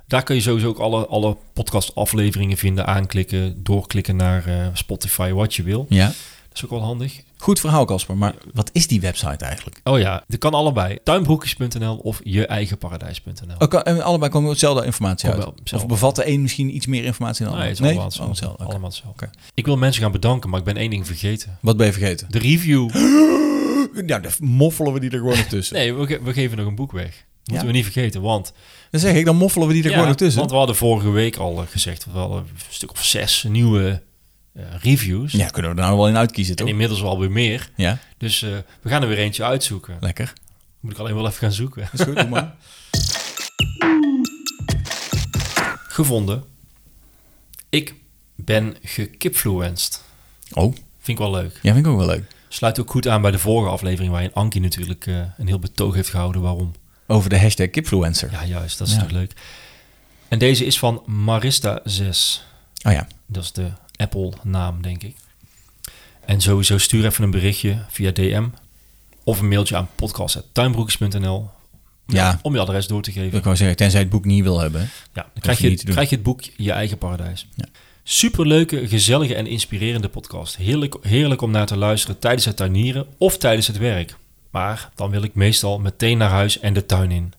Speaker 1: daar kun je sowieso ook alle, alle podcastafleveringen vinden. Aanklikken, doorklikken naar eh, Spotify, wat je wil.
Speaker 2: ja.
Speaker 1: Dat is ook wel handig.
Speaker 2: Goed verhaal, Casper. Maar wat is die website eigenlijk?
Speaker 1: Oh ja, dat kan allebei. Tuinbroekjes.nl of je eigen paradijs.nl.
Speaker 2: Ook, en Oh, eh, allebei komen hetzelfde informatie
Speaker 1: Komt
Speaker 2: uit.
Speaker 1: wel, hetzelfde.
Speaker 2: of bevat de een misschien iets meer informatie dan de
Speaker 1: Nee, het
Speaker 2: ander?
Speaker 1: Nou, is allemaal
Speaker 2: Oh,
Speaker 1: hetzelfde.
Speaker 2: hetzelfde. Oké.
Speaker 1: Allemaal hetzelfde.
Speaker 2: Oké.
Speaker 1: Ik wil mensen gaan bedanken, maar ik ben één ding vergeten.
Speaker 2: Wat ben je
Speaker 1: *laughs*
Speaker 2: vergeten?
Speaker 1: De review.
Speaker 2: Nou, dan moffelen we die er gewoon nog tussen.
Speaker 1: Nee, we, ge- we geven nog een boek weg. Moeten
Speaker 2: Ja.
Speaker 1: we niet vergeten, want...
Speaker 2: Dan zeg ik, dan moffelen we die er
Speaker 1: Ja,
Speaker 2: gewoon nog tussen.
Speaker 1: Want we hadden vorige week al eh, gezegd, we hadden een stuk of zes nieuwe eh, reviews.
Speaker 2: Ja, kunnen we er nou wel in uitkiezen,
Speaker 1: En
Speaker 2: toch?
Speaker 1: inmiddels wel weer meer.
Speaker 2: Ja,
Speaker 1: Dus eh, we gaan er weer eentje uitzoeken.
Speaker 2: lekker.
Speaker 1: Moet ik alleen wel even gaan zoeken. *laughs*
Speaker 2: Dat is goed, doe maar.
Speaker 1: Gevonden. Ik ben gekipfluenced.
Speaker 2: *laughs* Oh,
Speaker 1: Vind ik wel leuk.
Speaker 2: ja, vind ik ook wel leuk.
Speaker 1: Sluit ook goed aan bij de vorige aflevering waarin Ankie natuurlijk eh, een heel betoog heeft gehouden waarom.
Speaker 2: Over de hashtag Kipfluencer.
Speaker 1: Ja, juist. Dat is
Speaker 2: Ja.
Speaker 1: natuurlijk leuk. En deze is van Marista 6.
Speaker 2: Oh ja,
Speaker 1: Dat is de Apple-naam, denk ik. En sowieso stuur even een berichtje via DM of een mailtje aan podcast.tuinbroekjes.nl
Speaker 2: Ja.
Speaker 1: om je adres door te
Speaker 2: wil
Speaker 1: geven.
Speaker 2: ik wel zeggen. Tenzij je het boek niet wil hebben.
Speaker 1: Ja, dan krijg je,
Speaker 2: niet te doen.
Speaker 1: krijg je het boek Je Eigen Paradijs.
Speaker 2: Ja.
Speaker 1: Superleuke, gezellige en inspirerende podcast. Heerlijk, heerlijk om naar te luisteren tijdens het tuinieren of tijdens het werk. Maar dan wil ik meestal meteen naar huis en de tuin in.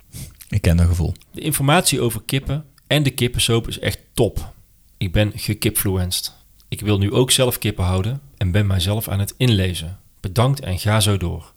Speaker 2: Ik ken dat gevoel.
Speaker 1: De informatie over kippen en de kippensoap is echt top. Ik ben gekipfluenced. Ik wil nu ook zelf kippen houden en ben mijzelf aan het inlezen. Bedankt en ga zo door.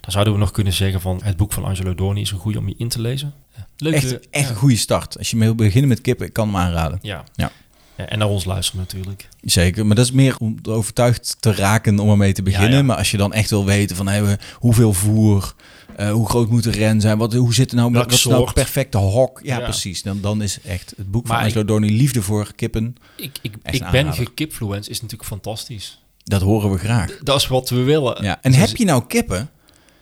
Speaker 1: Dan zouden we nog kunnen zeggen van het boek van Angelo Dorni is een goede om je in te lezen. Leuk.
Speaker 2: Echt, echt een goede start. Als je wil beginnen met kippen, ik kan hem aanraden.
Speaker 1: Ja.
Speaker 2: Ja.
Speaker 1: Ja, En naar ons luisteren natuurlijk.
Speaker 2: Zeker, maar dat is meer om overtuigd te raken om ermee te beginnen.
Speaker 1: Ja, ja.
Speaker 2: Maar als je dan echt wil weten van hey, we- hoeveel voer, eh, hoe groot moet de ren zijn, wat, hoe zit er nou,
Speaker 1: Welk
Speaker 2: wat is nou het
Speaker 1: soort?
Speaker 2: perfecte hok? Ja,
Speaker 1: Ja.
Speaker 2: precies. Dan, dan is echt het boek van
Speaker 1: Maar ik-
Speaker 2: Angelo Dorni Liefde voor kippen.
Speaker 1: Ik, ik,
Speaker 2: Echt een
Speaker 1: ik ben
Speaker 2: aanrader.
Speaker 1: gekipfluenced is natuurlijk fantastisch.
Speaker 2: Dat horen we graag.
Speaker 1: Dat is wat we willen.
Speaker 2: Ja. En
Speaker 1: Dus-
Speaker 2: heb je nou kippen?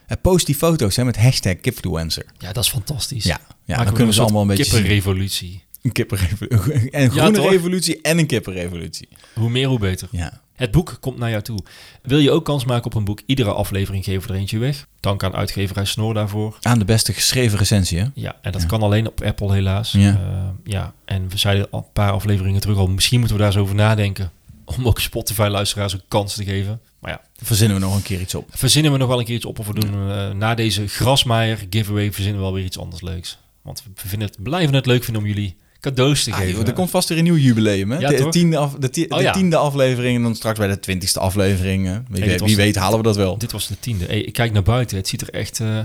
Speaker 2: Eh, Post die foto's hè, met hashtag kipfluencer.
Speaker 1: Ja, dat is fantastisch.
Speaker 2: Ja, ja
Speaker 1: Maken
Speaker 2: dan kunnen we ze
Speaker 1: soort
Speaker 2: allemaal een beetje zien.
Speaker 1: kippenrevolutie.
Speaker 2: Een kippenrevolutie. *laughs* En een groene
Speaker 1: toch?
Speaker 2: revolutie en een kippenrevolutie.
Speaker 1: Hoe meer, hoe beter.
Speaker 2: Ja.
Speaker 1: Het boek komt naar jou toe. Wil je ook kans maken op een boek? Iedere aflevering geven we er eentje weg. Dank aan uitgeverij Snor daarvoor.
Speaker 2: Aan de beste geschreven recensie hè?
Speaker 1: Ja, en dat kan alleen op Apple helaas.
Speaker 2: Ja.
Speaker 1: Eh, ja, en we zeiden al een paar afleveringen terug al... misschien moeten we daar eens over nadenken... om ook Spotify-luisteraars een kans te geven. Maar ja,
Speaker 2: Verzinnen we nog een keer iets op.
Speaker 1: verzinnen we nog wel een keer iets op... of we doen eh, na deze Grasmaier-giveaway... verzinnen we wel weer iets anders leuks. Want we vinden het, blijven het leuk vinden om jullie cadeaus te
Speaker 2: Ah,
Speaker 1: geven.
Speaker 2: joh, er komt vast weer een nieuw jubileum, hè?
Speaker 1: Ja,
Speaker 2: de,
Speaker 1: toch?
Speaker 2: tiende af, de, ti-
Speaker 1: Oh,
Speaker 2: de
Speaker 1: ja.
Speaker 2: tiende aflevering en dan straks bij de twintigste aflevering. hè? Wie,
Speaker 1: dit
Speaker 2: weet,
Speaker 1: was-
Speaker 2: wie weet halen we dat wel.
Speaker 1: Dit was de tiende. Hey, ik kijk naar buiten. Het ziet er echt eh,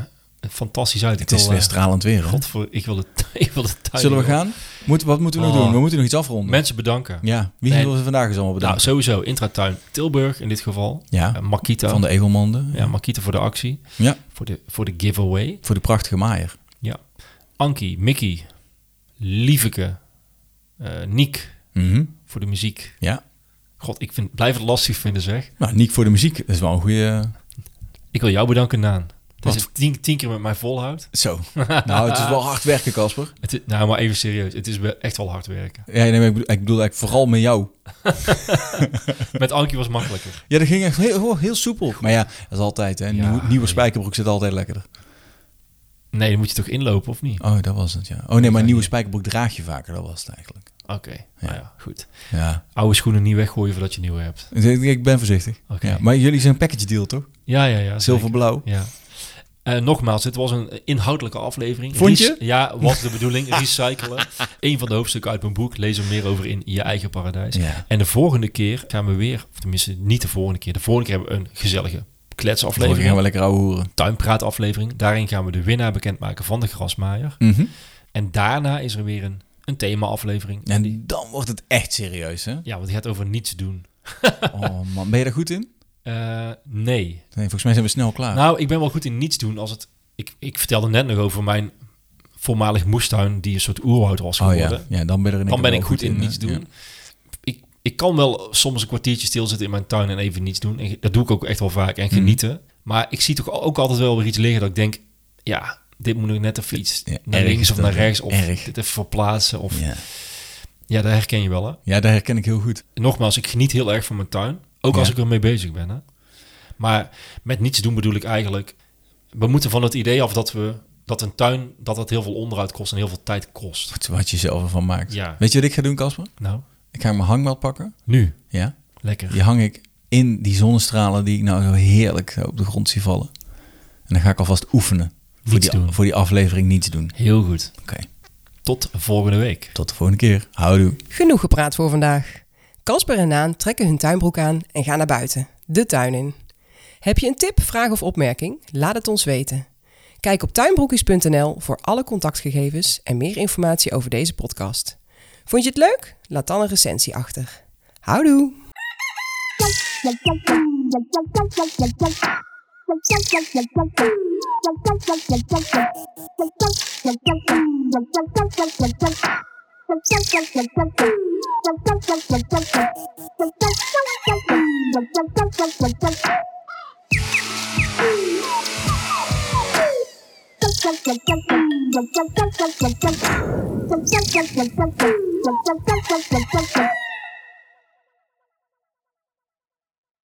Speaker 1: fantastisch uit.
Speaker 2: Het
Speaker 1: Ik
Speaker 2: is
Speaker 1: wil,
Speaker 2: weer
Speaker 1: eh,
Speaker 2: stralend weer, hè?
Speaker 1: Godver, ik wil het, *laughs* ik wil het thuis.
Speaker 2: Zullen we gaan? Moet, wat moeten we nog
Speaker 1: Oh.
Speaker 2: doen? We moeten nog iets afronden.
Speaker 1: Mensen bedanken.
Speaker 2: ja, wie
Speaker 1: Nee.
Speaker 2: willen we vandaag eens
Speaker 1: nou,
Speaker 2: allemaal bedanken?
Speaker 1: sowieso Intratuin Tilburg in dit geval.
Speaker 2: Ja,
Speaker 1: Eh, Makita.
Speaker 2: Van de Egelmonden.
Speaker 1: ja, Makita voor de actie.
Speaker 2: Ja.
Speaker 1: Voor de, voor de giveaway.
Speaker 2: Voor de prachtige maaier.
Speaker 1: Ja. Ankie, Mickey, Lieveke, eh Niek
Speaker 2: Mhm.
Speaker 1: voor de muziek.
Speaker 2: Ja.
Speaker 1: God, ik vind, blijf het lastig vinden zeg.
Speaker 2: Nou, Niek voor de muziek. Dat is wel een goede...
Speaker 1: Ik wil jou bedanken, Naan. Dat je
Speaker 2: Wat?
Speaker 1: het tien, tien keer met mij volhoudt.
Speaker 2: Zo. nou, het is wel hard werken, Casper.
Speaker 1: Het is, nou, maar even serieus. Het is wel echt wel hard werken.
Speaker 2: Ja, nee, maar ik bedoel, ik bedoel eigenlijk vooral met jou.
Speaker 1: *laughs* Met Ankie was het makkelijker.
Speaker 2: Ja, dat ging echt heel, oh, heel soepel. Maar ja, dat is altijd, hè?
Speaker 1: Ja,
Speaker 2: Nieuw- nieuwe
Speaker 1: nee.
Speaker 2: spijkerbroek zit altijd lekkerder.
Speaker 1: Nee, dan moet je toch inlopen of niet?
Speaker 2: Oh, dat was het, ja. Oh nee, maar
Speaker 1: Ja,
Speaker 2: nieuwe
Speaker 1: ja.
Speaker 2: spijkerbroek draag je vaker, dat was het eigenlijk.
Speaker 1: Oké, nou ja, goed.
Speaker 2: Ja.
Speaker 1: Oude schoenen niet weggooien voordat je nieuwe hebt.
Speaker 2: Ik ik ben voorzichtig.
Speaker 1: Oké.
Speaker 2: Ja, maar jullie zijn een package deal, toch?
Speaker 1: Ja, ja, ja. zeker.
Speaker 2: Zilverblauw.
Speaker 1: Ja. Eh, nogmaals, dit was een inhoudelijke aflevering.
Speaker 2: Vond je?
Speaker 1: Rec- ja, was de bedoeling. *laughs* Recyclen. Eén van de hoofdstukken uit mijn boek. Lees er meer over in Je Eigen Paradijs.
Speaker 2: Ja.
Speaker 1: En de volgende keer gaan we weer, of tenminste niet de volgende keer. De volgende keer hebben we een gezellige
Speaker 2: Vorige
Speaker 1: kletsaflevering.
Speaker 2: gaan we lekker ouwe hoeren.
Speaker 1: Tuinpraataflevering. Daarin gaan we de winnaar bekendmaken van de grasmaaier.
Speaker 2: Mhm.
Speaker 1: En daarna is er weer een, een thema-aflevering.
Speaker 2: En dan wordt het echt serieus, hè?
Speaker 1: Ja, want die gaat over niets doen.
Speaker 2: *laughs* Oh man, ben je daar goed in?
Speaker 1: Eh, nee.
Speaker 2: Nee, volgens mij zijn we snel klaar.
Speaker 1: Nou, ik ben wel goed in niets doen als het. Ik, ik vertelde net nog over mijn voormalig moestuin, die een soort oerwoud was
Speaker 2: oh
Speaker 1: geworden.
Speaker 2: ja. ja, dan ben, je er in één
Speaker 1: Dan ben ik
Speaker 2: keer wel
Speaker 1: goed in
Speaker 2: hè?
Speaker 1: niets doen.
Speaker 2: Ja.
Speaker 1: Ik, ik kan wel soms een kwartiertje stilzitten in mijn tuin en even niets doen. En ge- dat doe ik ook echt wel vaak
Speaker 2: Mhm.
Speaker 1: en genieten. Maar ik zie toch al- ook altijd wel weer iets liggen dat ik denk, ja, dit moet ik net even iets
Speaker 2: Ja,
Speaker 1: naar
Speaker 2: erg
Speaker 1: links
Speaker 2: is
Speaker 1: of
Speaker 2: dat,
Speaker 1: naar
Speaker 2: hè?
Speaker 1: rechts of
Speaker 2: Erg.
Speaker 1: dit even verplaatsen. Of,
Speaker 2: Ja.
Speaker 1: Ja, dat herken je wel, hè?
Speaker 2: Ja, dat herken ik heel goed.
Speaker 1: Nogmaals, ik geniet heel erg van mijn tuin. Ook als
Speaker 2: Ja.
Speaker 1: ik ermee bezig ben, hè? Maar met niets doen bedoel ik eigenlijk... We moeten van het idee af dat we... Dat een tuin, dat dat heel veel onderhoud kost en heel veel tijd kost.
Speaker 2: Goed, Wat je zelf ervan maakt.
Speaker 1: Ja.
Speaker 2: Weet je wat ik ga doen, Casper?
Speaker 1: Nou,
Speaker 2: Ik ga mijn hangmat pakken.
Speaker 1: nu.
Speaker 2: Ja.
Speaker 1: Lekker.
Speaker 2: Die hang ik in die zonnestralen die ik nou zo heerlijk op de grond zie vallen. En dan ga ik alvast oefenen. Voor
Speaker 1: Niets
Speaker 2: die,
Speaker 1: doen.
Speaker 2: voor die aflevering niets doen.
Speaker 1: Heel goed.
Speaker 2: Oké,
Speaker 1: Tot volgende week.
Speaker 2: tot de volgende keer. Houdoe.
Speaker 3: Genoeg gepraat voor vandaag. Kasper en Naan trekken hun tuinbroek aan en gaan naar buiten, de tuin in. Heb je een tip, vraag of opmerking? Laat het ons weten. Kijk op tuinbroekjes.nl voor alle contactgegevens en meer informatie over deze podcast. Vond je het leuk? Laat dan een recensie achter. Houdoe!
Speaker 5: Thank you.